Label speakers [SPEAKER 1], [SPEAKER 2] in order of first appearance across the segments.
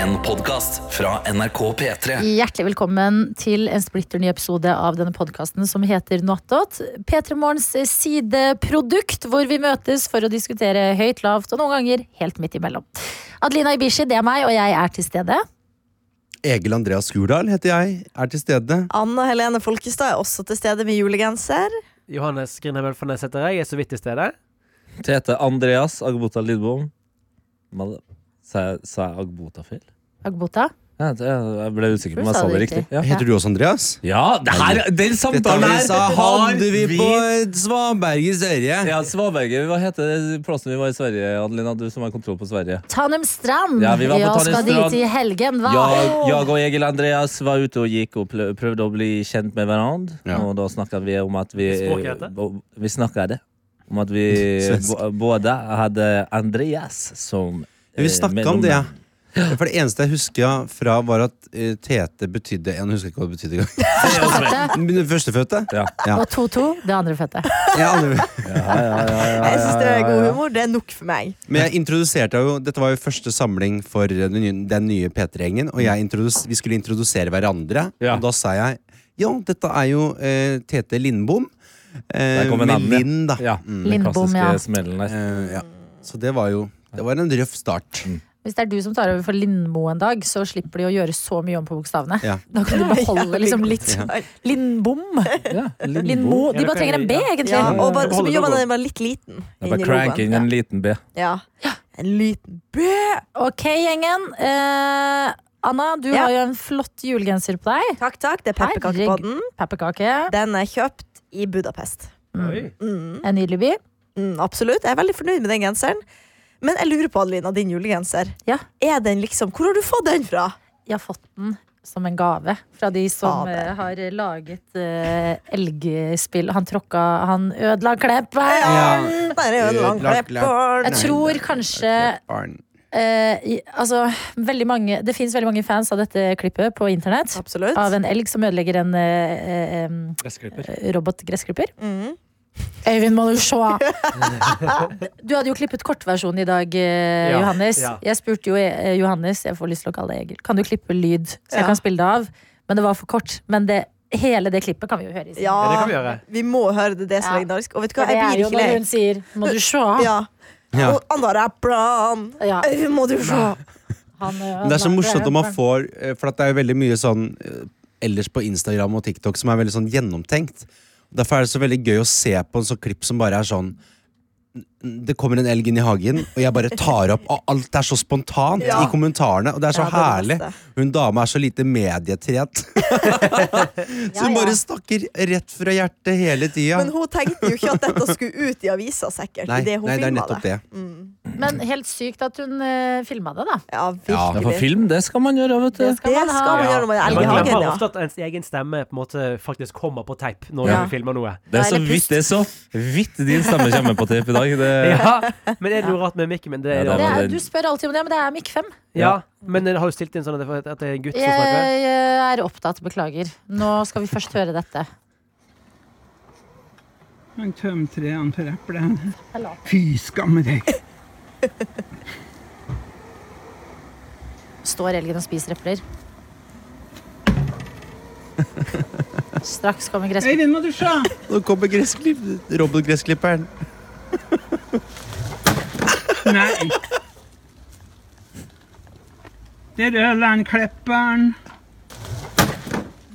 [SPEAKER 1] En podcast fra NRK P3
[SPEAKER 2] Hjertelig velkommen til en splitter ny episode av denne podkasten som heter Noatot. P3 Morgens sideprodukt, hvor vi møtes for å diskutere høyt, lavt og noen ganger helt midt imellom. Adelina Ibishi, det er meg, og jeg er til stede.
[SPEAKER 3] Egil Andreas Skurdal heter jeg, er til stede.
[SPEAKER 4] Anna Helene Folkestad er også til stede med julegenser.
[SPEAKER 5] Johannes Grindheim Elfarnes heter jeg. Jeg er så vidt til stede.
[SPEAKER 6] Tete Andreas Agbota Lidbom. Man, sa, jeg, sa jeg Agbota feil?
[SPEAKER 2] Agbota.
[SPEAKER 6] Ja, det- jeg ble usikker på om jeg
[SPEAKER 2] Hvorfor
[SPEAKER 6] sa
[SPEAKER 2] sa
[SPEAKER 6] det
[SPEAKER 2] du
[SPEAKER 6] riktig. Ja,
[SPEAKER 3] Heter du også Andreas?
[SPEAKER 6] ja det her, den
[SPEAKER 3] Dette
[SPEAKER 6] samtalen her
[SPEAKER 3] sa- hadde vi på Svanberg i Sverige.
[SPEAKER 6] ja, Svaberge, hva heter det plassen vi var i Sverige, Adelina? Du som har kontroll på Sverige.
[SPEAKER 2] Tanem Strand.
[SPEAKER 6] Ja, vi var på Tanem
[SPEAKER 2] skal
[SPEAKER 6] Strand.
[SPEAKER 2] dit i helgen, hva?
[SPEAKER 6] Jeg, jeg og Egil Andreas var ute og gikk og plø- prøvde å bli kjent med hverandre.
[SPEAKER 3] Ja.
[SPEAKER 6] Og da snakket vi om at vi
[SPEAKER 5] Språket heter?
[SPEAKER 6] bo- Vi snakket om at vi
[SPEAKER 3] Svensk.
[SPEAKER 6] bo- både hadde Andreas som
[SPEAKER 3] Vi
[SPEAKER 6] eh,
[SPEAKER 3] snakket
[SPEAKER 6] mellomnavn.
[SPEAKER 3] om det. For det eneste jeg husker fra, var at eh, Tete betydde en. Husker ikke hva det betydde engang.
[SPEAKER 2] Førstefødte.
[SPEAKER 3] Men den Førstefødte?
[SPEAKER 6] Ja.
[SPEAKER 3] Ja.
[SPEAKER 2] Og 2-2, det andrefødte.
[SPEAKER 3] Jeg aner-
[SPEAKER 4] Jeg syns det er god humor. Det er nok for meg.
[SPEAKER 3] Men jeg introduserte jo Dette var jo første samling for den nye, den nye P3-gjengen. Og jeg introdus- vi skulle introdusere hverandre,
[SPEAKER 6] Ja.
[SPEAKER 3] og da sa jeg ja, dette er jo eh, Tete Lindbom. Eh,
[SPEAKER 6] Der kommer
[SPEAKER 3] med
[SPEAKER 6] navnet.
[SPEAKER 3] Linn, da.
[SPEAKER 6] Ja,
[SPEAKER 3] Mm.
[SPEAKER 6] den
[SPEAKER 2] Lindbom,
[SPEAKER 6] klassiske
[SPEAKER 2] ja.
[SPEAKER 6] smellen der.
[SPEAKER 3] Eh, ja. Mm. Så det var jo Det var en røff start.
[SPEAKER 2] Hvis det er du som tar over for Lindmo en dag, så slipper de å gjøre så mye om på bokstavene.
[SPEAKER 3] Ja.
[SPEAKER 2] Da kan du beholde liksom litt Lindbom.
[SPEAKER 6] Ja,
[SPEAKER 2] Lindmo.
[SPEAKER 5] Ja,
[SPEAKER 2] De
[SPEAKER 5] det
[SPEAKER 2] bare
[SPEAKER 5] kan
[SPEAKER 2] trenger en
[SPEAKER 5] jeg-
[SPEAKER 2] B,
[SPEAKER 5] ja.
[SPEAKER 2] egentlig.
[SPEAKER 4] Ja, og bare, så
[SPEAKER 5] Beholder
[SPEAKER 4] gjør man
[SPEAKER 5] logoen.
[SPEAKER 4] den bare litt liten.
[SPEAKER 6] Jeg
[SPEAKER 4] inni
[SPEAKER 6] bare cranker inn
[SPEAKER 4] logoen.
[SPEAKER 6] en liten B.
[SPEAKER 4] Ja. Ja. En liten B.
[SPEAKER 2] Ok, gjengen. Eh, Anna, du
[SPEAKER 4] Ja.
[SPEAKER 2] har jo en flott julegenser på deg.
[SPEAKER 4] Takk, takk. Det er pepperkakepodden.
[SPEAKER 2] Pepperkake.
[SPEAKER 4] Den er kjøpt i Budapest.
[SPEAKER 5] Oi.
[SPEAKER 4] Mm,
[SPEAKER 2] En nydelig by.
[SPEAKER 4] mm, absolutt. Jeg er veldig fornøyd med den genseren. Men jeg lurer på, Adelina, din julegenser.
[SPEAKER 2] Ja.
[SPEAKER 4] Er den liksom, Hvor har du fått den fra?
[SPEAKER 2] Jeg har fått den som en gave fra de som
[SPEAKER 4] Fader.
[SPEAKER 2] eh, har laget eh, elgspill. Han tråkka Han ødela kleppet!
[SPEAKER 4] Den er jo en lang
[SPEAKER 3] Lagt-
[SPEAKER 4] kleppbarn.
[SPEAKER 2] Jeg tror kanskje eh, i- Altså, veldig mange Det fins veldig mange fans av dette klippet på internett.
[SPEAKER 4] Absolutt.
[SPEAKER 2] Av en elg som ødelegger en eh, eh,
[SPEAKER 5] Gressklipper.
[SPEAKER 2] eh, robotgressklipper.
[SPEAKER 4] Mm.
[SPEAKER 2] Øyvind, må du se! Du hadde jo klippet kortversjonen i dag, eh,
[SPEAKER 5] Ja,
[SPEAKER 2] Johannes.
[SPEAKER 5] ja.
[SPEAKER 2] Jeg spurte jo eh, Johannes, jeg får lyst til å kalle deg Egil, kan du klippe lyd så jeg
[SPEAKER 4] Ja.
[SPEAKER 2] kan spille det av? Men det var for kort. Men det, hele det klippet kan vi jo høre i sin.
[SPEAKER 4] Ja,
[SPEAKER 5] Ja, det kan vi gjøre.
[SPEAKER 4] vi må høre det. Det er
[SPEAKER 2] Ja.
[SPEAKER 4] så legendarisk. Og vet du
[SPEAKER 2] For det
[SPEAKER 4] hva, jeg
[SPEAKER 2] er
[SPEAKER 4] blir
[SPEAKER 2] jo
[SPEAKER 4] ikke
[SPEAKER 2] når
[SPEAKER 4] lei.
[SPEAKER 2] hun sier 'må du se'.
[SPEAKER 4] Ja.
[SPEAKER 3] Ja.
[SPEAKER 4] Og han var rapperen.
[SPEAKER 2] Ja,
[SPEAKER 4] Øy, Må du se.
[SPEAKER 2] han,
[SPEAKER 3] Men Det er så morsomt om man får eh, For at det er jo veldig mye sånn eh, ellers på Instagram og TikTok som er veldig sånn gjennomtenkt. Derfor er det så veldig gøy å se på en sånn klipp som bare er sånn det kommer en elg inn i hagen, og jeg bare tar opp. Og alt er så spontant
[SPEAKER 4] Ja.
[SPEAKER 3] i kommentarene. Og det er så
[SPEAKER 4] Ja, det er det
[SPEAKER 3] herlig. Hun dama er så lite medietrent. så hun
[SPEAKER 2] Ja, ja.
[SPEAKER 3] bare snakker rett fra hjertet hele tida.
[SPEAKER 4] Men hun tenkte jo ikke at dette skulle ut i avisa, sikkert.
[SPEAKER 3] Nei,
[SPEAKER 4] i det, hun
[SPEAKER 3] nei, det er
[SPEAKER 4] filmet
[SPEAKER 3] nettopp det.
[SPEAKER 4] Mm.
[SPEAKER 2] Men helt sykt at hun uh, filma det, da.
[SPEAKER 4] Ja,
[SPEAKER 3] Ja,
[SPEAKER 6] Ja, for
[SPEAKER 4] virkelig.
[SPEAKER 6] film, det skal man gjøre, vet
[SPEAKER 2] Det
[SPEAKER 6] du.
[SPEAKER 2] skal man ha.
[SPEAKER 4] Ja, gjør det med elg i
[SPEAKER 5] Man
[SPEAKER 4] hagen,
[SPEAKER 5] glemmer
[SPEAKER 4] ja.
[SPEAKER 5] ofte at ens egen stemme på en måte faktisk kommer på teip når
[SPEAKER 4] Ja.
[SPEAKER 5] vi filmer noe.
[SPEAKER 6] Det er så
[SPEAKER 2] Eller pust.
[SPEAKER 6] vidt, det er så vidt din stemme kommer på tape i dag. Det,
[SPEAKER 5] Ja, men er det noe rart med mikken min? Det
[SPEAKER 6] Ja,
[SPEAKER 5] er,
[SPEAKER 6] det
[SPEAKER 2] Det
[SPEAKER 5] ja,
[SPEAKER 2] er, du spør alltid om det, men det er Mikk 5.
[SPEAKER 5] men jeg har jo stilt inn sånn at det- at det er en gutt som
[SPEAKER 2] Jeg,
[SPEAKER 5] snakker.
[SPEAKER 2] jeg eh, er opptatt, beklager. Nå skal vi først høre dette.
[SPEAKER 7] Han tømte det han for eplet. Fy skamme deg.
[SPEAKER 2] Står elgen og spiser epler? Straks kommer gress...
[SPEAKER 7] Øyvind, må du se!
[SPEAKER 3] Nå kommer gressklipp- robotgressklipperen.
[SPEAKER 7] Nei. Der øler han klepperen.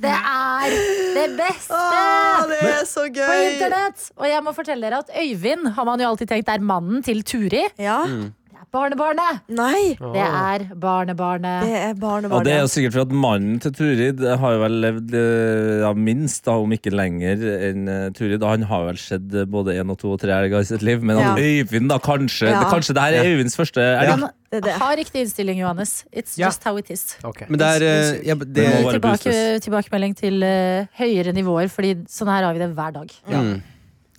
[SPEAKER 2] Det er det beste
[SPEAKER 4] Ah, det er så
[SPEAKER 2] på
[SPEAKER 4] gøy!
[SPEAKER 2] internett! Og jeg må fortelle dere at Øyvind har man jo alltid tenkt er mannen til Turi.
[SPEAKER 4] Ja.
[SPEAKER 3] Mm.
[SPEAKER 2] Det er barnebarnet!
[SPEAKER 4] Nei,
[SPEAKER 2] Det er barnebarnet.
[SPEAKER 4] det er
[SPEAKER 6] og det er jo
[SPEAKER 4] barnebarnet.
[SPEAKER 6] sikkert for at mannen til Turid har jo vel levd eh, ja, minst, da, om ikke lenger, enn eh, Turid. Han har vel sett eh, både én og to og tre elger i sitt liv, men
[SPEAKER 4] Ja.
[SPEAKER 6] at Øyvind, da, kanskje
[SPEAKER 4] Ja.
[SPEAKER 6] det, Kanskje det her er Øyvinds første elg?
[SPEAKER 2] Han
[SPEAKER 4] Det er det.
[SPEAKER 2] har riktig innstilling, Johannes. It's
[SPEAKER 5] Ja.
[SPEAKER 2] just how it is.
[SPEAKER 5] Ok.
[SPEAKER 3] Men det er eh, jeg, det,
[SPEAKER 6] Men må være
[SPEAKER 2] Tilbake,
[SPEAKER 6] boosters.
[SPEAKER 2] tilbakemelding til eh, høyere nivåer, Fordi sånn her har vi det hver dag.
[SPEAKER 3] mm.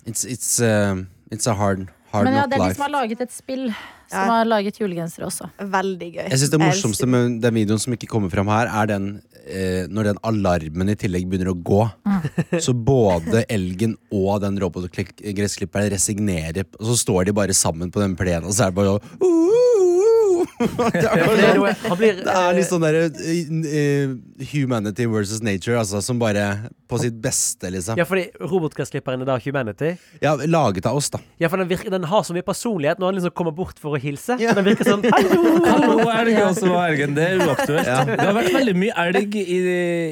[SPEAKER 3] It's, it's, eh, it's a hard, hard
[SPEAKER 2] Men ja,
[SPEAKER 3] knock
[SPEAKER 2] det er de
[SPEAKER 3] life.
[SPEAKER 2] som har laget et spill, som
[SPEAKER 4] Ja.
[SPEAKER 2] har laget julegensere også.
[SPEAKER 4] Veldig gøy.
[SPEAKER 3] Jeg synes Det
[SPEAKER 4] Jeg
[SPEAKER 3] morsomste med den videoen som ikke kommer fram her, er den eh, når den alarmen i tillegg begynner å gå.
[SPEAKER 2] Mm.
[SPEAKER 3] Så både elgen og den robotgressklipperen resignerer, og så står de bare sammen på den plenen, og så er det bare sånn det er bare
[SPEAKER 5] Ja, for det er jo-
[SPEAKER 3] sånn-
[SPEAKER 5] Han blir
[SPEAKER 3] det er litt sånn derre eh, eh, Humanity versus nature, altså, som bare på sitt beste, liksom.
[SPEAKER 5] Ja, fordi robotgressklipperen er da humanity.
[SPEAKER 3] Ja, laget av oss, da.
[SPEAKER 5] Ja, for den, virker, den har så mye personlighet når han liksom kommer bort for å hilse. Den virker sånn Hallo!
[SPEAKER 6] Hallo, elg! Og så var elgen det. er Uaktuelt. Det har vært veldig mye elg i,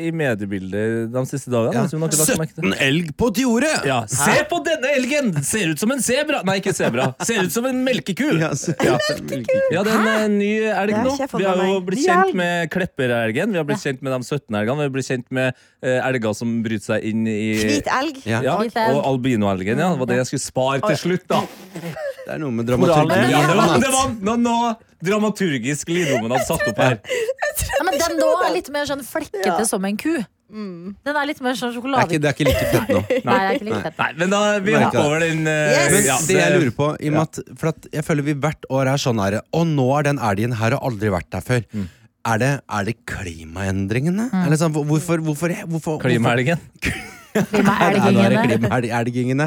[SPEAKER 6] i mediebildet de siste dagene.
[SPEAKER 3] Ja.
[SPEAKER 6] hvis noen har lagt merke til det.
[SPEAKER 3] 17 elg på et jorde!
[SPEAKER 6] Ja, Se på denne elgen! Ser ut som en sebra! Nei, ikke sebra. Ser ut som en melkeku!
[SPEAKER 3] Ja, så-
[SPEAKER 6] Ja, det er en eh, ny elg
[SPEAKER 4] Det har
[SPEAKER 6] nå.
[SPEAKER 4] ikke jeg fått
[SPEAKER 6] Vi har
[SPEAKER 4] med
[SPEAKER 6] jo
[SPEAKER 4] meg.
[SPEAKER 6] blitt
[SPEAKER 4] Ny
[SPEAKER 6] kjent
[SPEAKER 4] elg.
[SPEAKER 6] med klepperelgen, vi har blitt kjent med de 17 elgene, vi har blitt kjent med eh, elger som bryter seg inn i
[SPEAKER 4] Hvit elg.
[SPEAKER 3] Ja.
[SPEAKER 6] ja,
[SPEAKER 2] Hvit elg.
[SPEAKER 6] Og albinoelgen, ja. Det var det jeg skulle spare til slutt, da.
[SPEAKER 3] Det er noe med
[SPEAKER 5] Moralen.
[SPEAKER 3] dramaturgi.
[SPEAKER 6] Ja, det
[SPEAKER 3] Ja,
[SPEAKER 6] var, det var noe, dramaturgisk Lidlommen hadde satt opp her.
[SPEAKER 2] Ja, men den nå er litt mer sånn flekkete
[SPEAKER 4] Ja. Mm.
[SPEAKER 2] som en ku. Den er litt mer sånn
[SPEAKER 3] det, er ikke,
[SPEAKER 2] sjokolade...
[SPEAKER 3] det er ikke like fett nå.
[SPEAKER 2] Nei, det er ikke litt fett.
[SPEAKER 6] Nei, men da vi
[SPEAKER 3] Merka.
[SPEAKER 6] hopper over den eh,
[SPEAKER 3] Men
[SPEAKER 6] ja,
[SPEAKER 3] det jeg lurer på, i og med at, for at jeg føler vi hvert år er sånn her Og nå er den elgen her og aldri vært der før.
[SPEAKER 6] Mm.
[SPEAKER 3] Er, det, er det klimaendringene? Eller sånn, hvor- hvorfor, hvorfor, hvorfor, hvorfor
[SPEAKER 6] Klimaelgen.
[SPEAKER 4] Sånn-
[SPEAKER 3] Nei, nå er det
[SPEAKER 2] Klimaelgingene.
[SPEAKER 3] klimaelgingene.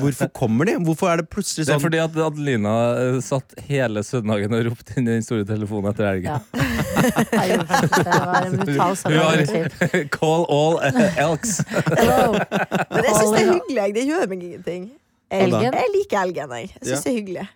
[SPEAKER 3] Hvorfor kommer de? Hvorfor er det
[SPEAKER 6] Det
[SPEAKER 3] plutselig
[SPEAKER 6] er
[SPEAKER 3] sånn?
[SPEAKER 6] fordi at Adelina eh, satt hele søndagen og ropte inn i den store telefonen etter
[SPEAKER 2] Ja.
[SPEAKER 6] elgen.
[SPEAKER 2] Nei, Det var en
[SPEAKER 6] Hun
[SPEAKER 2] brutal
[SPEAKER 6] har
[SPEAKER 2] sammenheng.
[SPEAKER 6] Call all eh, elks.
[SPEAKER 2] Hello.
[SPEAKER 4] Men jeg syns det er hyggelig. jeg. Det gjør meg ingenting. Jeg,
[SPEAKER 2] Elgen?
[SPEAKER 4] jeg liker elgen. Jeg, jeg
[SPEAKER 3] Ja.
[SPEAKER 4] syns det er hyggelig.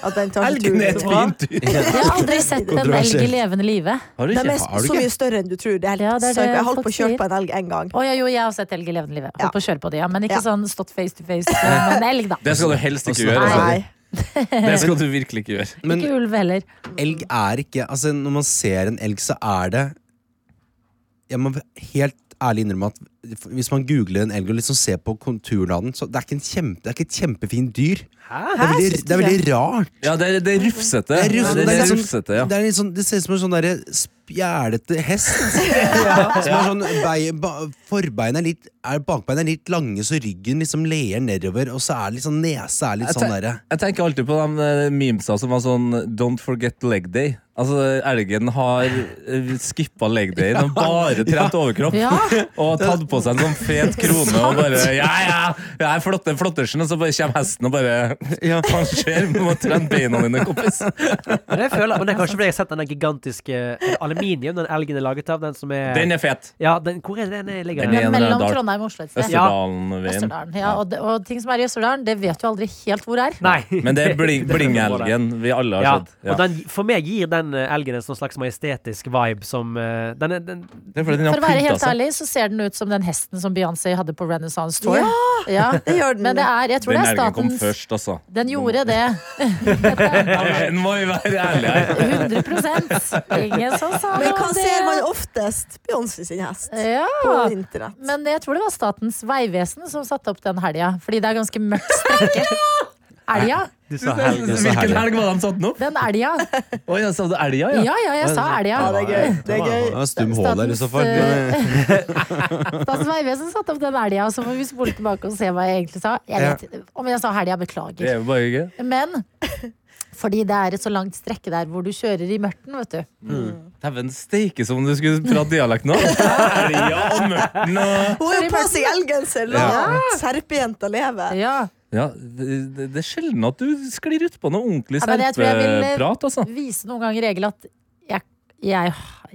[SPEAKER 4] At den tar seg
[SPEAKER 6] Elgen er
[SPEAKER 4] turen.
[SPEAKER 6] et fint dyr.
[SPEAKER 2] Jeg har aldri sett en elg i levende live.
[SPEAKER 6] Har du
[SPEAKER 4] De
[SPEAKER 6] ikke?
[SPEAKER 4] er
[SPEAKER 3] Har du
[SPEAKER 4] så
[SPEAKER 3] ikke?
[SPEAKER 4] mye større enn du tror. Det er helt
[SPEAKER 2] Ja, det er det
[SPEAKER 4] søkt. Jeg holdt på å
[SPEAKER 2] folk
[SPEAKER 4] kjøre
[SPEAKER 2] sier.
[SPEAKER 4] på en elg en gang.
[SPEAKER 2] Å ja, jo, jeg har sett elg i levende live.
[SPEAKER 4] Ja.
[SPEAKER 2] Holdt på å kjøre på det, ja. Men ikke
[SPEAKER 4] Ja.
[SPEAKER 2] sånn stått face to face med en elg, da.
[SPEAKER 6] Det skal du helst ikke gjøre. altså.
[SPEAKER 4] Nei.
[SPEAKER 6] Det skal du virkelig ikke gjøre.
[SPEAKER 3] Men
[SPEAKER 2] Ikke ulv heller.
[SPEAKER 3] elg er ikke Altså, når man ser en elg, så er det Jeg må helt ærlig innrømme at hvis man googler en elg og liksom ser på konturen av den, så det er ikke, en kjempe, det er ikke et kjempefint dyr. Det er veldig, det er veldig rart.
[SPEAKER 6] Ja, det er, det er rufsete.
[SPEAKER 3] Det er
[SPEAKER 6] Det,
[SPEAKER 3] rufs-
[SPEAKER 6] er- det er
[SPEAKER 3] liksom-
[SPEAKER 6] rufsete, ja.
[SPEAKER 3] Det, er litt sånn, det ser ut som en sånn derre spjælete hest. Som er sånn bei, ba, Forbeina er litt er, Bakbeina er litt lange, så ryggen liksom ler nedover, og så er det litt sånn nese er litt
[SPEAKER 6] Jeg
[SPEAKER 3] sånn
[SPEAKER 6] ten-
[SPEAKER 3] derre
[SPEAKER 6] Jeg tenker alltid på de eh, memesa som var sånn Don't forget leg day. Altså, Elgen har skippa leg day. Den har bare trent overkropp.
[SPEAKER 2] Ja.
[SPEAKER 6] Og tatt på seg en sånn fet krone og bare Ja, ja! Jeg er flotte flottersen, og så bare kommer hesten og bare
[SPEAKER 3] Ja.
[SPEAKER 6] Hva skjer? Du må trene beina dine, kompis.
[SPEAKER 5] Men jeg føler, men det er kanskje fordi jeg har sett den der gigantiske er det aluminium, den elgen er laget av, den som er
[SPEAKER 6] Den er fet.
[SPEAKER 5] Ja, den, hvor er det den ligger?
[SPEAKER 6] Den
[SPEAKER 5] den?
[SPEAKER 6] er- en
[SPEAKER 2] Men mellom
[SPEAKER 6] dal.
[SPEAKER 2] Trondheim og Oslo et sted.
[SPEAKER 5] Ja.
[SPEAKER 6] Østerdalen-veien.
[SPEAKER 2] Østerdalen. Ja, og, det- og ting som er i Østerdalen, det vet du aldri helt hvor er.
[SPEAKER 5] Nei.
[SPEAKER 6] Men det er bling- blingelgen vi alle
[SPEAKER 5] Ja,
[SPEAKER 6] har sett.
[SPEAKER 5] og den, for meg gir den eh, elgen en sånn slags majestetisk vibe som eh, Den er den,
[SPEAKER 6] Det er fordi den
[SPEAKER 2] For
[SPEAKER 6] har
[SPEAKER 2] å være
[SPEAKER 6] pynta
[SPEAKER 2] helt
[SPEAKER 4] altså.
[SPEAKER 6] seg.
[SPEAKER 2] ærlig så ser den ut som den hesten som Beyoncé hadde på Renaissance Tour.
[SPEAKER 4] Ja,
[SPEAKER 2] Ja.
[SPEAKER 4] det gjør den.
[SPEAKER 2] Men det er, jeg tror det
[SPEAKER 6] Den
[SPEAKER 2] er
[SPEAKER 6] elgen kom
[SPEAKER 2] statens
[SPEAKER 6] først, altså.
[SPEAKER 2] Den gjorde det.
[SPEAKER 6] Nå må vi være ærlige her.
[SPEAKER 2] 100 Ingen som sa
[SPEAKER 4] Men
[SPEAKER 2] noe
[SPEAKER 4] hva
[SPEAKER 2] om
[SPEAKER 4] ser man
[SPEAKER 2] det.
[SPEAKER 4] oftest? Beyoncé sin hest på
[SPEAKER 2] Ja,
[SPEAKER 4] internett.
[SPEAKER 2] men jeg tror det var Statens vegvesen som satte opp den helga, fordi det er ganske mørkt strekke. Elga?
[SPEAKER 5] Du sa helgen.
[SPEAKER 3] så herlig.
[SPEAKER 6] Hvilken helg var de satt den opp?
[SPEAKER 2] Den elga.
[SPEAKER 6] Oi, jeg sa det elga, ja.
[SPEAKER 2] Ja, ja, jeg sa elga.
[SPEAKER 4] Ja, det er gøy. Det er
[SPEAKER 3] Det
[SPEAKER 4] gøy.
[SPEAKER 3] var stum H der, i så fall.
[SPEAKER 2] Statens, Statens vegvesen satte opp den elga, så får vi spole tilbake og se hva jeg egentlig sa. Jeg vet om jeg sa helga,
[SPEAKER 6] Det
[SPEAKER 2] beklager.
[SPEAKER 6] er jo bare gøy.
[SPEAKER 2] Men fordi det er et så langt strekke der hvor du kjører i mørten, vet du.
[SPEAKER 6] Dæven steike som om du skulle prate dialekt nå. Elga og mørten og
[SPEAKER 4] Hun har jo på seg elgenser! La serpejenta leve.
[SPEAKER 2] Ja,
[SPEAKER 6] Ja, det, det er sjelden at du sklir ut på noe ordentlig
[SPEAKER 2] Ja, men jeg tror jeg vil, eh,
[SPEAKER 6] serpeprat, altså.
[SPEAKER 2] vise noen ganger Egil at jeg, jeg,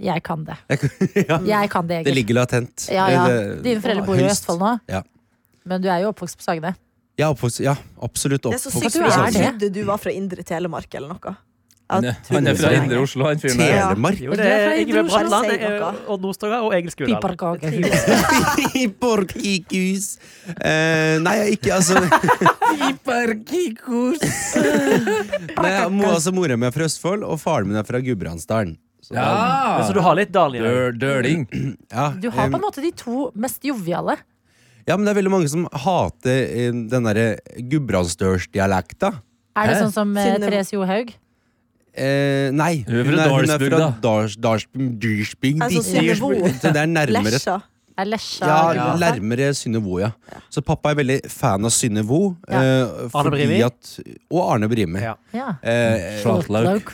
[SPEAKER 2] jeg kan det.
[SPEAKER 3] Ja.
[SPEAKER 2] Jeg kan det,
[SPEAKER 3] Det
[SPEAKER 2] Egil.
[SPEAKER 3] ligger latent.
[SPEAKER 2] Ja, ja.
[SPEAKER 3] Det-
[SPEAKER 2] Dine foreldre bor jo i
[SPEAKER 3] Helst.
[SPEAKER 2] Østfold nå,
[SPEAKER 3] Ja.
[SPEAKER 2] men du er jo oppvokst på Sagene.
[SPEAKER 3] Ja, oppvokst, ja, absolutt
[SPEAKER 4] Det er så
[SPEAKER 3] oppvokst.
[SPEAKER 4] sykt
[SPEAKER 2] du
[SPEAKER 4] for
[SPEAKER 2] er
[SPEAKER 4] jeg
[SPEAKER 2] det.
[SPEAKER 4] trodde du var fra Indre Telemark eller noe.
[SPEAKER 6] Han er- han er fra Indre Oslo, han fyren der.
[SPEAKER 3] Telemark?
[SPEAKER 5] Jo,
[SPEAKER 2] Men
[SPEAKER 5] det
[SPEAKER 2] du er
[SPEAKER 5] er
[SPEAKER 2] fra
[SPEAKER 5] Yngve
[SPEAKER 2] Indre Oslo,
[SPEAKER 5] Bratland,
[SPEAKER 4] sier
[SPEAKER 5] det er,
[SPEAKER 4] dere.
[SPEAKER 5] Odd Nordstoga og Egil Skurdal.
[SPEAKER 2] Piparkake.
[SPEAKER 3] Piporkikus. Eh, nei, jeg ikke altså Nei, jeg må altså Mora mi er fra Østfold, og faren min er fra Gudbrandsdalen. Så da-
[SPEAKER 5] Men Så du har litt dalen i deg?
[SPEAKER 6] Dør, døling.
[SPEAKER 3] ja,
[SPEAKER 2] Du har
[SPEAKER 3] em,
[SPEAKER 2] på en måte de to mest joviale.
[SPEAKER 3] Ja, men det er veldig mange som hater eh, den derre gudbrandsdørsdialekta.
[SPEAKER 2] Er det
[SPEAKER 6] Hæ?
[SPEAKER 2] sånn som eh,
[SPEAKER 4] Synne-
[SPEAKER 2] Therese Johaug?
[SPEAKER 3] Eh, nei.
[SPEAKER 6] Hun er fra Dalsbygd, da.
[SPEAKER 3] Dals- Dalsbygd, Dyrsbygd,
[SPEAKER 4] Altså,
[SPEAKER 3] Dyrsbygd.
[SPEAKER 4] Synnøvo.
[SPEAKER 3] Så det er nærmere
[SPEAKER 4] Lesja.
[SPEAKER 2] Er Lesja
[SPEAKER 3] ja,
[SPEAKER 2] Gudbrandsen?
[SPEAKER 3] nærmere Synnevo, ja. Så pappa er veldig fan av Synnevo.
[SPEAKER 2] Ja.
[SPEAKER 3] eh, fordi
[SPEAKER 5] Brimi?
[SPEAKER 3] at- Og Arne Brimi.
[SPEAKER 5] Ja.
[SPEAKER 2] Ja.
[SPEAKER 3] Eh,
[SPEAKER 6] Flatlauk.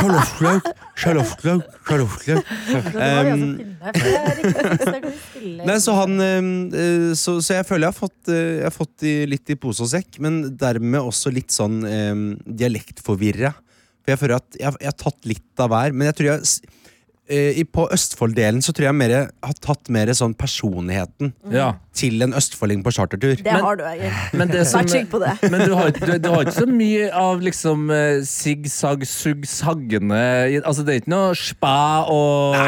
[SPEAKER 3] Sjaloftlauk, sjaloftlauk, sjaloftlauk. Um, Nei, så han eh, eh, så, så jeg føler jeg har fått, eh, jeg har fått i, litt i pose og sekk, men dermed også litt sånn eh, dialektforvirra. For For jeg føler at jeg, jeg har tatt litt av hver. Men jeg tror jeg s- eh, i- på Østfold-delen så tror jeg mer, har tatt mer sånn personligheten
[SPEAKER 6] Ja.
[SPEAKER 3] til en østfolding på chartertur.
[SPEAKER 4] Det
[SPEAKER 6] Men-
[SPEAKER 4] har du, Egil.
[SPEAKER 6] Men, det som,
[SPEAKER 4] Vær trygg på det.
[SPEAKER 6] men du, har, ikke- du, du har ikke så mye av liksom eh, sigg, sagg, sugg, saggende i- Altså, det er ikke noe spa og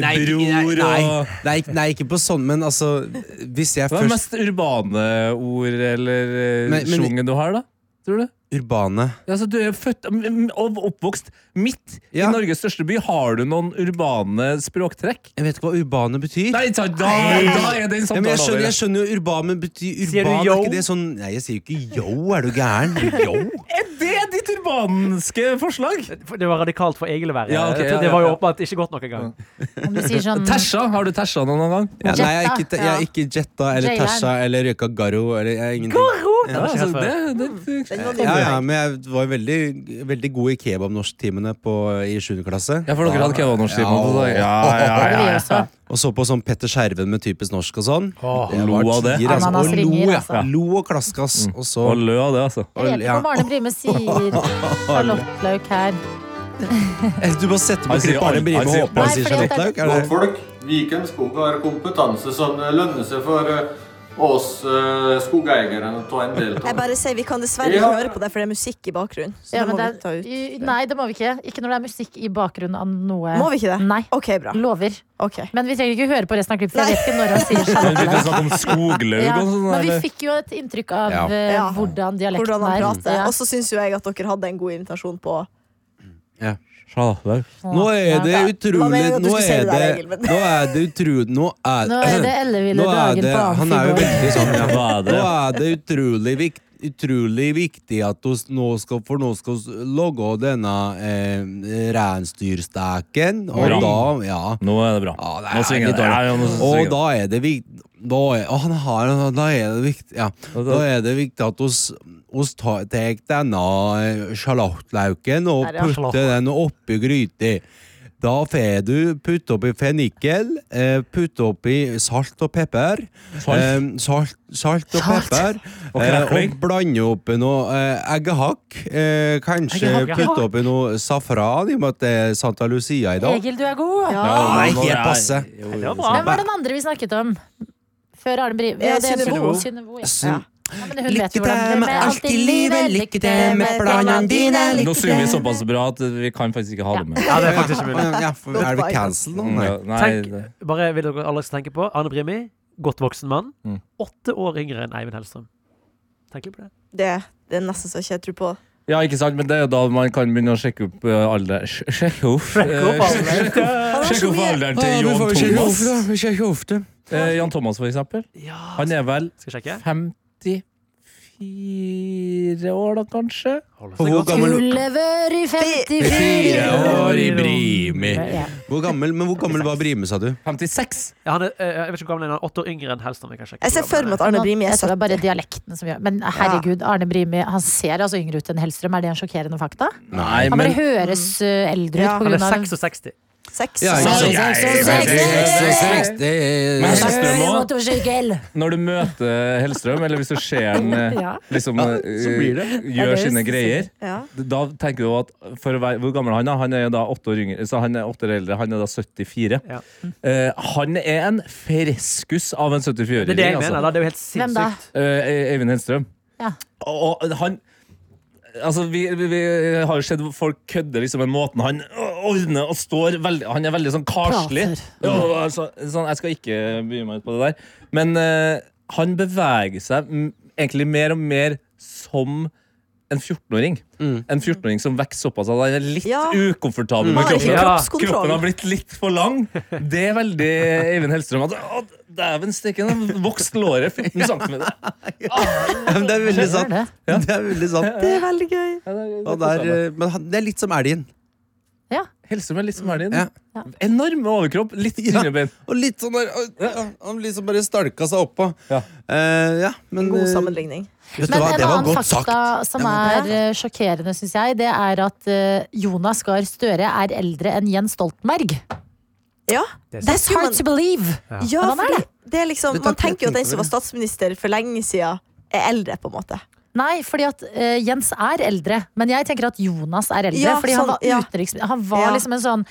[SPEAKER 6] bror og
[SPEAKER 3] Nei, ikke- nei, ikke på sånn, men altså Hvis jeg
[SPEAKER 6] Hva er det
[SPEAKER 3] først
[SPEAKER 6] mest urbane ord eller eh,
[SPEAKER 3] Men- men-
[SPEAKER 6] sjungen du har, da? Tror du?
[SPEAKER 3] Urbane
[SPEAKER 6] Altså, du er født mm, og oppvokst midt
[SPEAKER 3] Ja.
[SPEAKER 6] i Norges største by. Har du noen urbane språktrekk?
[SPEAKER 3] Jeg vet ikke hva urbane betyr.
[SPEAKER 6] Nei, sånn da, da, da er den
[SPEAKER 3] Ja, men
[SPEAKER 6] samtalen
[SPEAKER 3] jeg, skjønner,
[SPEAKER 6] over.
[SPEAKER 3] jeg skjønner jo urban, men betyr urban
[SPEAKER 5] Sier du
[SPEAKER 3] er
[SPEAKER 5] yo?
[SPEAKER 3] ikke det sånn Nei, jeg sier jo ikke yo, er du gæren? Yo?
[SPEAKER 6] Er det ditt urbanske forslag?
[SPEAKER 5] For Det var radikalt for Egil å være.
[SPEAKER 6] Ja, ok,
[SPEAKER 5] Jeg tror
[SPEAKER 6] ja,
[SPEAKER 5] det var jo
[SPEAKER 6] ja.
[SPEAKER 5] åpenbart ikke godt nok engang.
[SPEAKER 2] Om du sier
[SPEAKER 3] Mm.
[SPEAKER 2] sånn
[SPEAKER 6] Tæsja, har du tæsja noen gang?
[SPEAKER 3] Ja, nei, jeg er ikke,
[SPEAKER 2] Jetta,
[SPEAKER 3] jeg er ikke Jetta eller
[SPEAKER 2] Jailan.
[SPEAKER 3] Tasha eller røyka Garo eller jeg er ingenting.
[SPEAKER 6] Ja,
[SPEAKER 5] det
[SPEAKER 6] altså,
[SPEAKER 5] skjer
[SPEAKER 6] det,
[SPEAKER 5] før.
[SPEAKER 6] det,
[SPEAKER 3] Ja, ja, men jeg var jo veldig, veldig god i kebabnorsktimene på- i 7. klasse.
[SPEAKER 6] Ja, for dere hadde kebabnorsktimen på
[SPEAKER 3] Ja.
[SPEAKER 6] dag. Ja, ja,
[SPEAKER 2] Det
[SPEAKER 6] ja,
[SPEAKER 2] vil
[SPEAKER 6] ja.
[SPEAKER 2] jeg også.
[SPEAKER 3] Og så på sånn Petter Skjerven med typisk norsk og sånn. Jeg
[SPEAKER 6] lo
[SPEAKER 3] var
[SPEAKER 6] av det. Mm.
[SPEAKER 3] tier, altså.
[SPEAKER 2] Ananas
[SPEAKER 3] Og
[SPEAKER 2] ringer,
[SPEAKER 3] lo, ja.
[SPEAKER 2] altså.
[SPEAKER 3] Lo og klaskas. Og så
[SPEAKER 6] Og lø av det, altså.
[SPEAKER 2] Jeg vet ikke
[SPEAKER 3] Ja.
[SPEAKER 2] hva Arne Brime sier. Charlotte Lauk her.
[SPEAKER 3] Eh, Du må sette på
[SPEAKER 6] Han sier
[SPEAKER 3] klipp Arne
[SPEAKER 6] alt.
[SPEAKER 3] Brime
[SPEAKER 6] Han
[SPEAKER 3] og
[SPEAKER 6] sier
[SPEAKER 3] håper han
[SPEAKER 6] alt.
[SPEAKER 3] sier
[SPEAKER 2] Nei, fordi at
[SPEAKER 3] Charlotte Lauk.
[SPEAKER 2] det-
[SPEAKER 3] er det-
[SPEAKER 8] Godtfolk, Viken Skog har kompetanse som lønner seg for eh, oss eh, skogeiere å ta en del av.
[SPEAKER 4] Jeg bare sier Vi kan dessverre ikke
[SPEAKER 8] Ja.
[SPEAKER 4] høre på det, for det er musikk i bakgrunnen. Så
[SPEAKER 2] Ja,
[SPEAKER 4] det
[SPEAKER 2] men
[SPEAKER 4] må
[SPEAKER 2] det
[SPEAKER 4] vi ta
[SPEAKER 2] er,
[SPEAKER 4] ut.
[SPEAKER 2] i- nei, det må vi ikke. Ikke når det er musikk i bakgrunnen av noe.
[SPEAKER 4] Må vi ikke det?
[SPEAKER 2] Nei.
[SPEAKER 4] OK, bra.
[SPEAKER 2] Lover.
[SPEAKER 4] Ok.
[SPEAKER 2] Men vi trenger ikke høre på resten av klippet, for jeg vet ikke når han sier
[SPEAKER 6] Men
[SPEAKER 2] Charlotte
[SPEAKER 6] begynte å
[SPEAKER 2] Lauk.
[SPEAKER 6] snakke om skoglaug
[SPEAKER 2] Ja,
[SPEAKER 6] og sånn.
[SPEAKER 2] men vi
[SPEAKER 6] eller?
[SPEAKER 2] fikk jo et inntrykk av
[SPEAKER 3] Ja.
[SPEAKER 2] eh,
[SPEAKER 4] Ja.
[SPEAKER 2] hvordan dialekten
[SPEAKER 4] Hvordan han
[SPEAKER 2] er.
[SPEAKER 4] prater.
[SPEAKER 2] Ja.
[SPEAKER 4] Og så syns jo jeg at dere hadde en god invitasjon på
[SPEAKER 6] Sjalaug.
[SPEAKER 3] Nå er det
[SPEAKER 2] Ja.
[SPEAKER 4] Hva
[SPEAKER 3] utrolig
[SPEAKER 4] mener du at du
[SPEAKER 3] Nå
[SPEAKER 4] skulle si
[SPEAKER 3] er
[SPEAKER 4] det der,
[SPEAKER 3] det
[SPEAKER 4] Egil, men-
[SPEAKER 3] Nå er det utrolig Nå er
[SPEAKER 2] Nå er det elleville
[SPEAKER 3] Nå er
[SPEAKER 2] dager
[SPEAKER 3] det,
[SPEAKER 2] på
[SPEAKER 3] han er jo
[SPEAKER 2] Amfibor.
[SPEAKER 3] veldig sånn ja.
[SPEAKER 6] Hva er
[SPEAKER 3] Nå
[SPEAKER 6] det?
[SPEAKER 3] er det utrolig, vik, utrolig viktig at oss nå skal For nå skal oss logge denne eh, reinsdyrstaken. Og
[SPEAKER 6] Bra.
[SPEAKER 3] da Ja.
[SPEAKER 6] Nå er det bra.
[SPEAKER 3] Ja, det er
[SPEAKER 6] Nå svinger
[SPEAKER 3] litt
[SPEAKER 6] det. Ja,
[SPEAKER 3] dårlig.
[SPEAKER 6] ja, nå
[SPEAKER 3] Og
[SPEAKER 6] svinger det.
[SPEAKER 3] da er det viktig da er, å, han har, da er det viktig ja.
[SPEAKER 6] Og da-
[SPEAKER 3] Da er det viktig at oss, oss ta- tek denne eh, sjalottlauken og
[SPEAKER 4] Her, ja.
[SPEAKER 3] putter den oppi gryta. Da får du putte oppi fennikel, eh, putte oppi salt og pepper.
[SPEAKER 6] Salt.
[SPEAKER 3] Eh, salt, salt og
[SPEAKER 2] Salt.
[SPEAKER 3] pepper.
[SPEAKER 6] Og
[SPEAKER 3] eh,
[SPEAKER 6] krakling.
[SPEAKER 3] og blande oppi noe eh, eggehakk. Eh, kanskje
[SPEAKER 5] Eggehakk, ja.
[SPEAKER 3] putte oppi noe safran, i og med at det er Santa Lucia i dag.
[SPEAKER 2] Egil, du er god.
[SPEAKER 4] Ja.
[SPEAKER 6] Ja,
[SPEAKER 3] Nei,
[SPEAKER 6] nå- nå
[SPEAKER 3] helt
[SPEAKER 6] er-
[SPEAKER 3] passe.
[SPEAKER 6] Jo,
[SPEAKER 5] Det
[SPEAKER 6] jo.
[SPEAKER 5] var bra.
[SPEAKER 2] Hvem var den andre vi snakket om? Før Arne Brim.
[SPEAKER 4] Eh,
[SPEAKER 2] det er
[SPEAKER 4] Synnøve.
[SPEAKER 2] Synnøve, ja.
[SPEAKER 3] Så-
[SPEAKER 2] Ja, men hun vet jo hvordan det er med alt i livet. Lykke til med
[SPEAKER 4] planene dine,
[SPEAKER 6] Nå synger
[SPEAKER 3] sånn
[SPEAKER 6] vi såpass bra at vi kan faktisk ikke ha det med.
[SPEAKER 5] Ja, det er faktisk ikke mulig.
[SPEAKER 3] Ja, for, er det cancel nå? Nei.
[SPEAKER 6] Ja, Nei,
[SPEAKER 5] Tenk-
[SPEAKER 6] det-
[SPEAKER 5] Bare vil dere alle tenke på Arne Brimi, godt voksen mann.
[SPEAKER 6] Mm.
[SPEAKER 5] Åtte år yngre enn Eivind Hellstrøm. Tenk litt på det.
[SPEAKER 4] det. Det er nesten så ikke jeg tror på.
[SPEAKER 6] ja, ikke sant, men det er jo da man kan begynne å sjekke opp eh, alder Sj- Sjekke opp eh, Sjekke opp alderen til Jan Thomas. Eh, Jan Thomas, for eksempel.
[SPEAKER 5] Ja,
[SPEAKER 6] Han er vel
[SPEAKER 5] skal jeg sjekke?
[SPEAKER 6] 54 år, da, kanskje?
[SPEAKER 5] Hold
[SPEAKER 3] Og
[SPEAKER 5] oss.
[SPEAKER 3] hvor gammel,
[SPEAKER 2] Lever i 54
[SPEAKER 3] Fire år i
[SPEAKER 2] Brimi.
[SPEAKER 3] hvor gammel, men hvor gammel var Brime, sa du?
[SPEAKER 6] 56!
[SPEAKER 5] Ja, han er, eh, jeg vet ikke hvor gammel han er, han er åtte år yngre enn Hellstrøm. Jeg, kan sjekke
[SPEAKER 4] Jeg ser
[SPEAKER 5] hvor
[SPEAKER 4] for
[SPEAKER 5] gammel
[SPEAKER 4] meg at
[SPEAKER 5] han
[SPEAKER 4] Arne Brimi er
[SPEAKER 2] Jeg tror det er
[SPEAKER 4] 70.
[SPEAKER 2] bare dialekten som gjør Men herregud, Arne Brimi han ser altså yngre ut enn Hellstrøm. Er det en sjokkerende fakta?
[SPEAKER 6] Nei,
[SPEAKER 2] Han bare
[SPEAKER 6] men
[SPEAKER 2] høres
[SPEAKER 4] Mm.
[SPEAKER 2] ø, eldre ut
[SPEAKER 4] Ja,
[SPEAKER 2] på
[SPEAKER 5] er.
[SPEAKER 2] grunn
[SPEAKER 5] Han
[SPEAKER 2] av
[SPEAKER 5] er 66.
[SPEAKER 4] Seks.
[SPEAKER 3] Ja, ikke sant?
[SPEAKER 6] Nei,
[SPEAKER 3] Men-
[SPEAKER 6] Hellstrøm
[SPEAKER 2] Øy,
[SPEAKER 6] også.
[SPEAKER 2] motorsykkel!
[SPEAKER 6] når du møter Hellstrøm, eller hvis du ser han eh,
[SPEAKER 2] Ja.
[SPEAKER 6] liksom,
[SPEAKER 3] så blir det.
[SPEAKER 6] eh, gjør sine greier
[SPEAKER 4] Ja.
[SPEAKER 6] da tenker du at for å være, Hvor gammel er han er Han er jo da åtte år yngre Så han er åtte år eldre, han er da 74
[SPEAKER 5] Ja.
[SPEAKER 6] Eh, Han er en freskus av en 74-åring
[SPEAKER 5] Det er det jeg
[SPEAKER 6] altså.
[SPEAKER 5] mener. da. Det er jo helt
[SPEAKER 2] Hvem da?
[SPEAKER 5] sinnssykt.
[SPEAKER 6] Eh, E- Eivind Hellstrøm
[SPEAKER 2] Ja.
[SPEAKER 6] Og og han Altså, vi, vi, vi har jo sett folk kødde liksom en måten han ordner og står veldig Han er veldig sånn karslig.
[SPEAKER 2] Prater.
[SPEAKER 6] Ja, altså, sånn, jeg skal ikke bry meg ut på det der. Men eh, han beveger seg mm, egentlig mer og mer som en 14-åring. En 14-åring som vokser såpass at han er litt
[SPEAKER 4] Ja.
[SPEAKER 6] ukomfortabel
[SPEAKER 4] Han
[SPEAKER 6] med
[SPEAKER 4] har ikke
[SPEAKER 6] kroppen.
[SPEAKER 5] Ja.
[SPEAKER 6] Kroppen har
[SPEAKER 4] kroppskontroll.
[SPEAKER 6] blitt litt for lang. Det er veldig Eivind Hellstrøm. At, å, Dæven stikke, han vokste låret 14 cm.
[SPEAKER 3] Ja, men Det er veldig sant.
[SPEAKER 2] Det.
[SPEAKER 3] Det er veldig sant.
[SPEAKER 4] Det er veldig gøy.
[SPEAKER 3] Og der, eh, men han- det er litt som elgen.
[SPEAKER 6] Hellstrøm er eh, litt som Elin.
[SPEAKER 3] Ja.
[SPEAKER 2] Ja.
[SPEAKER 6] Enorm overkropp, litt
[SPEAKER 3] Ja.
[SPEAKER 6] tynnere bein.
[SPEAKER 3] Og litt sånn der og- ja, Han liksom bare stalka seg oppå.
[SPEAKER 6] Ja.
[SPEAKER 3] Eh, ja, men
[SPEAKER 4] God
[SPEAKER 3] eh,
[SPEAKER 4] sammenligning.
[SPEAKER 3] Vet du
[SPEAKER 2] Men
[SPEAKER 3] hva,
[SPEAKER 2] en
[SPEAKER 3] det var
[SPEAKER 2] annen
[SPEAKER 3] godt
[SPEAKER 2] fakta
[SPEAKER 3] sagt.
[SPEAKER 2] som
[SPEAKER 3] Det var-
[SPEAKER 2] er eh, sjokkerende, syns jeg, det er at eh, Jonas Gahr Støre er eldre enn Jens Stoltenberg.
[SPEAKER 4] Ja,
[SPEAKER 5] Det er
[SPEAKER 2] That's
[SPEAKER 4] skulle
[SPEAKER 2] hard
[SPEAKER 4] man-
[SPEAKER 2] to believe! Men
[SPEAKER 4] ja
[SPEAKER 2] han er
[SPEAKER 4] fordi det er liksom,
[SPEAKER 3] Det tar
[SPEAKER 4] man
[SPEAKER 3] ikke
[SPEAKER 4] tenker jo
[SPEAKER 3] tenke
[SPEAKER 4] at den som
[SPEAKER 3] på
[SPEAKER 4] var statsminister for lenge siden, er eldre, på en måte.
[SPEAKER 2] Nei, fordi at eh, Jens er eldre, men jeg tenker at Jonas er eldre.
[SPEAKER 4] Ja,
[SPEAKER 2] fordi han
[SPEAKER 4] sånn,
[SPEAKER 2] var
[SPEAKER 4] ja.
[SPEAKER 2] utenriksminister. Han var
[SPEAKER 4] Ja.
[SPEAKER 2] liksom en sånn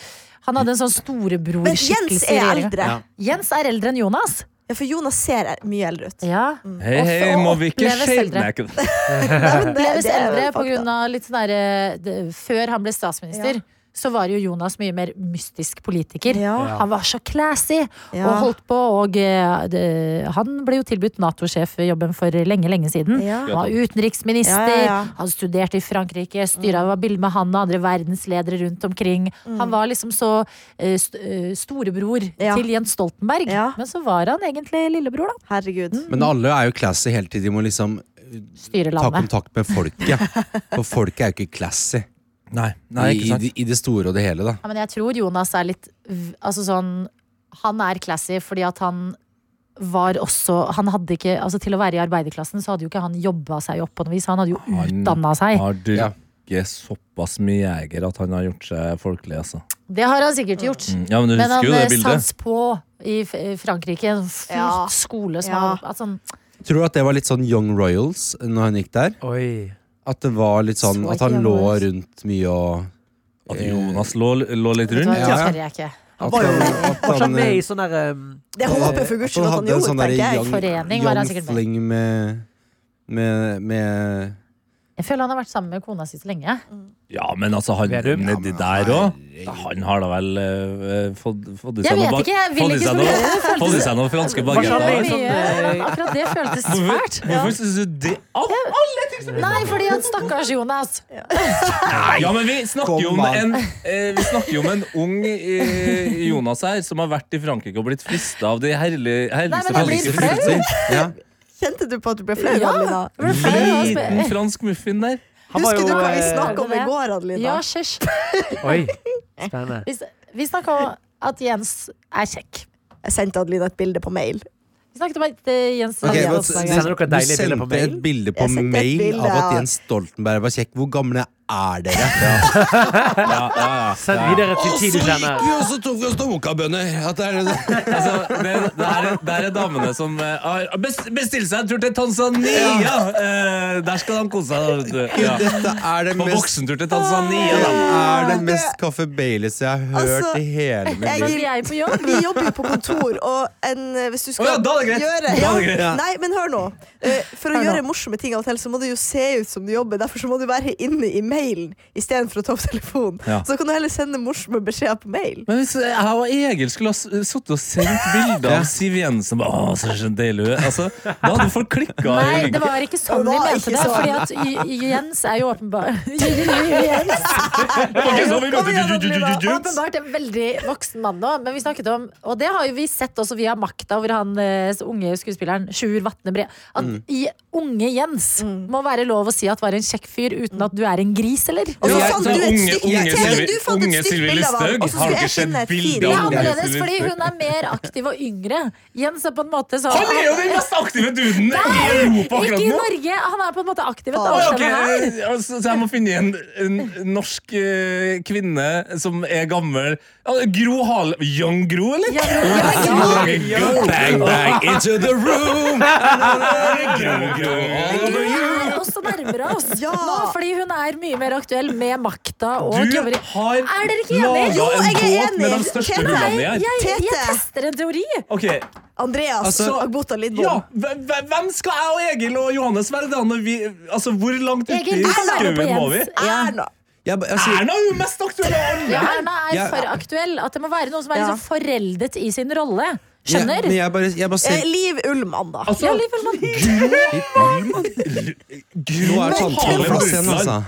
[SPEAKER 2] Han hadde en sånn storebror
[SPEAKER 4] Men Jens er eldre.
[SPEAKER 3] Ja.
[SPEAKER 2] Jens er eldre enn Jonas.
[SPEAKER 4] Ja, for Jonas ser mye eldre ut.
[SPEAKER 2] Ja.
[SPEAKER 6] Hei,
[SPEAKER 2] Og-
[SPEAKER 6] hei,
[SPEAKER 2] og
[SPEAKER 6] må vi ikke
[SPEAKER 2] oppleves
[SPEAKER 6] shame
[SPEAKER 2] eldre.
[SPEAKER 6] Nei, ikke det.
[SPEAKER 4] Nei, men det-
[SPEAKER 2] Oppleves
[SPEAKER 4] det er
[SPEAKER 2] eldre
[SPEAKER 4] fakta.
[SPEAKER 2] på grunn av litt sånn derre det- Før han ble statsminister,
[SPEAKER 4] Ja.
[SPEAKER 2] så var jo Jonas mye mer mystisk politiker.
[SPEAKER 4] Ja.
[SPEAKER 2] Han var så classy
[SPEAKER 4] Ja.
[SPEAKER 2] og holdt på, og eh, det, han ble jo tilbudt Nato-sjefjobben for lenge, lenge siden.
[SPEAKER 4] Ja.
[SPEAKER 2] Han var utenriksminister,
[SPEAKER 4] Ja, ja, ja. Mm.
[SPEAKER 2] han studerte i Frankrike, styra var bilde med han og andre verdensledere rundt omkring. Han var liksom så eh, st eh, storebror
[SPEAKER 4] Ja.
[SPEAKER 2] til Jens Stoltenberg,
[SPEAKER 4] Ja.
[SPEAKER 2] men så var han egentlig lillebror, da.
[SPEAKER 4] Herregud.
[SPEAKER 2] Mm.
[SPEAKER 3] Men alle er jo classy hele tiden. De må liksom
[SPEAKER 2] Styre
[SPEAKER 3] ta
[SPEAKER 2] landet.
[SPEAKER 3] kontakt med folket. For folket er jo ikke classy
[SPEAKER 6] Nei, nei,
[SPEAKER 3] i,
[SPEAKER 6] ikke sant.
[SPEAKER 3] i, i det store og det hele. da
[SPEAKER 2] Ja, men jeg tror Jonas er litt v- Altså sånn Han er classy fordi at han var også Han hadde ikke Altså til å være i arbeiderklassen så hadde jo ikke han jobba seg opp på noe vis. Han hadde jo
[SPEAKER 6] Han-
[SPEAKER 2] utdanna seg.
[SPEAKER 6] Har drukket såpass mye jeger at han har gjort seg folkelig, altså.
[SPEAKER 2] Det har han sikkert gjort.
[SPEAKER 6] Mm, Ja, men du
[SPEAKER 2] Men
[SPEAKER 6] husker
[SPEAKER 2] han
[SPEAKER 6] jo det
[SPEAKER 2] eh,
[SPEAKER 6] bildet.
[SPEAKER 2] sans på i F- i Frankrike. En fullt
[SPEAKER 4] Ja.
[SPEAKER 2] skole som
[SPEAKER 4] Ja.
[SPEAKER 2] hadde, at sånn,
[SPEAKER 3] Tror du at det var litt sånn Young Royals når han gikk der?
[SPEAKER 5] Oi.
[SPEAKER 3] At det var litt sånn
[SPEAKER 2] Så
[SPEAKER 3] At han
[SPEAKER 2] Young
[SPEAKER 3] lå
[SPEAKER 2] Royals.
[SPEAKER 3] rundt mye og
[SPEAKER 6] At Jonas lå, lå litt
[SPEAKER 2] Vet du
[SPEAKER 6] rundt.
[SPEAKER 2] hva, det
[SPEAKER 3] Ja.
[SPEAKER 2] tør sånn, jeg ikke.
[SPEAKER 5] Han
[SPEAKER 3] At
[SPEAKER 5] var jo
[SPEAKER 3] han- at
[SPEAKER 5] var ikke
[SPEAKER 3] han,
[SPEAKER 5] han med
[SPEAKER 3] eh,
[SPEAKER 5] i sånn der um,
[SPEAKER 4] Det
[SPEAKER 3] eh,
[SPEAKER 4] håper for
[SPEAKER 3] at
[SPEAKER 4] gudskjelov at han
[SPEAKER 3] hadde en
[SPEAKER 4] gjorde,
[SPEAKER 3] sånn
[SPEAKER 4] tenker
[SPEAKER 3] derre
[SPEAKER 4] jeg.
[SPEAKER 3] young,
[SPEAKER 2] Forening var han
[SPEAKER 3] young
[SPEAKER 2] sikkert med.
[SPEAKER 3] fling med, med, med
[SPEAKER 2] Jeg føler han har vært sammen med kona si så lenge.
[SPEAKER 6] Ja, men altså, han
[SPEAKER 5] Vedum?
[SPEAKER 6] nedi der òg. Han har da vel eh, fått, fått i
[SPEAKER 2] Jeg
[SPEAKER 6] seg
[SPEAKER 2] vet
[SPEAKER 6] noe
[SPEAKER 2] ikke, jeg vil
[SPEAKER 6] fått i seg
[SPEAKER 2] ikke så
[SPEAKER 6] noe- Fått i seg noen franske
[SPEAKER 5] Hva sa
[SPEAKER 2] Det
[SPEAKER 5] han
[SPEAKER 2] var
[SPEAKER 5] med i
[SPEAKER 6] bagetter.
[SPEAKER 5] sånn, eh,
[SPEAKER 2] mye, akkurat det føltes fælt.
[SPEAKER 6] Hvorfor, hvorfor syns du det? Au!
[SPEAKER 2] Nei, fordi han stakkars Jonas.
[SPEAKER 6] Nei, ja, men vi snakker jo om
[SPEAKER 3] Kom an.
[SPEAKER 6] en, eh, vi snakker jo om en ung eh, Jonas her som har vært i Frankrike og blitt frista av de herlige, herligste
[SPEAKER 2] men jeg blir
[SPEAKER 6] franske
[SPEAKER 2] flau.
[SPEAKER 6] frukter.
[SPEAKER 3] ja.
[SPEAKER 4] Kjente du på at du ble flau,
[SPEAKER 2] Ja.
[SPEAKER 4] Adelina?
[SPEAKER 2] Det ble feil å ha
[SPEAKER 6] Liten
[SPEAKER 2] sp-
[SPEAKER 6] fransk muffin der.
[SPEAKER 5] Han var
[SPEAKER 4] Husker
[SPEAKER 5] jo
[SPEAKER 4] du hva vi
[SPEAKER 5] eh,
[SPEAKER 4] snakket om i
[SPEAKER 2] det-
[SPEAKER 4] går, Adelina?
[SPEAKER 2] Ja, hysj.
[SPEAKER 5] Oi. eh, Spennende.
[SPEAKER 2] Vi, s- vi snakka om at Jens er kjekk.
[SPEAKER 4] Jeg sendte Adelina et bilde på mail.
[SPEAKER 2] Vi snakket om at eh, Jens
[SPEAKER 3] Ok,
[SPEAKER 2] hadde
[SPEAKER 3] hva-
[SPEAKER 2] oppslag.
[SPEAKER 5] Sender dere
[SPEAKER 3] Du
[SPEAKER 5] deilige bilder
[SPEAKER 3] sendte et bilde på
[SPEAKER 5] på mail?
[SPEAKER 4] Jeg sendte et
[SPEAKER 3] mail
[SPEAKER 4] bilde
[SPEAKER 3] av at
[SPEAKER 4] av-
[SPEAKER 3] Jens Stoltenberg var kjekk. Hvor gamle er dere?
[SPEAKER 6] Ja, ja, ja.
[SPEAKER 5] Send videre til tid du kjenner.
[SPEAKER 3] og så tok vi oss donkerbønner. At det er det.
[SPEAKER 6] Altså, det, det, er, det er damene som eh, har best- bestilt seg en tur til Tanzania! Eh, der skal de kose seg. da, vet du. Ja.
[SPEAKER 3] Dette er det
[SPEAKER 6] På
[SPEAKER 3] mest
[SPEAKER 6] voksentur til Tanzania,
[SPEAKER 3] det
[SPEAKER 6] da.
[SPEAKER 3] er det mest Kaffe Baileys jeg har hørt
[SPEAKER 4] Altså,
[SPEAKER 3] i hele mitt
[SPEAKER 2] Hvorfor
[SPEAKER 3] liv.
[SPEAKER 2] er jeg på jobb?
[SPEAKER 4] Vi jobber jo på kontor, og en, eh, hvis du skal
[SPEAKER 6] Å ja, da er det greit. Da
[SPEAKER 4] gjøre
[SPEAKER 6] er det greit.
[SPEAKER 4] Nei, men hør nå. Eh, For å
[SPEAKER 2] Hør nå.
[SPEAKER 4] gjøre morsomme ting av og til, så må du jo se ut som du jobber. Derfor så må du være inne i mailen istedenfor å ta opp telefonen.
[SPEAKER 6] Ja.
[SPEAKER 4] Så kan du heller sende morsomme beskjeder på mail.
[SPEAKER 6] Men hvis eh, jeg og Egil skulle ha s- sittet og sendt bilder av Siv Jensen bare, Åh, så så deilig hun er. altså, Da hadde folk klikka.
[SPEAKER 2] Nei, det var ikke sånn
[SPEAKER 4] Det
[SPEAKER 2] vi
[SPEAKER 4] var
[SPEAKER 2] mente
[SPEAKER 4] ikke
[SPEAKER 2] det.
[SPEAKER 4] sånn.
[SPEAKER 2] Fordi at J- J- Jens er jo åpenbar Jens
[SPEAKER 4] Kom igjen, Adelina.
[SPEAKER 2] er åpenbart en veldig voksen mann nå, men vi snakket om Og det har jo vi sett også via makta over han eh, unge skuespilleren Sjur Vatne Bre. At i, unge Jens må være lov å si at var en kjekk fyr uten at du er en gris, eller? sånn
[SPEAKER 4] Og så
[SPEAKER 6] Jeg-
[SPEAKER 4] fant
[SPEAKER 6] så
[SPEAKER 4] du et
[SPEAKER 6] unge-
[SPEAKER 4] stygt
[SPEAKER 6] unge Sylvi-
[SPEAKER 4] Du fant
[SPEAKER 6] unge
[SPEAKER 4] et stygt
[SPEAKER 6] Sylvi
[SPEAKER 4] bilde av
[SPEAKER 6] Listhaug.
[SPEAKER 4] ham, og så
[SPEAKER 6] Har
[SPEAKER 4] skulle
[SPEAKER 6] dere
[SPEAKER 4] jeg
[SPEAKER 6] sett
[SPEAKER 4] finne et
[SPEAKER 6] bildet
[SPEAKER 4] fint
[SPEAKER 2] Det er
[SPEAKER 6] av
[SPEAKER 4] bilde.
[SPEAKER 2] annerledes, fordi hun er mer aktiv og yngre. Jens er på en måte sånn
[SPEAKER 6] Han er jo den mest aktive duden i Europa
[SPEAKER 2] Ikke
[SPEAKER 6] akkurat
[SPEAKER 2] i
[SPEAKER 6] nå!
[SPEAKER 2] Norge! Han er på en måte aktiv et
[SPEAKER 4] Faen.
[SPEAKER 2] annet
[SPEAKER 6] Ok,
[SPEAKER 2] sted enn han er.
[SPEAKER 6] altså, så jeg må finne en, en norsk eh, kvinne som er gammel. Ja, Gro Harlem Young Gro, eller?
[SPEAKER 2] Ja, men- ja, men- ja.
[SPEAKER 6] Go bang bang into the room! Gro, Gro, all
[SPEAKER 2] Hun
[SPEAKER 6] over you.
[SPEAKER 2] er også nærmere oss
[SPEAKER 4] Ja.
[SPEAKER 2] nå, fordi hun er mye mer aktuell med makta og
[SPEAKER 6] Du
[SPEAKER 2] jobber i
[SPEAKER 6] har
[SPEAKER 2] Er dere ikke enige?
[SPEAKER 6] laget
[SPEAKER 4] Jo,
[SPEAKER 6] en
[SPEAKER 4] jeg er
[SPEAKER 6] båt med
[SPEAKER 4] enig.
[SPEAKER 6] de største
[SPEAKER 4] Kjenner
[SPEAKER 6] hullene
[SPEAKER 4] jeg-
[SPEAKER 6] i her.
[SPEAKER 2] Jeg, jeg
[SPEAKER 4] Tete.
[SPEAKER 2] tester en teori.
[SPEAKER 6] Ok,
[SPEAKER 4] Andreas
[SPEAKER 6] Altså,
[SPEAKER 4] Agbota Lidbom.
[SPEAKER 6] ja, hve- hve- Hvem skal jeg og Egil og Johannes være da? Når vi, altså, hvor langt ute
[SPEAKER 2] Egil,
[SPEAKER 6] i
[SPEAKER 2] du kan være med på
[SPEAKER 6] skauen må vi?
[SPEAKER 2] Jens. Ja.
[SPEAKER 4] Erna.
[SPEAKER 3] Jeg, ba- altså,
[SPEAKER 6] Erna er jo mest aktuell av alle!
[SPEAKER 2] Ja, Erna
[SPEAKER 3] Ja.
[SPEAKER 2] er for aktuell. At det må være noe som er
[SPEAKER 4] Ja.
[SPEAKER 2] liksom foreldet i sin rolle. Skjønner?
[SPEAKER 3] Jeg, men jeg bare, jeg bare
[SPEAKER 4] Eh,
[SPEAKER 3] ser
[SPEAKER 4] Liv Ullmann, da.
[SPEAKER 6] Altså,
[SPEAKER 2] Ja, Liv Ullmann.
[SPEAKER 3] Nå
[SPEAKER 6] Gro
[SPEAKER 3] er tannpinneplass igjen, altså.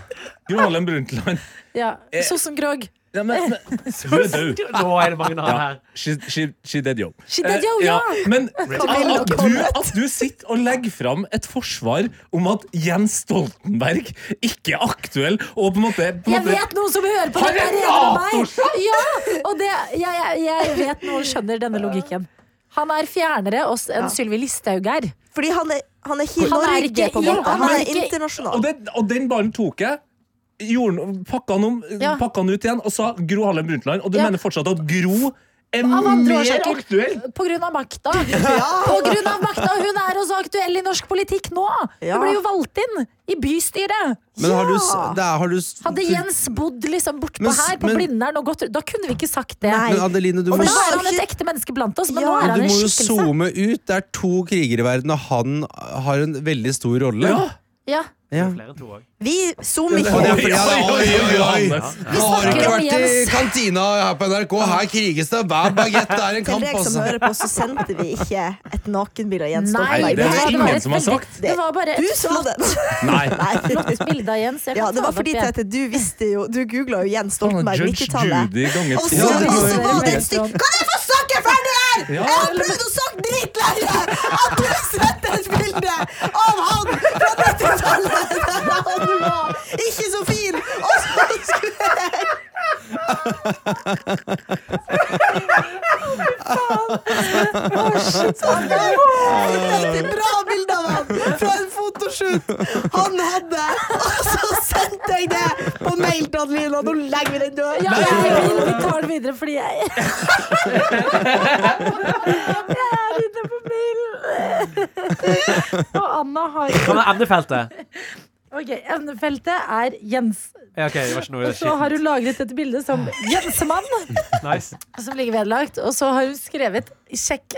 [SPEAKER 6] Gro Harlem Brundtland.
[SPEAKER 2] Ja.
[SPEAKER 6] Eh.
[SPEAKER 2] Sossen Grog.
[SPEAKER 6] Ja, men, men, hun er død.
[SPEAKER 5] Nå er det mange navn
[SPEAKER 6] Ja,
[SPEAKER 5] her.
[SPEAKER 6] she, she, she dead, yo.
[SPEAKER 2] She dead, yo,
[SPEAKER 6] Eh,
[SPEAKER 2] ja.
[SPEAKER 6] Men
[SPEAKER 4] Camilla
[SPEAKER 6] at du, at du sitter og legger fram et forsvar om at Jens Stoltenberg ikke er aktuell, og på en måte, på en
[SPEAKER 2] Jeg
[SPEAKER 6] måte
[SPEAKER 2] vet noen som hører på
[SPEAKER 6] Har
[SPEAKER 2] dette
[SPEAKER 6] en
[SPEAKER 2] her gjennom
[SPEAKER 6] NATO-sjef?
[SPEAKER 2] meg! Ja, og det, jeg, jeg, jeg vet noen skjønner denne logikken. Han er fjernere oss enn Sylvi Listhaug er.
[SPEAKER 4] Fordi han er, han er
[SPEAKER 2] Han
[SPEAKER 4] helt
[SPEAKER 2] er
[SPEAKER 4] Norge
[SPEAKER 2] ikke
[SPEAKER 4] på en
[SPEAKER 2] i-
[SPEAKER 4] måte. Han
[SPEAKER 2] han er
[SPEAKER 4] er
[SPEAKER 2] ikke-
[SPEAKER 6] og,
[SPEAKER 4] internasjonal.
[SPEAKER 6] den, og den ballen tok jeg. Gjorde, den- pakka, den om,
[SPEAKER 2] Ja.
[SPEAKER 6] pakka den ut igjen og sa Gro Harlem Brundtland. Og du
[SPEAKER 2] Ja.
[SPEAKER 6] mener fortsatt at Gro er
[SPEAKER 2] Av andre
[SPEAKER 6] mer
[SPEAKER 2] årsaker.
[SPEAKER 6] aktuell!
[SPEAKER 2] På grunn av makta.
[SPEAKER 4] Ja.
[SPEAKER 2] På grunn av makta! Hun er også aktuell i norsk politikk nå!
[SPEAKER 4] Ja.
[SPEAKER 2] Hun ble jo valgt inn i bystyret.
[SPEAKER 3] Men har du, s-
[SPEAKER 4] Ja.
[SPEAKER 3] det er, har du s-
[SPEAKER 2] Hadde Jens bodd liksom bortpå
[SPEAKER 3] Men s-
[SPEAKER 2] her, på
[SPEAKER 3] men-
[SPEAKER 2] Blindern, og gått rundt, da kunne vi ikke sagt det.
[SPEAKER 4] Nei.
[SPEAKER 3] Men Adeline, du
[SPEAKER 2] For
[SPEAKER 3] må,
[SPEAKER 2] da
[SPEAKER 3] s-
[SPEAKER 2] er han et ekte menneske blant oss, men
[SPEAKER 4] Ja.
[SPEAKER 2] nå er
[SPEAKER 3] du
[SPEAKER 2] han en
[SPEAKER 3] må jo
[SPEAKER 2] skikkelse.
[SPEAKER 3] zoome ut. Det er to kriger i verden, og han har en veldig stor rolle.
[SPEAKER 2] Ja.
[SPEAKER 3] Ja.
[SPEAKER 5] Flere enn to også.
[SPEAKER 4] Vi
[SPEAKER 3] Og
[SPEAKER 4] zoomer
[SPEAKER 3] det er
[SPEAKER 4] ikke.
[SPEAKER 3] fordi han
[SPEAKER 6] Oi, oi, oi, Johannes.
[SPEAKER 2] Vi
[SPEAKER 3] har
[SPEAKER 2] snakker
[SPEAKER 3] ikke
[SPEAKER 2] om
[SPEAKER 3] vært i
[SPEAKER 2] Jens.
[SPEAKER 3] kantina her på NRK. Her kriges det. Hver bagett er en
[SPEAKER 4] Til
[SPEAKER 3] kamp,
[SPEAKER 4] deg som
[SPEAKER 3] altså.
[SPEAKER 4] hører på, så sendte vi ikke et nakenbilde av Jens
[SPEAKER 2] Nei,
[SPEAKER 4] Stoltenberg.
[SPEAKER 6] det er
[SPEAKER 2] var-
[SPEAKER 6] ingen
[SPEAKER 2] var et
[SPEAKER 6] som har
[SPEAKER 2] veldig-
[SPEAKER 6] sagt.
[SPEAKER 2] Det var bare
[SPEAKER 4] Du
[SPEAKER 2] et
[SPEAKER 4] sa det!
[SPEAKER 6] Nei.
[SPEAKER 4] Nei.
[SPEAKER 2] bilde av Jens. Jeg kan
[SPEAKER 4] Ja, det
[SPEAKER 2] ta
[SPEAKER 4] var fordi
[SPEAKER 2] opp igjen.
[SPEAKER 4] Tete, du visste jo Du googla jo Jens Stoltenberg
[SPEAKER 6] Judge
[SPEAKER 4] 90-tallet.
[SPEAKER 6] Judy ganger
[SPEAKER 4] Og
[SPEAKER 6] ti.
[SPEAKER 4] så
[SPEAKER 3] Ja, det
[SPEAKER 4] og så
[SPEAKER 3] var-
[SPEAKER 4] var det et stykke Kan jeg få snakke ferdig her?!
[SPEAKER 6] Ja.
[SPEAKER 4] Jeg har prøvd å snakke dritlenge! At du setter et bilde av han fra 90-tallet! Der han var ikke så fin! Og så skulle jeg Så skulle jeg et bra bilde av han fra en fotoshoot han hadde, og så sendte jeg det på mail til Adelina. Nå legger vi den død.
[SPEAKER 2] Ja, jeg vil vi tar den videre fordi jeg Jeg er inne på mailen. Og Anna har
[SPEAKER 5] Hva med emnefeltet?
[SPEAKER 2] Ok, Evnefeltet er Jens.
[SPEAKER 5] Ja, ok, det var ikke noe
[SPEAKER 2] Og så har
[SPEAKER 5] skittent.
[SPEAKER 2] hun lagret dette bildet som Jensemann,
[SPEAKER 5] Nice.
[SPEAKER 2] som ligger vedlagt. Og så har hun skrevet 'sjekk'.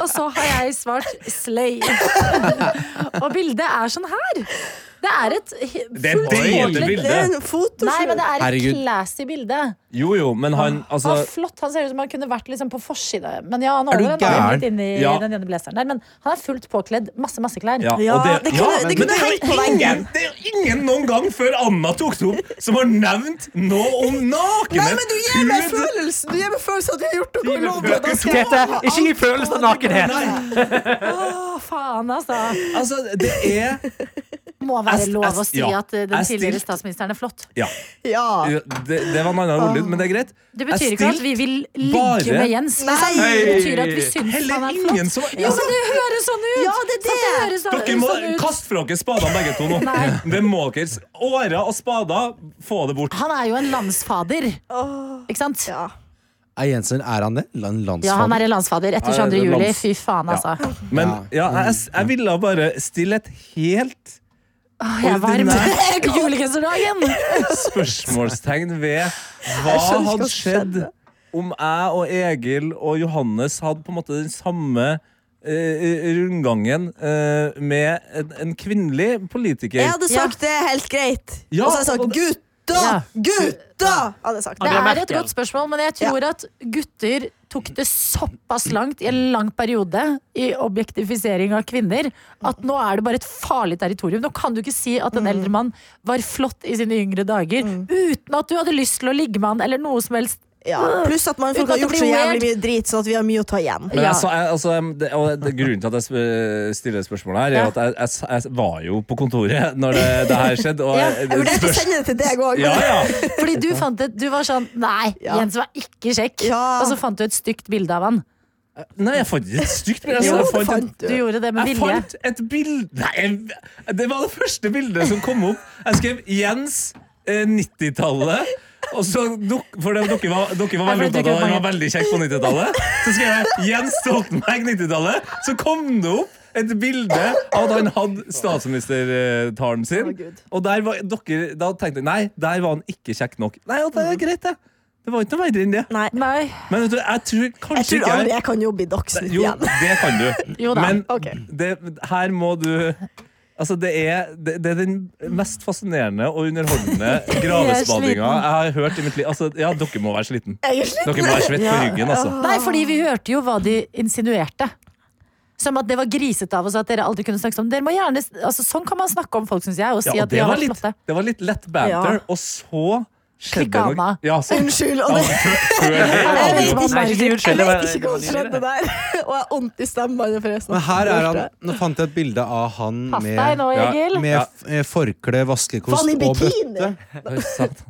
[SPEAKER 2] Og så har jeg svart 'slay'. Og bildet er sånn her. Det er et he-
[SPEAKER 6] Det er det
[SPEAKER 2] fullt ordentlig-
[SPEAKER 6] bildet.
[SPEAKER 4] Det er en
[SPEAKER 2] Nei, men
[SPEAKER 4] fotoshoot.
[SPEAKER 2] det er et
[SPEAKER 3] Herregud.
[SPEAKER 2] classy bilde.
[SPEAKER 6] Jo, jo, men han altså,
[SPEAKER 2] han er flott. Han ser ut som han kunne vært liksom på forside. Men ja, han
[SPEAKER 3] Er du
[SPEAKER 2] holder en arm
[SPEAKER 3] gæren?
[SPEAKER 2] litt inni
[SPEAKER 6] Ja.
[SPEAKER 2] den ene blazeren der. Men han er fullt påkledd. Masse, masse klær.
[SPEAKER 6] ja,
[SPEAKER 4] Ja,
[SPEAKER 6] og
[SPEAKER 4] det kunne- det
[SPEAKER 6] men-
[SPEAKER 4] kunne
[SPEAKER 6] men er jo
[SPEAKER 4] hengt på veggen.
[SPEAKER 6] ingen- Det er jo ingen noen gang før Anna tok det opp, som har nevnt noe om
[SPEAKER 4] Nei, men
[SPEAKER 6] nakenhet!
[SPEAKER 4] du gir meg
[SPEAKER 6] Hud.
[SPEAKER 4] følelsen Du gir meg følelsen at vi har gjort noe ulovlig. Da skal jeg
[SPEAKER 5] Tete, ikke gi følelsen av nakenhet!
[SPEAKER 2] Å, faen, altså.
[SPEAKER 6] Altså, det er
[SPEAKER 2] Må være
[SPEAKER 6] Jeg-
[SPEAKER 2] lov å
[SPEAKER 6] jeg-
[SPEAKER 2] si
[SPEAKER 6] ja.
[SPEAKER 2] at eh, den
[SPEAKER 6] Jeg
[SPEAKER 2] tidligere
[SPEAKER 6] stilte-
[SPEAKER 2] statsministeren er flott.
[SPEAKER 6] Ja,
[SPEAKER 4] Ja.
[SPEAKER 6] det, det var en annen ordlyd, men det er greit.
[SPEAKER 2] Det betyr ikke at vi vil ligge
[SPEAKER 6] bare-
[SPEAKER 2] med Jens.
[SPEAKER 4] Nei.
[SPEAKER 2] liksom. Det betyr at vi syns han
[SPEAKER 6] Heller
[SPEAKER 2] er
[SPEAKER 6] ingen
[SPEAKER 2] flott.
[SPEAKER 6] som
[SPEAKER 2] Ja, men det høres sånn ut!
[SPEAKER 4] Ja, det er
[SPEAKER 2] Så det
[SPEAKER 4] det.
[SPEAKER 2] høres så,
[SPEAKER 6] Dere må
[SPEAKER 2] sånn ut.
[SPEAKER 6] kaste fra dere spadene begge to nå.
[SPEAKER 2] Nei.
[SPEAKER 6] Det må dere. Årer og spader, få det bort.
[SPEAKER 2] Han er jo en landsfader. Ikke sant? Ja,
[SPEAKER 4] ja.
[SPEAKER 3] Er Jensen er han det? Land- Landsfader?
[SPEAKER 2] han er en landsfader etter
[SPEAKER 6] Ja,
[SPEAKER 2] 22.
[SPEAKER 6] det er
[SPEAKER 2] juli.
[SPEAKER 6] lands-
[SPEAKER 2] Fy faen, altså.
[SPEAKER 6] Men ja, jeg, jeg ville bare stille et helt
[SPEAKER 2] Åh, Jeg er varm. Julegenserdagen!
[SPEAKER 6] spørsmålstegn ved hva
[SPEAKER 4] Jeg skjønner ikke hva
[SPEAKER 6] hadde
[SPEAKER 4] som
[SPEAKER 6] skjedd
[SPEAKER 4] skjedde.
[SPEAKER 6] om jeg og Egil og Johannes hadde på en måte den samme eh, rundgangen eh, med en, en kvinnelig politiker.
[SPEAKER 4] Jeg hadde sagt det er helt greit.
[SPEAKER 6] Ja,
[SPEAKER 4] og så hadde jeg
[SPEAKER 6] og
[SPEAKER 4] sagt gutta!
[SPEAKER 2] Ja.
[SPEAKER 4] Gutta! Hadde jeg sagt
[SPEAKER 2] Det
[SPEAKER 5] Angela
[SPEAKER 2] er et
[SPEAKER 5] Merkel.
[SPEAKER 2] godt spørsmål, men jeg tror at gutter tok det såpass langt i en lang periode i objektifisering av kvinner, at nå er det bare et farlig territorium. Nå kan du ikke si at
[SPEAKER 4] Mm.
[SPEAKER 2] en eldre mann var flott i sine yngre dager uten at du hadde lyst til å ligge med han eller noe som helst.
[SPEAKER 4] Ja. Pluss at man
[SPEAKER 2] Uten
[SPEAKER 4] folk
[SPEAKER 2] at
[SPEAKER 4] har
[SPEAKER 2] det
[SPEAKER 4] gjort
[SPEAKER 2] blir
[SPEAKER 4] så jævlig
[SPEAKER 2] weird.
[SPEAKER 4] mye drit, sånn at vi har mye å ta igjen.
[SPEAKER 6] Men
[SPEAKER 2] Ja.
[SPEAKER 6] jeg, sa- jeg, altså, em, det, og det, grunnen til at jeg sp- stiller spørsmålet her, er
[SPEAKER 2] Ja.
[SPEAKER 6] at jeg, jeg, jeg var jo på kontoret når det, det her skjedde. Og
[SPEAKER 2] Ja,
[SPEAKER 4] Jeg vurderte å
[SPEAKER 6] spørs-
[SPEAKER 4] sende det til deg òg.
[SPEAKER 6] ja, ja.
[SPEAKER 2] Fordi du fant det, du var sånn Nei,
[SPEAKER 4] Ja.
[SPEAKER 2] Jens var ikke kjekk.
[SPEAKER 4] Ja.
[SPEAKER 2] Og så fant du et stygt bilde av han.
[SPEAKER 6] Nei, jeg fant ikke et stygt bilde.
[SPEAKER 4] Jo,
[SPEAKER 6] Jeg,
[SPEAKER 4] det
[SPEAKER 6] fant et-
[SPEAKER 4] fant
[SPEAKER 2] Du
[SPEAKER 4] du.
[SPEAKER 2] gjorde det med
[SPEAKER 6] jeg
[SPEAKER 2] vilje.
[SPEAKER 6] fant et bilde Nei, jeg- det var det første bildet som kom opp. Jeg skrev Jens eh, 90-tallet. Og så duk, for det, dere, var, dere var
[SPEAKER 2] Ja, for
[SPEAKER 6] veldig opptatt
[SPEAKER 2] det
[SPEAKER 6] av
[SPEAKER 2] dukker
[SPEAKER 6] at han
[SPEAKER 2] opp
[SPEAKER 6] var veldig kjekk på 90-tallet. Så skrev jeg Jens Stoltenberg 90-tallet. Så kom det opp et bilde av at han hadde statsministertalen sin.
[SPEAKER 4] Å, Gud.
[SPEAKER 6] Og der var dere, da tenkte jeg nei, der var han ikke kjekk nok. Nei, og det er greit, det. Det var ikke noe verre enn det.
[SPEAKER 4] Nei.
[SPEAKER 2] Nei.
[SPEAKER 6] Men vet du, jeg tror
[SPEAKER 4] Jeg
[SPEAKER 6] kanskje
[SPEAKER 4] tror
[SPEAKER 6] ikke
[SPEAKER 4] aldri jeg kan jobbe i Dagsnytt
[SPEAKER 6] jo,
[SPEAKER 4] igjen.
[SPEAKER 6] det kan du.
[SPEAKER 2] Jo da,
[SPEAKER 6] Men
[SPEAKER 4] ok.
[SPEAKER 6] det, her må du Altså, det er, det, det er den mest fascinerende og underholdende gravespadinga
[SPEAKER 2] sliten.
[SPEAKER 6] jeg har hørt i mitt liv. Altså, ja, dere må være sliten.
[SPEAKER 4] Jeg er sliten.
[SPEAKER 6] Dere må være svett på ryggen, altså.
[SPEAKER 2] Nei, fordi vi hørte jo hva de insinuerte. Som at det var grisete av oss at dere aldri kunne snakke om Dere må gjerne, altså Sånn kan man snakke om folk, syns jeg. Og si
[SPEAKER 6] Ja, og
[SPEAKER 2] at de
[SPEAKER 6] det,
[SPEAKER 2] har
[SPEAKER 6] var
[SPEAKER 2] vært
[SPEAKER 6] litt,
[SPEAKER 2] flotte.
[SPEAKER 6] det var litt lett banter,
[SPEAKER 4] Ja.
[SPEAKER 6] og så skjedde
[SPEAKER 2] Klikka
[SPEAKER 6] noe.
[SPEAKER 2] Anna.
[SPEAKER 6] Ja, så,
[SPEAKER 4] Unnskyld. Og
[SPEAKER 6] Ja,
[SPEAKER 4] det,
[SPEAKER 6] før- før det-
[SPEAKER 2] Jeg vet ikke. sånn.
[SPEAKER 5] Nei, ikke si unnskyld.
[SPEAKER 4] jeg
[SPEAKER 5] det var-
[SPEAKER 4] vet ikke hvordan det skjedde der. Og jeg har vondt i stemmen. forresten.
[SPEAKER 3] Men her er han Nå fant jeg et bilde av han
[SPEAKER 2] Pass deg
[SPEAKER 3] med,
[SPEAKER 2] nå,
[SPEAKER 6] Ja,
[SPEAKER 2] Egil.
[SPEAKER 3] med f- eh, forkle, vaskekost
[SPEAKER 4] Faen, i
[SPEAKER 3] og bøtte.
[SPEAKER 4] bikini!
[SPEAKER 6] Oi, sant.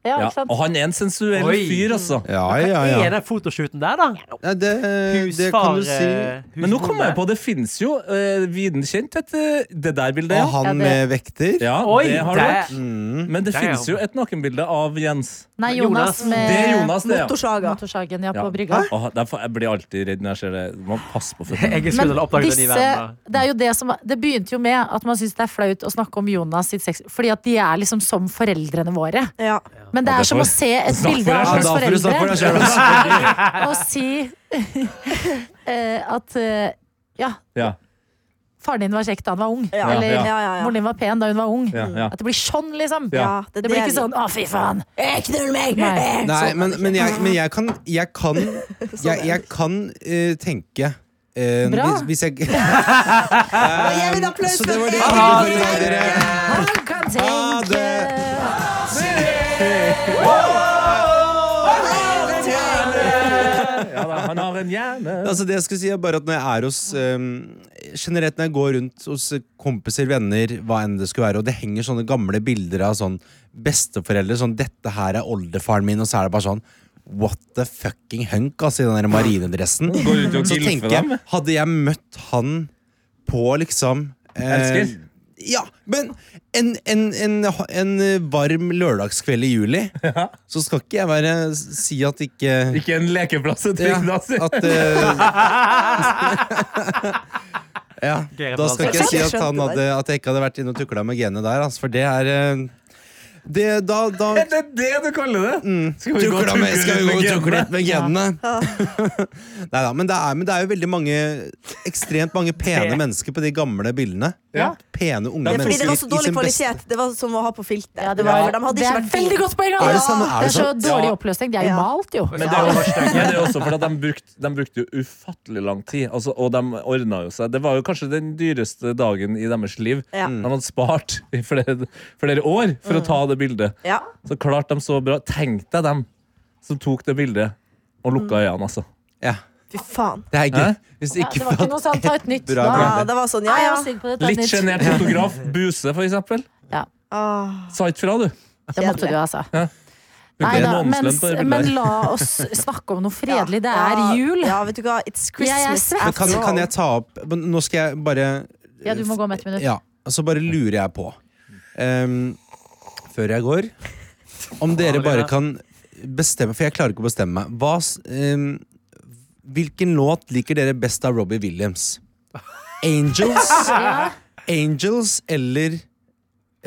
[SPEAKER 2] Ja,
[SPEAKER 6] Ja.
[SPEAKER 2] ikke sant?
[SPEAKER 6] Og han er en sensuell
[SPEAKER 5] Oi.
[SPEAKER 6] fyr, altså.
[SPEAKER 3] Ja, ja,
[SPEAKER 5] Hva er
[SPEAKER 3] ja.
[SPEAKER 5] den fotoshooten der, da?
[SPEAKER 3] Nei, det, det kan
[SPEAKER 5] Husfar
[SPEAKER 3] du si.
[SPEAKER 5] eh,
[SPEAKER 6] Men nå
[SPEAKER 5] husmor
[SPEAKER 6] kommer jeg
[SPEAKER 5] der.
[SPEAKER 6] på, det fins jo uh, viden kjent, et, eh, det der bildet.
[SPEAKER 3] Og
[SPEAKER 6] Ja,
[SPEAKER 2] Ja,
[SPEAKER 3] han
[SPEAKER 2] det-
[SPEAKER 3] med vekter. Mm.
[SPEAKER 6] ja
[SPEAKER 5] Oi,
[SPEAKER 6] det har du.
[SPEAKER 5] det-
[SPEAKER 6] rett. Men det
[SPEAKER 5] Det er
[SPEAKER 6] fins
[SPEAKER 5] jo-
[SPEAKER 6] jo et nakenbilde av Jens.
[SPEAKER 2] Nei, Jonas
[SPEAKER 5] Jonas.
[SPEAKER 2] med
[SPEAKER 6] Det er Jonas, det. ja.
[SPEAKER 4] Motorsaga.
[SPEAKER 2] motorsagen ja,
[SPEAKER 6] Ja.
[SPEAKER 2] Eh, på brygga.
[SPEAKER 6] Åh, derfor, jeg blir alltid redd når jeg ser det. Man passer på føttene.
[SPEAKER 5] Jeg
[SPEAKER 2] Men
[SPEAKER 5] skulle ha oppdaget den i
[SPEAKER 2] disse,
[SPEAKER 5] verden.
[SPEAKER 2] det, er jo det, som, det begynte jo med at man syns det er flaut å snakke om Jonas sitt sex... Fordi at de er liksom som foreldrene våre.
[SPEAKER 4] Ja.
[SPEAKER 2] Men det
[SPEAKER 6] Ja,
[SPEAKER 2] er
[SPEAKER 6] det
[SPEAKER 2] som
[SPEAKER 6] får-
[SPEAKER 2] å se et
[SPEAKER 6] Snakk
[SPEAKER 2] bilde
[SPEAKER 6] for deg
[SPEAKER 2] av
[SPEAKER 3] Ja,
[SPEAKER 6] selv.
[SPEAKER 2] hans
[SPEAKER 3] da får du snakke for
[SPEAKER 2] foreldre
[SPEAKER 3] deg selv. ass.
[SPEAKER 2] og si eh, at eh, ja,
[SPEAKER 6] Ja,
[SPEAKER 2] faren din var kjekk da han var ung.
[SPEAKER 4] Ja,
[SPEAKER 6] Ja,
[SPEAKER 2] Eller
[SPEAKER 6] ja.
[SPEAKER 4] ja, ja, ja.
[SPEAKER 2] moren din var pen da hun var ung.
[SPEAKER 6] ja, ja.
[SPEAKER 2] At det blir sånn, liksom.
[SPEAKER 6] Ja.
[SPEAKER 4] Ja,
[SPEAKER 2] Det blir
[SPEAKER 4] er
[SPEAKER 2] ikke sånn 'å, fy faen'.
[SPEAKER 4] Eh, Knull meg!
[SPEAKER 2] Nei.
[SPEAKER 3] Nei, men, men, jeg, men jeg kan Jeg kan, jeg, jeg kan eh, tenke eh,
[SPEAKER 2] Sånn, Bra.
[SPEAKER 3] Hvis, hvis jeg
[SPEAKER 4] Og jeg vil applaus
[SPEAKER 3] Så
[SPEAKER 4] for
[SPEAKER 3] det var det.
[SPEAKER 4] Erik.
[SPEAKER 3] det var dere.
[SPEAKER 2] Han kan
[SPEAKER 3] Ha
[SPEAKER 2] tenke
[SPEAKER 6] ja da, han har en hjerne.
[SPEAKER 3] Altså det jeg skulle si er bare at når jeg er hos eh, Generelt når jeg går rundt hos kompiser, venner, hva enn det skulle være, og det henger sånne gamle bilder av sånn besteforeldre sånn 'Dette her er oldefaren min', og så er det bare sånn What the fucking hunk, altså, i den der marinedressen.
[SPEAKER 6] Går rundt og
[SPEAKER 3] Så
[SPEAKER 6] gilfer
[SPEAKER 3] tenker jeg,
[SPEAKER 6] dem.
[SPEAKER 3] hadde jeg møtt han på liksom eh,
[SPEAKER 6] Elsker.
[SPEAKER 3] Ja, men en, en, en, en varm lørdagskveld i juli, så skal ikke jeg være si at ikke
[SPEAKER 6] Ikke en lekeplass et
[SPEAKER 3] ja,
[SPEAKER 6] trygd, altså.
[SPEAKER 3] at, eh, ja,
[SPEAKER 5] Gøy
[SPEAKER 3] da skal ikke jeg si at, han
[SPEAKER 4] Skjønte
[SPEAKER 3] hadde, at jeg ikke hadde vært inne og tukla med genet der, altså, for det er eh, det, da, da
[SPEAKER 6] Det er det du kaller det? Skal vi gå og
[SPEAKER 3] Tukla med,
[SPEAKER 6] tukle
[SPEAKER 3] skal vi gå og
[SPEAKER 6] med
[SPEAKER 3] tukle
[SPEAKER 6] genene?
[SPEAKER 3] litt med genene? Neida, men, det er, men det er jo veldig mange ekstremt mange pene
[SPEAKER 5] Det.
[SPEAKER 3] mennesker på de gamle bildene.
[SPEAKER 6] Ja.
[SPEAKER 3] Pene, unge
[SPEAKER 4] Det er fordi
[SPEAKER 3] mennesker.
[SPEAKER 4] det var så
[SPEAKER 3] i
[SPEAKER 4] dårlig
[SPEAKER 3] sin beste-
[SPEAKER 4] kvalitet. Det var som å ha på filter.
[SPEAKER 2] Ja, det, var,
[SPEAKER 4] For de hadde
[SPEAKER 2] det
[SPEAKER 4] ikke
[SPEAKER 2] er
[SPEAKER 4] vært
[SPEAKER 2] veldig godt poeng.
[SPEAKER 3] Er det
[SPEAKER 2] altså.
[SPEAKER 3] samme- er det
[SPEAKER 2] det er så
[SPEAKER 3] sant?
[SPEAKER 2] dårlig
[SPEAKER 6] Ja.
[SPEAKER 2] oppløsning. Det er jo
[SPEAKER 4] Ja.
[SPEAKER 2] malt, jo.
[SPEAKER 6] Men det er jo Men det er også fordi at de brukte, de brukte jo ufattelig lang tid, altså, og de ordna jo seg. Det var jo kanskje den dyreste dagen i deres liv.
[SPEAKER 4] Ja.
[SPEAKER 6] De hadde spart i flere, flere år for å ta det bildet.
[SPEAKER 4] Ja.
[SPEAKER 6] Så klart de så bra. Tenk deg dem som tok det bildet og lukka øynene, altså.
[SPEAKER 3] Ja,
[SPEAKER 4] Fy faen.
[SPEAKER 3] det er
[SPEAKER 6] Hæ?
[SPEAKER 3] gøy. Hvis det
[SPEAKER 2] Ja,
[SPEAKER 3] ikke
[SPEAKER 2] det var ikke noe sånn, ta et nytt.
[SPEAKER 3] Bra,
[SPEAKER 2] da.
[SPEAKER 3] bra.
[SPEAKER 4] Ja, det var sånn, ja
[SPEAKER 2] Nei, jeg
[SPEAKER 4] ja.
[SPEAKER 2] var stygg på det, ta et
[SPEAKER 6] Litt
[SPEAKER 2] nytt.
[SPEAKER 6] sjenert fotograf. Buse, for eksempel.
[SPEAKER 4] Ah,
[SPEAKER 6] Sa ikke fra, du.
[SPEAKER 2] Det måtte du, altså.
[SPEAKER 6] Hun ble
[SPEAKER 2] Nei da, men,
[SPEAKER 6] månedslønn på det bildet
[SPEAKER 2] men
[SPEAKER 6] der.
[SPEAKER 2] la oss snakke om noe
[SPEAKER 4] ja.
[SPEAKER 2] fredelig. Det er
[SPEAKER 4] Ja,
[SPEAKER 2] jul.
[SPEAKER 4] Ja, vet du hva. It's Christmas
[SPEAKER 2] svett.
[SPEAKER 3] Men kan, kan
[SPEAKER 4] after all.
[SPEAKER 3] jeg ta opp men Nå skal jeg bare
[SPEAKER 2] Ja, du må gå om ett minutt.
[SPEAKER 3] Ja, og så bare lurer jeg på ehm, Før jeg går Om dere bare kan bestemme For jeg klarer ikke å bestemme meg Hva, s- ehm, Hvilken låt liker dere best av Robbie Williams? Angels Angels eller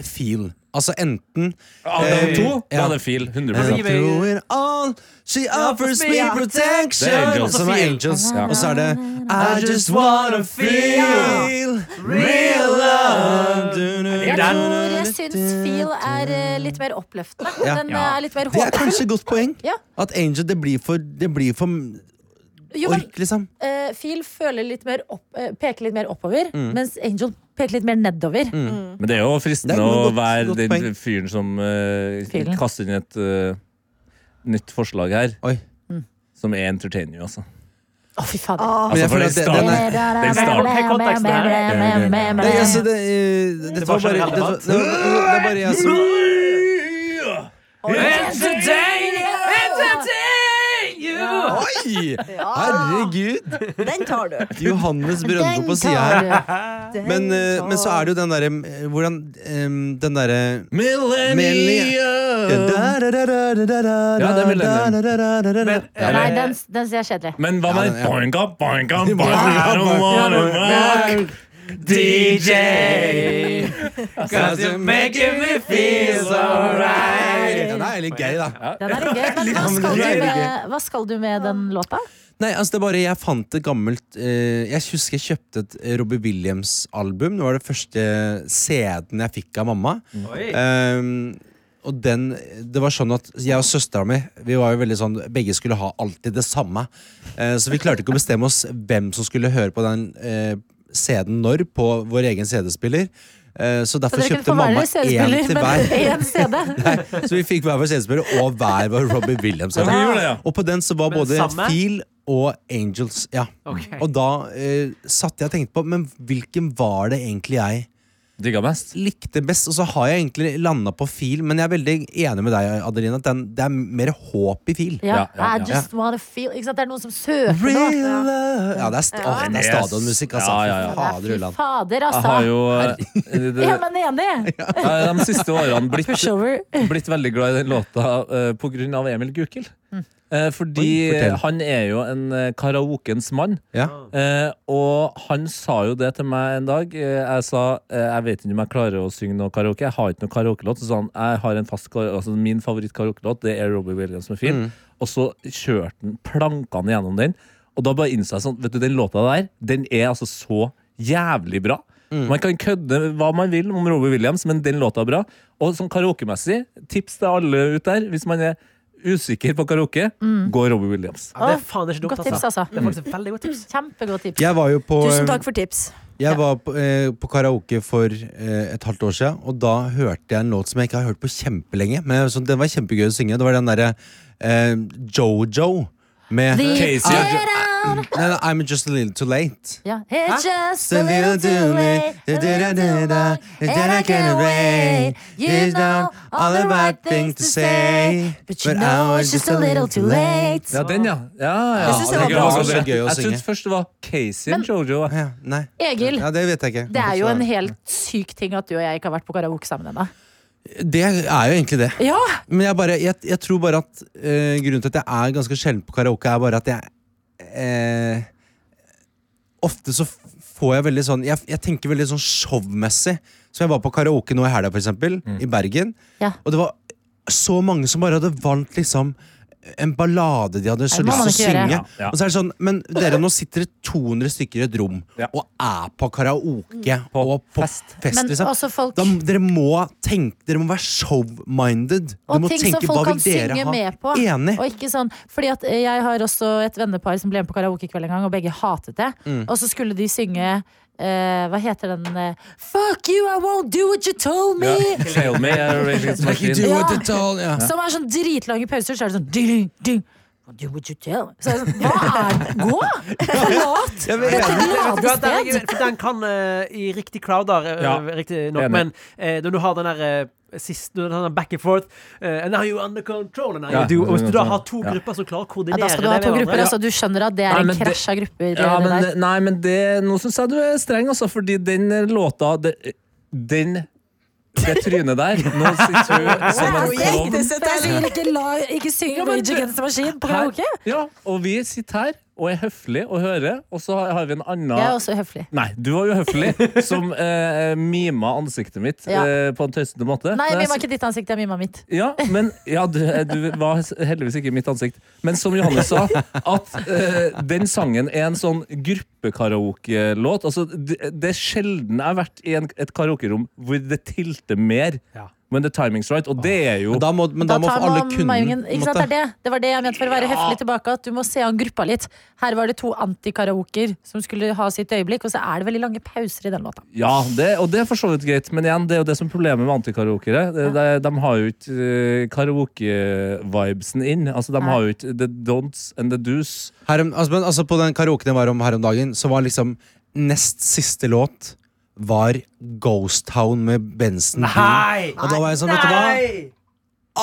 [SPEAKER 3] Feel Altså enten eh,
[SPEAKER 6] Av de to
[SPEAKER 3] Ja.
[SPEAKER 6] var det fil. 100
[SPEAKER 5] gi meg-
[SPEAKER 3] Through it all She offers me
[SPEAKER 4] Ja.
[SPEAKER 3] protection
[SPEAKER 6] Det er Angels.
[SPEAKER 3] Som er Angels Og så er det I just wanna feel Real love
[SPEAKER 2] Jeg tror jeg syns Feel er eh, litt mer oppløftende.
[SPEAKER 3] Ja.
[SPEAKER 2] Den eh,
[SPEAKER 6] Ja.
[SPEAKER 2] er litt mer
[SPEAKER 3] Det er
[SPEAKER 2] håpfull.
[SPEAKER 3] kanskje et godt poeng
[SPEAKER 2] Ja.
[SPEAKER 3] At Angel, det blir for, det blir for
[SPEAKER 2] Jo, men
[SPEAKER 3] ork liksom
[SPEAKER 2] eh, Feel føler litt mer opp, eh, peker litt mer oppover, mens Angel peker litt mer nedover.
[SPEAKER 6] Men det er jo
[SPEAKER 3] Det
[SPEAKER 6] fristende
[SPEAKER 3] er
[SPEAKER 6] å
[SPEAKER 3] godt-
[SPEAKER 6] være
[SPEAKER 3] godt poeng.
[SPEAKER 6] den fyren som eh,
[SPEAKER 2] Fyren.
[SPEAKER 6] kaster inn et eh, nytt forslag her,
[SPEAKER 3] Oi
[SPEAKER 2] Mm.
[SPEAKER 6] som er entertaining, altså.
[SPEAKER 2] Å, fy fader.
[SPEAKER 4] Ah,
[SPEAKER 3] Men jeg
[SPEAKER 6] for det
[SPEAKER 3] føler at det,
[SPEAKER 6] starter-
[SPEAKER 3] den er
[SPEAKER 6] Den starten.
[SPEAKER 5] Hva er konteksten her?
[SPEAKER 3] Nei, altså, det, eh, dette
[SPEAKER 5] var
[SPEAKER 3] var bare,
[SPEAKER 5] generell
[SPEAKER 3] dette var-
[SPEAKER 5] debatt.
[SPEAKER 3] det, var- det er bare jeg som Oi! Herregud!
[SPEAKER 4] den tar du.
[SPEAKER 3] Johannes Brøndbo på sida her. Men, eh, men så er det jo den derre eh, Hvordan eh, Den derre Um,
[SPEAKER 6] Millennium! Ja, det er Millennium.
[SPEAKER 3] Men
[SPEAKER 5] Men-
[SPEAKER 2] Nei,
[SPEAKER 6] Eller-
[SPEAKER 2] den, den ser jeg kjedelig.
[SPEAKER 6] Men hva med
[SPEAKER 3] Ja, ja.
[SPEAKER 6] boinga, boinga, boinga, I don't wanna rock, DJ Cause you're making me feel so right
[SPEAKER 3] Den er litt gøy, da.
[SPEAKER 2] Den er gøy, men
[SPEAKER 6] Litt
[SPEAKER 2] hva
[SPEAKER 6] sånn
[SPEAKER 2] skal,
[SPEAKER 3] gøy.
[SPEAKER 2] du med, hva skal du med den låta?
[SPEAKER 3] Nei, altså det er bare Jeg fant et gammelt eh, Jeg husker jeg kjøpte et eh, Robbie Williams-album. Det var det første CD-en jeg fikk av mamma.
[SPEAKER 5] Oi.
[SPEAKER 3] Ehm, og den, det var sånn at Jeg og søstera mi Vi var jo veldig sånn begge skulle ha alltid det samme. Eh, så vi klarte ikke å bestemme oss hvem som skulle høre på den eh, CD-en når på vår egen CD-spiller. Eh, så
[SPEAKER 2] Så
[SPEAKER 3] derfor
[SPEAKER 2] dere kunne
[SPEAKER 3] kjøpte
[SPEAKER 2] få hver
[SPEAKER 3] mamma
[SPEAKER 2] deres
[SPEAKER 3] én
[SPEAKER 2] CD-spiller,
[SPEAKER 3] til
[SPEAKER 2] men
[SPEAKER 3] hver.
[SPEAKER 2] én CD.
[SPEAKER 3] Så vi fikk hver vår CD-spiller og hver vår Robbie Williams.
[SPEAKER 6] Ja, vi gjorde det, ja.
[SPEAKER 3] Og på den så var
[SPEAKER 5] Men
[SPEAKER 3] både
[SPEAKER 5] samme?
[SPEAKER 3] Feel og Angels. Ja.
[SPEAKER 5] Ok.
[SPEAKER 3] Og da eh, satt jeg og tenkte på Men hvilken var det egentlig jeg
[SPEAKER 6] Digga mest.
[SPEAKER 3] likte best, og så har jeg egentlig landa på fil, men jeg er veldig enig med deg, Adeline, at den, det er mer håp i fil.
[SPEAKER 2] Ja,
[SPEAKER 6] Ja, ja,
[SPEAKER 2] I just wanna feel ikke sant? Det er noen som søker
[SPEAKER 3] Real
[SPEAKER 2] noe.
[SPEAKER 3] love. Ja, det er, st Åh, det er stadionmusikk, altså.
[SPEAKER 6] Ja, ja, ja.
[SPEAKER 3] Fy Fader,
[SPEAKER 2] Fy
[SPEAKER 3] Ulland.
[SPEAKER 2] fader,
[SPEAKER 6] Jeg har
[SPEAKER 2] altså.
[SPEAKER 6] jo eh, det,
[SPEAKER 2] Ja, men enig!
[SPEAKER 6] jeg har de siste årene blitt,
[SPEAKER 2] Pushover.
[SPEAKER 6] blitt veldig glad i den låta eh, på grunn av Emil Gukild.
[SPEAKER 2] Mm.
[SPEAKER 6] Eh, fordi
[SPEAKER 3] Oi, fortell.
[SPEAKER 6] han er jo en eh, karaokens mann.
[SPEAKER 3] Ja.
[SPEAKER 6] Eh, og han sa jo det til meg en dag. Eh, jeg sa eh, jeg vet ikke om jeg klarer å synge noe karaoke. Jeg har ikke noe karaokelåt. Så sa han jeg har en fast kar- altså, min favorittkaraokelåt Det er Robbie Williams med film. Og så kjørte han plankene gjennom den. Og da bare innså jeg sånn Vet du, den låta der, den er altså så jævlig bra. Man kan kødde hva man vil om Robbie Williams, men den låta er bra. Og sånn karaokemessig, tips til alle ut der, hvis man er usikker på karaoke, gå Robbie Williams.
[SPEAKER 5] Ja, det er faen ikke dumt,
[SPEAKER 2] Godt tips, altså.
[SPEAKER 5] Det er faktisk et veldig godt tips.
[SPEAKER 2] Kjempegodt tips.
[SPEAKER 3] Jeg var jo på,
[SPEAKER 9] Tusen takk for tips.
[SPEAKER 3] jeg var på, eh, på karaoke for eh, et halvt år siden, og da hørte jeg en låt som jeg ikke har hørt på kjempelenge. Men jeg- så den var kjempegøy å synge. Det var den derre eh, Jojo med
[SPEAKER 2] The
[SPEAKER 6] Casey.
[SPEAKER 2] Get out.
[SPEAKER 3] Nei, nei, I'm just a little too late.
[SPEAKER 2] Ja. It's just a
[SPEAKER 3] So
[SPEAKER 2] little too late, a little too long, and I can't wait. You know all the right things to say, but you know it's just a little too late.
[SPEAKER 6] Ja, den, ja. ja, ja.
[SPEAKER 9] Jeg synes det var
[SPEAKER 6] gøy
[SPEAKER 9] bra.
[SPEAKER 6] også.
[SPEAKER 3] Det var så gøy å
[SPEAKER 6] Jeg
[SPEAKER 3] synge.
[SPEAKER 6] trodde først det var Casey og Jojo.
[SPEAKER 3] Å Ja, nei.
[SPEAKER 2] Egil,
[SPEAKER 3] Ja, det vet jeg ikke.
[SPEAKER 2] det er jo en helt syk ting at du og jeg ikke har vært på karaoke sammen ennå.
[SPEAKER 3] Det er jo egentlig det.
[SPEAKER 2] Ja.
[SPEAKER 3] Men jeg, bare, jeg, jeg tror bare at eh, grunnen til at jeg er ganske sjelden på karaoke, er bare at jeg eh, Ofte så f- får jeg veldig sånn Jeg, jeg tenker veldig sånn showmessig. Så jeg var på karaoke nå i helga, for eksempel,
[SPEAKER 6] Mm.
[SPEAKER 3] i Bergen.
[SPEAKER 2] Ja.
[SPEAKER 3] Og det var så mange som bare hadde valgt liksom en ballade de hadde så
[SPEAKER 2] må
[SPEAKER 3] lyst
[SPEAKER 2] man
[SPEAKER 3] til å
[SPEAKER 2] ikke gjøre.
[SPEAKER 3] synge.
[SPEAKER 6] Ja, ja.
[SPEAKER 3] Og så er det sånn, Men dere, nå sitter det 200 stykker i et rom
[SPEAKER 6] Ja.
[SPEAKER 3] og er på karaoke og på fest.
[SPEAKER 2] Mm. Men
[SPEAKER 3] liksom.
[SPEAKER 2] også folk-
[SPEAKER 3] da, dere må tenke Dere må være show-minded. Dere
[SPEAKER 2] Og
[SPEAKER 3] må
[SPEAKER 2] ting som
[SPEAKER 3] tenke,
[SPEAKER 2] folk
[SPEAKER 3] hva
[SPEAKER 2] kan
[SPEAKER 3] vil dere
[SPEAKER 2] synge
[SPEAKER 3] ha?
[SPEAKER 2] med på.
[SPEAKER 3] Enig.
[SPEAKER 2] Og ikke sånn, fordi at eh, Jeg har også et vennepar som ble med på karaokekveld en gang, og begge hatet det.
[SPEAKER 3] Mm.
[SPEAKER 2] Og så skulle de synge eh, hva heter den eh, Fuck you, I won't do what you told me!
[SPEAKER 6] Fail me, er Rage Against the
[SPEAKER 3] Ikke
[SPEAKER 6] Machine.
[SPEAKER 3] do
[SPEAKER 2] Ja.
[SPEAKER 3] it at all, ja.
[SPEAKER 2] Som er sånn dritlange pauser, så er det sånn ding, ding, won't do what you tell me. Så er det sånn, Hva er det? Gå! Forlat!
[SPEAKER 3] Jeg vet
[SPEAKER 2] Dette
[SPEAKER 3] det.
[SPEAKER 5] Vet du hva, den,
[SPEAKER 2] glade
[SPEAKER 5] er-
[SPEAKER 2] sted!
[SPEAKER 5] for den kan eh, i riktig crowder, eh,
[SPEAKER 6] Ja,
[SPEAKER 5] riktig nok,
[SPEAKER 6] enig.
[SPEAKER 5] men eh, når du har den der eh, Sist, når den der back and forth eh, And now you're under control and now
[SPEAKER 6] Ja,
[SPEAKER 5] you do, Og Hvis du da
[SPEAKER 6] sånn.
[SPEAKER 5] har to
[SPEAKER 6] Ja.
[SPEAKER 5] grupper som klarer å
[SPEAKER 2] Ja,
[SPEAKER 5] koordinere
[SPEAKER 2] da skal du ha to
[SPEAKER 5] det med hverandre.
[SPEAKER 2] grupper, altså. Du skjønner at det er
[SPEAKER 6] Nei,
[SPEAKER 2] en
[SPEAKER 6] men det-
[SPEAKER 2] krasj av grupper.
[SPEAKER 6] Ja,
[SPEAKER 2] det
[SPEAKER 6] men,
[SPEAKER 2] der.
[SPEAKER 6] det- nei, men det, nå syns jeg du er streng, altså, fordi den låta det, Den Det trynet der Nå sitter du som en
[SPEAKER 9] Gikk
[SPEAKER 6] klovn.
[SPEAKER 9] det seg
[SPEAKER 2] Jeg
[SPEAKER 9] til?
[SPEAKER 2] sier ikke, la, ikke syng
[SPEAKER 6] Ja, men
[SPEAKER 2] Rage
[SPEAKER 6] det-
[SPEAKER 2] Against the Machine på
[SPEAKER 6] Her-
[SPEAKER 2] karaoke.
[SPEAKER 6] Ja, og vi sitter her og er høflige og hører, og så har har vi en annen
[SPEAKER 2] Jeg er også høflig.
[SPEAKER 6] Nei, du var uhøflig som eh, mima ansiktet mitt
[SPEAKER 2] Ja.
[SPEAKER 6] eh, på en tøysete måte.
[SPEAKER 2] Nei,
[SPEAKER 6] Men jeg
[SPEAKER 2] mima ikke ditt ansikt, jeg mima mitt.
[SPEAKER 6] Ja, men ja, du, du var heldigvis ikke i mitt ansikt. Men som Johannes sa, at eh, den sangen er en sånn gruppekaraoke-låt. Altså, det, det er sjelden jeg har vært i en, et karaokerom hvor det tilter mer.
[SPEAKER 5] Ja.
[SPEAKER 6] Men the timing's right, og det er jo
[SPEAKER 3] Men da må, men da må
[SPEAKER 2] tar
[SPEAKER 3] alle
[SPEAKER 2] man
[SPEAKER 3] kunden
[SPEAKER 2] Majongen. Ikke sant, det, er det. det var det jeg mente for å være høflig tilbake. At du må se an gruppa litt. Her var det to antikaraoker som skulle ha sitt øyeblikk, og så er det veldig lange pauser i den låta.
[SPEAKER 6] Ja, det, og det er for så vidt greit, men igjen, det er jo det som er problemet med antikaraokere. De, de, de har jo ikke eh, karaoke-vibesen inn. Altså, de
[SPEAKER 2] Nei.
[SPEAKER 6] har jo ikke the don'ts and the do's.
[SPEAKER 3] her om, altså, men, altså På den karaoken jeg var om her om dagen, så var liksom nest siste låt var Ghost Town med Benson Bee.
[SPEAKER 5] Nei!
[SPEAKER 3] Og da var jeg sånn, vet du hva?
[SPEAKER 5] Nei!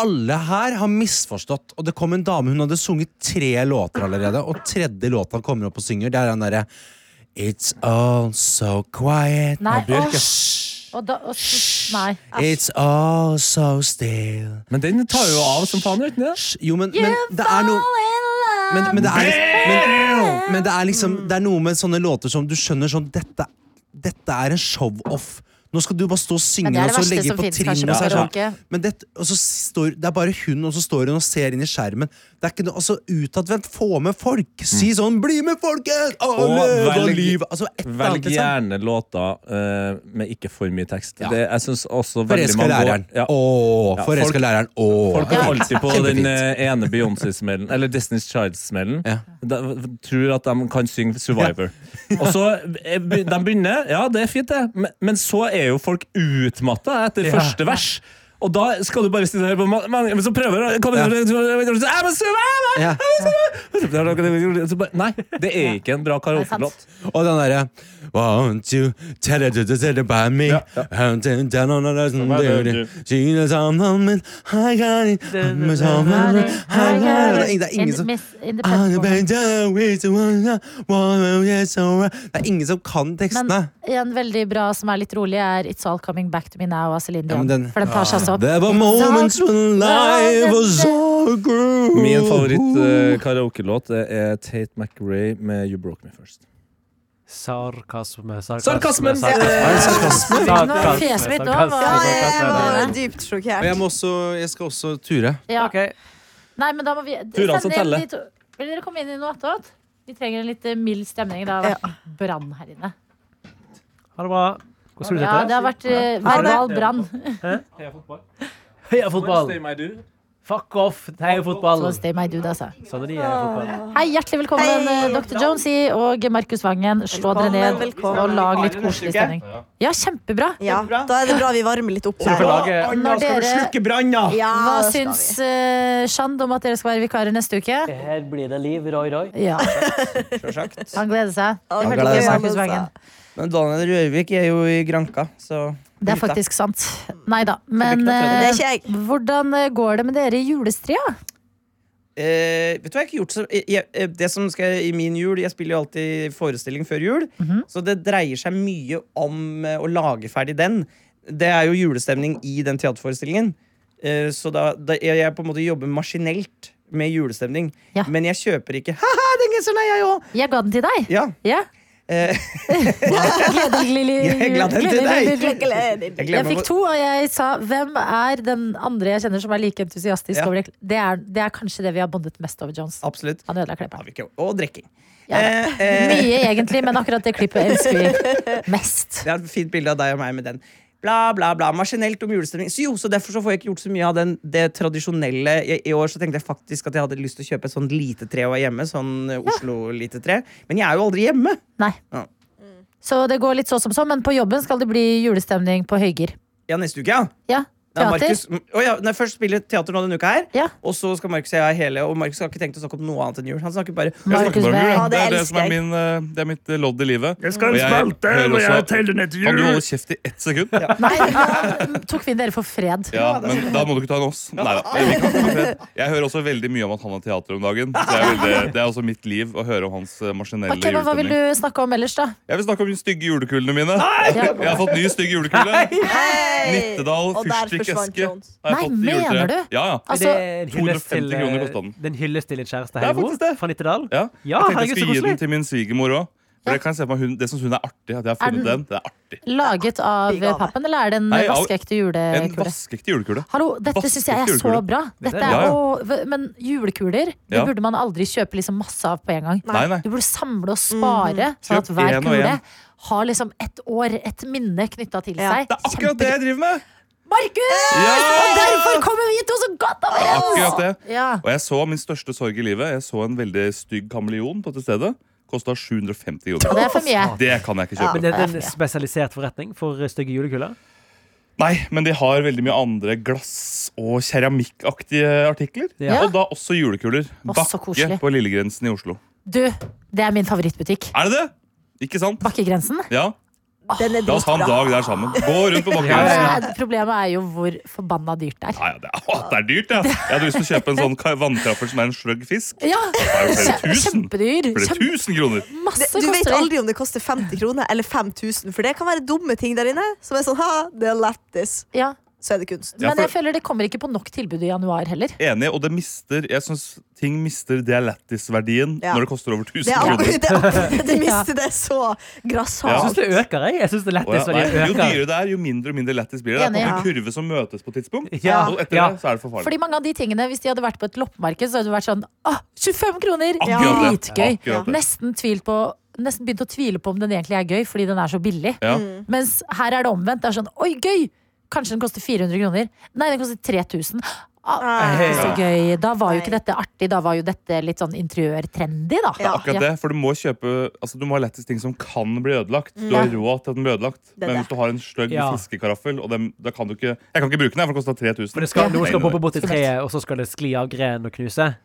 [SPEAKER 3] Alle her har misforstått. Og det kom en dame, hun hadde sunget tre låter allerede, og tredje låta kommer opp og synger, det er den derre It's all so quiet
[SPEAKER 2] Nei,
[SPEAKER 3] Av Bjørk, ja.
[SPEAKER 2] Og da, og, så- nei.
[SPEAKER 3] It's all so still
[SPEAKER 6] Men den tar jo av som faen uten det.
[SPEAKER 3] Jo, men, men det er noe men, men, det er, men, men det er liksom Det er noe med sånne låter som du skjønner sånn Dette, dette er en show-off. Nå skal du bare stå og synge
[SPEAKER 2] Men det er det
[SPEAKER 3] og så
[SPEAKER 2] verste
[SPEAKER 3] legge
[SPEAKER 2] som
[SPEAKER 3] på
[SPEAKER 2] finnes,
[SPEAKER 3] trim.
[SPEAKER 2] kanskje,
[SPEAKER 3] Og så
[SPEAKER 2] på
[SPEAKER 3] er det sånn,
[SPEAKER 2] karaoke.
[SPEAKER 3] men det, og så står, det er bare hun, og så står hun og ser inn i skjermen. Det er ikke noe, altså Utadvendt, få med folk! Si sånn 'bli med, folket!' Og
[SPEAKER 6] Og
[SPEAKER 3] løv
[SPEAKER 6] Mm.
[SPEAKER 3] og
[SPEAKER 6] velg-
[SPEAKER 3] liv! Altså, et eller
[SPEAKER 6] Velg
[SPEAKER 3] annet, liksom.
[SPEAKER 6] gjerne låter eh, med ikke for mye tekst.
[SPEAKER 3] Ja.
[SPEAKER 6] Det, jeg synes også veldig
[SPEAKER 3] Forelska i
[SPEAKER 6] mange går-
[SPEAKER 3] læreren.
[SPEAKER 6] Ja.
[SPEAKER 3] Åh,
[SPEAKER 6] Ja, folk-
[SPEAKER 3] forelska i læreren. Åh.
[SPEAKER 6] Folk går alltid på den
[SPEAKER 3] Kjempefint.
[SPEAKER 6] eh, ene Beyoncé-smellen, eller Destiny's Child-smellen.
[SPEAKER 3] Ja.
[SPEAKER 6] De Tror at de kan synge Survivor. Og så eh, be- de begynner, ja, det er fint, det, men, men så er jo folk utmatta etter første vers.
[SPEAKER 10] Og da skal du bare sitte her på ma- mange Men så prøver du kom,
[SPEAKER 3] Ja.
[SPEAKER 10] «Æ, men så- æ, æ, æ,
[SPEAKER 3] Ja.
[SPEAKER 10] æ». Så bare, Nei, det er ikke en bra karaokelåt.
[SPEAKER 3] Og den derre Won't you tell it to the tell about me? Hunt it down on the sun, dude. Sing the song on me. I got it. I'm a song on me. I got it. Det er ingen som I'm a
[SPEAKER 2] Men
[SPEAKER 3] bad guy with the one that wanna get so right. Det er ingen som kan tekstene.
[SPEAKER 2] en veldig bra som er litt rolig, er It's All Coming Back To Me Now av Celine
[SPEAKER 3] Ja, men
[SPEAKER 2] Dion.
[SPEAKER 3] den-
[SPEAKER 2] For den tar seg altså opp.
[SPEAKER 3] There were
[SPEAKER 2] It's all-
[SPEAKER 3] moments when life was so good.
[SPEAKER 10] Min
[SPEAKER 3] eh,
[SPEAKER 10] favoritt-karaokelåt eh, er Tate McRae med You Broke Me First.
[SPEAKER 5] Sarkasme,
[SPEAKER 10] Sarkasmen!
[SPEAKER 5] Sarkasme!
[SPEAKER 2] Nå er fjeset mitt nå, hva-
[SPEAKER 4] Ja, jeg, jeg
[SPEAKER 5] sarkasme.
[SPEAKER 4] var dypt
[SPEAKER 3] Og jeg,
[SPEAKER 4] sjokkert.
[SPEAKER 3] må også, jeg skal også ture.
[SPEAKER 2] Ja.
[SPEAKER 5] Ok.
[SPEAKER 2] Nei, men da må vi
[SPEAKER 10] Turene som
[SPEAKER 2] Stemning,
[SPEAKER 10] teller.
[SPEAKER 2] de to- Vil dere komme inn i noe attåt? Vi trenger en litt eh, mild stemning. Det har vært brann her inne.
[SPEAKER 5] Ha det bra. Hvordan skal du
[SPEAKER 2] Ja, det har vært eh, verbal brann.
[SPEAKER 5] Heia fotball! Fuck off! Heia fotball!
[SPEAKER 2] Så stay my dude, altså.
[SPEAKER 5] Sånn er de heia fotball.
[SPEAKER 2] Hei, hjertelig velkommen,
[SPEAKER 4] Hei.
[SPEAKER 2] eh, Dr. Jonesy og Markus Vangen. Slå dere
[SPEAKER 4] Velkommen,
[SPEAKER 2] ned
[SPEAKER 4] velkommen.
[SPEAKER 2] og lag litt koselig stemning. Ja, kjempebra.
[SPEAKER 4] Ja, da er det bra vi varmer litt opp her.
[SPEAKER 5] Laget
[SPEAKER 2] Når dere,
[SPEAKER 5] branner!
[SPEAKER 4] Ja,
[SPEAKER 2] hva
[SPEAKER 4] det skal
[SPEAKER 2] syns
[SPEAKER 4] vi.
[SPEAKER 2] eh, Shand om at dere skal være vikarer neste uke?
[SPEAKER 5] Her blir det liv, roi, roi.
[SPEAKER 2] Ja. Han gleder seg. Jeg
[SPEAKER 4] Å, det
[SPEAKER 2] hørte
[SPEAKER 4] gleder
[SPEAKER 2] ikke
[SPEAKER 4] jeg
[SPEAKER 2] Markus
[SPEAKER 4] meg.
[SPEAKER 2] Vangen.
[SPEAKER 9] Men Daniel Rørvik er jo i Granka, så
[SPEAKER 2] Det er faktisk sant. Nei da. Men
[SPEAKER 4] Det
[SPEAKER 2] eh,
[SPEAKER 4] er ikke jeg.
[SPEAKER 2] hvordan eh, går det med dere i julestria?
[SPEAKER 9] Eh, vet du hva jeg har ikke gjort så jeg, jeg, Det som skal i min jul Jeg spiller jo alltid forestilling før jul.
[SPEAKER 2] Mhm.
[SPEAKER 9] Så det dreier seg mye om eh, å lage ferdig den. Det er jo julestemning i den teaterforestillingen. Eh, så da, da jeg, jeg på en måte jobber maskinelt med julestemning.
[SPEAKER 2] Ja.
[SPEAKER 9] Men jeg kjøper ikke Ha-ha, den genseren er jeg òg!
[SPEAKER 2] Jeg ga den til deg.
[SPEAKER 9] Ja,
[SPEAKER 2] Ja.
[SPEAKER 9] eh,
[SPEAKER 2] Gledelig jul.
[SPEAKER 9] Jeg ga den til
[SPEAKER 2] Gledelig
[SPEAKER 9] deg.
[SPEAKER 2] jul.
[SPEAKER 9] jeg
[SPEAKER 2] Jeg
[SPEAKER 9] glemmer
[SPEAKER 2] fikk to, og jeg sa hvem er den andre jeg kjenner som er like entusiastisk?
[SPEAKER 9] Ja.
[SPEAKER 2] Over det? Det, er, det er kanskje det vi har bondet mest over Jones.
[SPEAKER 9] Absolutt.
[SPEAKER 2] Han ødela
[SPEAKER 9] Har
[SPEAKER 2] klippet.
[SPEAKER 9] vi ikke- Og drikking.
[SPEAKER 2] Ja.
[SPEAKER 9] Eh, eh,
[SPEAKER 2] Mye egentlig, men akkurat det klippet elsker vi mest.
[SPEAKER 9] Det er et fint bilde av deg og meg med den. Bla, bla, bla. Maskinelt om julestemning. Så jo, så derfor så får jeg ikke gjort så mye av den, det tradisjonelle. I, I år så tenkte jeg faktisk at jeg hadde lyst til å kjøpe et sånt lite tre og være hjemme. Sånn eh, Oslo-lite tre. Men jeg er jo aldri hjemme.
[SPEAKER 2] Nei.
[SPEAKER 9] Ja.
[SPEAKER 2] Så det går litt så som så, men på jobben skal det bli julestemning på høygir.
[SPEAKER 9] Ja, neste uke, ja.
[SPEAKER 2] Ja,
[SPEAKER 9] Ja,
[SPEAKER 2] teater.
[SPEAKER 9] Markus, mm, å ja, nei, først spiller teater nå denne uka her,
[SPEAKER 2] Ja.
[SPEAKER 9] og så skal Markus og jeg ha hele. Og Markus har ikke tenkt å snakke om noe annet enn jul. Han snakker bare
[SPEAKER 6] Jeg snakker
[SPEAKER 2] Markus
[SPEAKER 6] bare om jul,
[SPEAKER 2] Berg.
[SPEAKER 6] jeg.
[SPEAKER 4] Ja, det
[SPEAKER 6] det er det
[SPEAKER 4] elsker
[SPEAKER 6] som er
[SPEAKER 4] jeg.
[SPEAKER 6] min, eh, det er mitt eh, lodd i livet.
[SPEAKER 11] Jeg skal
[SPEAKER 6] Og jeg
[SPEAKER 11] spalte
[SPEAKER 6] hører
[SPEAKER 11] når jeg
[SPEAKER 6] også-
[SPEAKER 11] teller ned til
[SPEAKER 6] Kan du holde
[SPEAKER 11] jul.
[SPEAKER 6] kjeft i ett sekund?
[SPEAKER 2] Nei, nå tok vi dere for fred.
[SPEAKER 6] Ja, men da må du ikke ta en oss. Neida, det vil ikke ha noe. Jeg hører også veldig mye om at han har teater om dagen. Så jeg er veldig, det er også mitt liv å høre om hans eh, maskinelle
[SPEAKER 2] Ok, men Hva vil du
[SPEAKER 6] julestemning.
[SPEAKER 2] snakke om ellers, da?
[SPEAKER 6] Jeg vil snakke om de stygge julekulene mine.
[SPEAKER 2] Ja.
[SPEAKER 6] Jeg har fått ny stygg julekule.
[SPEAKER 4] Hei!
[SPEAKER 6] Nittedal
[SPEAKER 4] Og der forsvant
[SPEAKER 6] fyrstikkeske.
[SPEAKER 4] Jones.
[SPEAKER 6] har jeg
[SPEAKER 2] Nei,
[SPEAKER 6] fått i
[SPEAKER 2] mener
[SPEAKER 6] juletre.
[SPEAKER 2] du?
[SPEAKER 6] Ja, ja.
[SPEAKER 2] Altså,
[SPEAKER 5] en hyllest
[SPEAKER 6] 250
[SPEAKER 5] til, eh,
[SPEAKER 6] kroner kostet den.
[SPEAKER 5] Den hylles til en kjæreste
[SPEAKER 6] Det er
[SPEAKER 5] her i
[SPEAKER 6] faktisk det.
[SPEAKER 5] Fra Nittedal.
[SPEAKER 6] ja. Jeg
[SPEAKER 5] Ja,
[SPEAKER 6] tenkte
[SPEAKER 5] herregud,
[SPEAKER 6] jeg skulle
[SPEAKER 5] så
[SPEAKER 6] gi
[SPEAKER 5] koselig.
[SPEAKER 6] den til min svigermor òg.
[SPEAKER 2] Ja.
[SPEAKER 6] Det, kan jeg se for meg hun- det som hun er artig, at jeg har funnet
[SPEAKER 2] Er
[SPEAKER 6] den. Det er artig.
[SPEAKER 2] Laget av
[SPEAKER 4] Big gave.
[SPEAKER 2] pappen, eller er det en
[SPEAKER 6] Nei, av-
[SPEAKER 2] vaskeekte
[SPEAKER 6] En
[SPEAKER 2] julekule?
[SPEAKER 6] vaskeekte julekule.
[SPEAKER 2] Hallo, dette syns jeg er
[SPEAKER 6] vaskeekte
[SPEAKER 2] så
[SPEAKER 6] julekule.
[SPEAKER 2] bra. Dette
[SPEAKER 5] Ja,
[SPEAKER 2] er,
[SPEAKER 6] ja.
[SPEAKER 2] å, v- men julekuler det
[SPEAKER 6] Ja.
[SPEAKER 2] burde man aldri kjøpe liksom masse av på en gang.
[SPEAKER 6] Nei, nei.
[SPEAKER 2] Du burde samle og
[SPEAKER 4] Mm.
[SPEAKER 2] spare, sånn at
[SPEAKER 6] Kjøp
[SPEAKER 2] hver
[SPEAKER 6] en og
[SPEAKER 2] kule
[SPEAKER 6] en.
[SPEAKER 2] har liksom et år, et minne knytta til
[SPEAKER 4] Ja.
[SPEAKER 2] seg.
[SPEAKER 6] Det er akkurat det jeg driver med!
[SPEAKER 2] Markus! Og
[SPEAKER 6] Ja!
[SPEAKER 2] derfor kommer vi to så godt
[SPEAKER 6] Akkurat
[SPEAKER 2] overens!
[SPEAKER 6] det.
[SPEAKER 2] Ja.
[SPEAKER 6] Og jeg så min største sorg i livet. Jeg så en veldig stygg kameleon på dette stedet. Kosta 750
[SPEAKER 2] Og
[SPEAKER 6] kroner.
[SPEAKER 2] det er for mye.
[SPEAKER 6] Det kan jeg ikke kjøpe.
[SPEAKER 5] Men det er en spesialisert forretning for stygge julekuler.
[SPEAKER 6] Nei, men de har veldig mye andre glass- og keramikkaktige artikler.
[SPEAKER 5] Ja.
[SPEAKER 6] Og da også julekuler.
[SPEAKER 2] Å, så
[SPEAKER 6] Bakke
[SPEAKER 2] koselig.
[SPEAKER 6] på Lillegrensen i Oslo.
[SPEAKER 2] Du, det er min favorittbutikk.
[SPEAKER 6] Er det det? Ikke sant?
[SPEAKER 2] Bakkegrensen.
[SPEAKER 6] Ja,
[SPEAKER 4] Den er
[SPEAKER 6] La oss ha en
[SPEAKER 4] dritbra.
[SPEAKER 6] dag der sammen. Gå rundt på
[SPEAKER 5] Ja,
[SPEAKER 6] Bakkegrensen.
[SPEAKER 5] ja.
[SPEAKER 2] Det er- Problemet er jo hvor forbanna dyrt det er.
[SPEAKER 6] Nei, det, er, å, det er dyrt, ja. Jeg hadde lyst til å kjøpe en sånn ka- vannkraffer som er en sløgg fisk.
[SPEAKER 2] Ja,
[SPEAKER 6] Det er jo flere tusen.
[SPEAKER 2] Kjempedyr.
[SPEAKER 6] Flere
[SPEAKER 2] Kjempe,
[SPEAKER 6] tusen kroner.
[SPEAKER 2] masse
[SPEAKER 4] Du vet
[SPEAKER 2] koster det.
[SPEAKER 4] aldri om det koster 50 kroner eller 5000, for det kan være dumme ting der inne. Som er sånn, ha, det er lættis.
[SPEAKER 2] Ja.
[SPEAKER 4] Så er det kunst.
[SPEAKER 6] Ja, for-
[SPEAKER 2] Men jeg føler det kommer ikke på nok tilbud i januar heller.
[SPEAKER 6] Enig, og det mister Jeg syns ting mister dialettisverdien
[SPEAKER 4] Ja.
[SPEAKER 6] når det koster over 1000
[SPEAKER 4] Det, er,
[SPEAKER 6] kroner.
[SPEAKER 4] det, er, det miste det er så
[SPEAKER 5] Jeg
[SPEAKER 4] grassat.
[SPEAKER 5] syns det øker, jeg. jeg synes det
[SPEAKER 6] Å, ja,
[SPEAKER 5] lettest
[SPEAKER 6] nei,
[SPEAKER 5] når det
[SPEAKER 6] jo
[SPEAKER 5] øker.
[SPEAKER 6] dyrere det er, jo mindre og mindre lættis blir det. Det
[SPEAKER 2] Enig,
[SPEAKER 6] er
[SPEAKER 2] ja.
[SPEAKER 6] en kurve som møtes på et tidspunkt,
[SPEAKER 5] Ja,
[SPEAKER 6] og etter
[SPEAKER 5] ja.
[SPEAKER 6] det så er det for farlig.
[SPEAKER 2] Fordi mange av de tingene, Hvis de hadde vært på et loppemarked, så hadde det vært sånn ah, 25 kroner!
[SPEAKER 6] Akkurat det.
[SPEAKER 2] Dritgøy!
[SPEAKER 6] Akkurat det.
[SPEAKER 2] Nesten, tvil på, nesten begynt å tvile på om den egentlig er gøy, fordi den er så billig.
[SPEAKER 6] Ja.
[SPEAKER 2] Mens her er det omvendt. Det er sånn oi, gøy! Kanskje den koster 400 kroner. Nei, den koster 3000. Ah, det er ikke så
[SPEAKER 6] Ja.
[SPEAKER 2] gøy. Da var jo ikke dette artig, da var jo dette litt sånn interiørtrendy, da.
[SPEAKER 6] Det er akkurat det, for du må kjøpe altså, Du må ha lettest ting som kan bli ødelagt. Du har
[SPEAKER 2] Ja.
[SPEAKER 6] råd til at den blir ødelagt, men
[SPEAKER 2] Det der.
[SPEAKER 6] hvis du har en sløgg
[SPEAKER 5] Ja.
[SPEAKER 6] fiskekaraffel og den, da kan du ikke, Jeg kan ikke bruke den, her, for den kosta 3000.
[SPEAKER 5] For det skal, noen skal
[SPEAKER 6] Nei, nei,
[SPEAKER 5] poppe bort i
[SPEAKER 6] nei.
[SPEAKER 5] treet, og så skal det skli av grenen og knuse?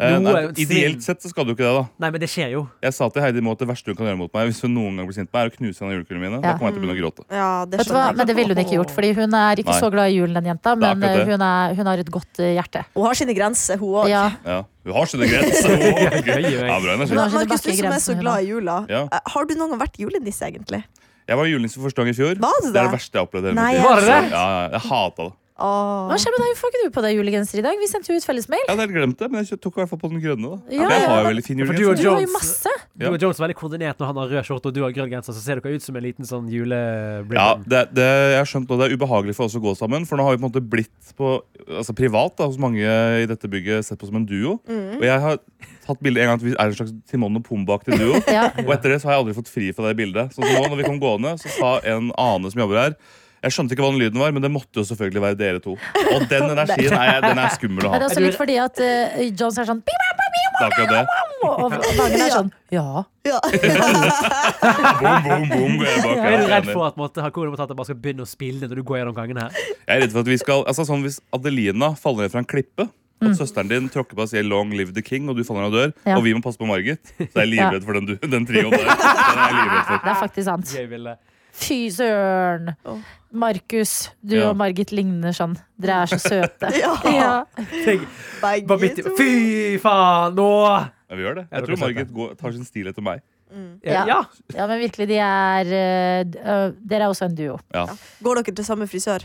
[SPEAKER 6] Eh, nei,
[SPEAKER 5] Noe-
[SPEAKER 6] ideelt sett så skal du ikke det, da.
[SPEAKER 5] Nei, men det skjer jo.
[SPEAKER 6] Jeg sa til Heidi Moe at det verste hun kan gjøre mot meg, hvis hun noen gang blir sint på meg, er å knuse en av julekulene mine. Da
[SPEAKER 2] Ja.
[SPEAKER 6] kommer jeg til å begynne å gråte.
[SPEAKER 2] Vet du hva? Men det ville hun ikke gjort, Fordi hun er ikke
[SPEAKER 6] Nei.
[SPEAKER 2] så glad i julen, den jenta,
[SPEAKER 6] Det er
[SPEAKER 2] men eh,
[SPEAKER 6] akkurat det.
[SPEAKER 2] hun, er, hun har et godt eh, hjerte.
[SPEAKER 4] Hun har sine grenser, hun òg.
[SPEAKER 2] Ja.
[SPEAKER 6] Ja. Hun har sine grenser! Å, gøy. Ja, bra energi.
[SPEAKER 4] Markus, du som er så glad i jula.
[SPEAKER 6] Ja.
[SPEAKER 4] eh, Har du noen gang vært julenisse, egentlig?
[SPEAKER 6] Jeg var julenisse for første gang i fjor.
[SPEAKER 4] Var
[SPEAKER 6] det er
[SPEAKER 4] du det?
[SPEAKER 6] det verste jeg har opplevd. i hele
[SPEAKER 4] Nei,
[SPEAKER 6] mitt liv.
[SPEAKER 4] Var det det?
[SPEAKER 6] Ja, ja, jeg hata det.
[SPEAKER 2] Hva skjer med deg? Hvorfor Får ikke du på deg julegenser i dag? Vi sendte jo ut
[SPEAKER 6] Jeg
[SPEAKER 2] fellesmail.
[SPEAKER 6] hadde helt glemt det, men jeg tok i hvert fall på den grønne. da
[SPEAKER 2] Ja,
[SPEAKER 6] For Jeg
[SPEAKER 2] ja,
[SPEAKER 6] har jo
[SPEAKER 2] men-
[SPEAKER 6] veldig fin
[SPEAKER 5] Ja, for du og
[SPEAKER 6] julegrense.
[SPEAKER 2] Du har
[SPEAKER 5] Jones-
[SPEAKER 2] jo masse.
[SPEAKER 5] Du og Jones er veldig koordinert når han har rød skjorte og du har grønn genser, så ser dere ut som en liten sånn julebrim.
[SPEAKER 6] Ja, det, det, jeg har skjønt nå, det er ubehagelig for oss å gå sammen, for nå har vi på en måte blitt på, altså privat da, hos mange i dette bygget sett på som en duo.
[SPEAKER 4] Mm.
[SPEAKER 6] Og jeg har tatt bilde en gang at vi er en slags Timon og Pumbak-aktig duo.
[SPEAKER 4] Ja.
[SPEAKER 6] Og etter det så har jeg aldri fått fri fra det bildet. Sånn som nå, når vi kom gående, så sa en annen som jobber her jeg skjønte ikke hva den lyden var, men det måtte jo selvfølgelig være dere to. Og den energien er, den er skummel å
[SPEAKER 2] Men
[SPEAKER 6] ha.
[SPEAKER 2] det er også litt fordi at eh, Jones er sånn «Bip, bip, bip»,
[SPEAKER 6] Det er akkurat det.
[SPEAKER 2] Og og Vagn er sånn ja.
[SPEAKER 6] Boom, boom, boom. går jeg eh, bak her.
[SPEAKER 5] er du redd
[SPEAKER 6] Enig.
[SPEAKER 5] for at måtte, Hakuna Matata bare skal begynne å spille når du går gjennom gangen her?
[SPEAKER 6] Jeg er redd for at vi skal altså sånn Hvis Adelina faller ned fra en klippe at søsteren din tråkker på og sier 'Long live the king', og du faller ned og dør.
[SPEAKER 2] Ja.
[SPEAKER 6] Og vi må passe på Margit. Så jeg er
[SPEAKER 2] Ja.
[SPEAKER 6] livredd for den, du- den trioen der. Den er jeg livredd for.
[SPEAKER 2] Det er faktisk sant.
[SPEAKER 5] Jeg ville.
[SPEAKER 2] Fy søren. Markus, du
[SPEAKER 6] Ja.
[SPEAKER 2] og Margit ligner sånn. Dere er så søte.
[SPEAKER 4] Ja.
[SPEAKER 5] Tenk, bare midt, i- fy faen, nå!
[SPEAKER 6] Ja, vi gjør det. Jeg
[SPEAKER 5] dere
[SPEAKER 6] tror
[SPEAKER 5] kan
[SPEAKER 6] Margit går, tar sin stil etter meg.
[SPEAKER 2] Ja. Ja. men virkelig, de er eh, d- øh, Dere er også en duo.
[SPEAKER 6] Ja.
[SPEAKER 4] Går dere til samme frisør?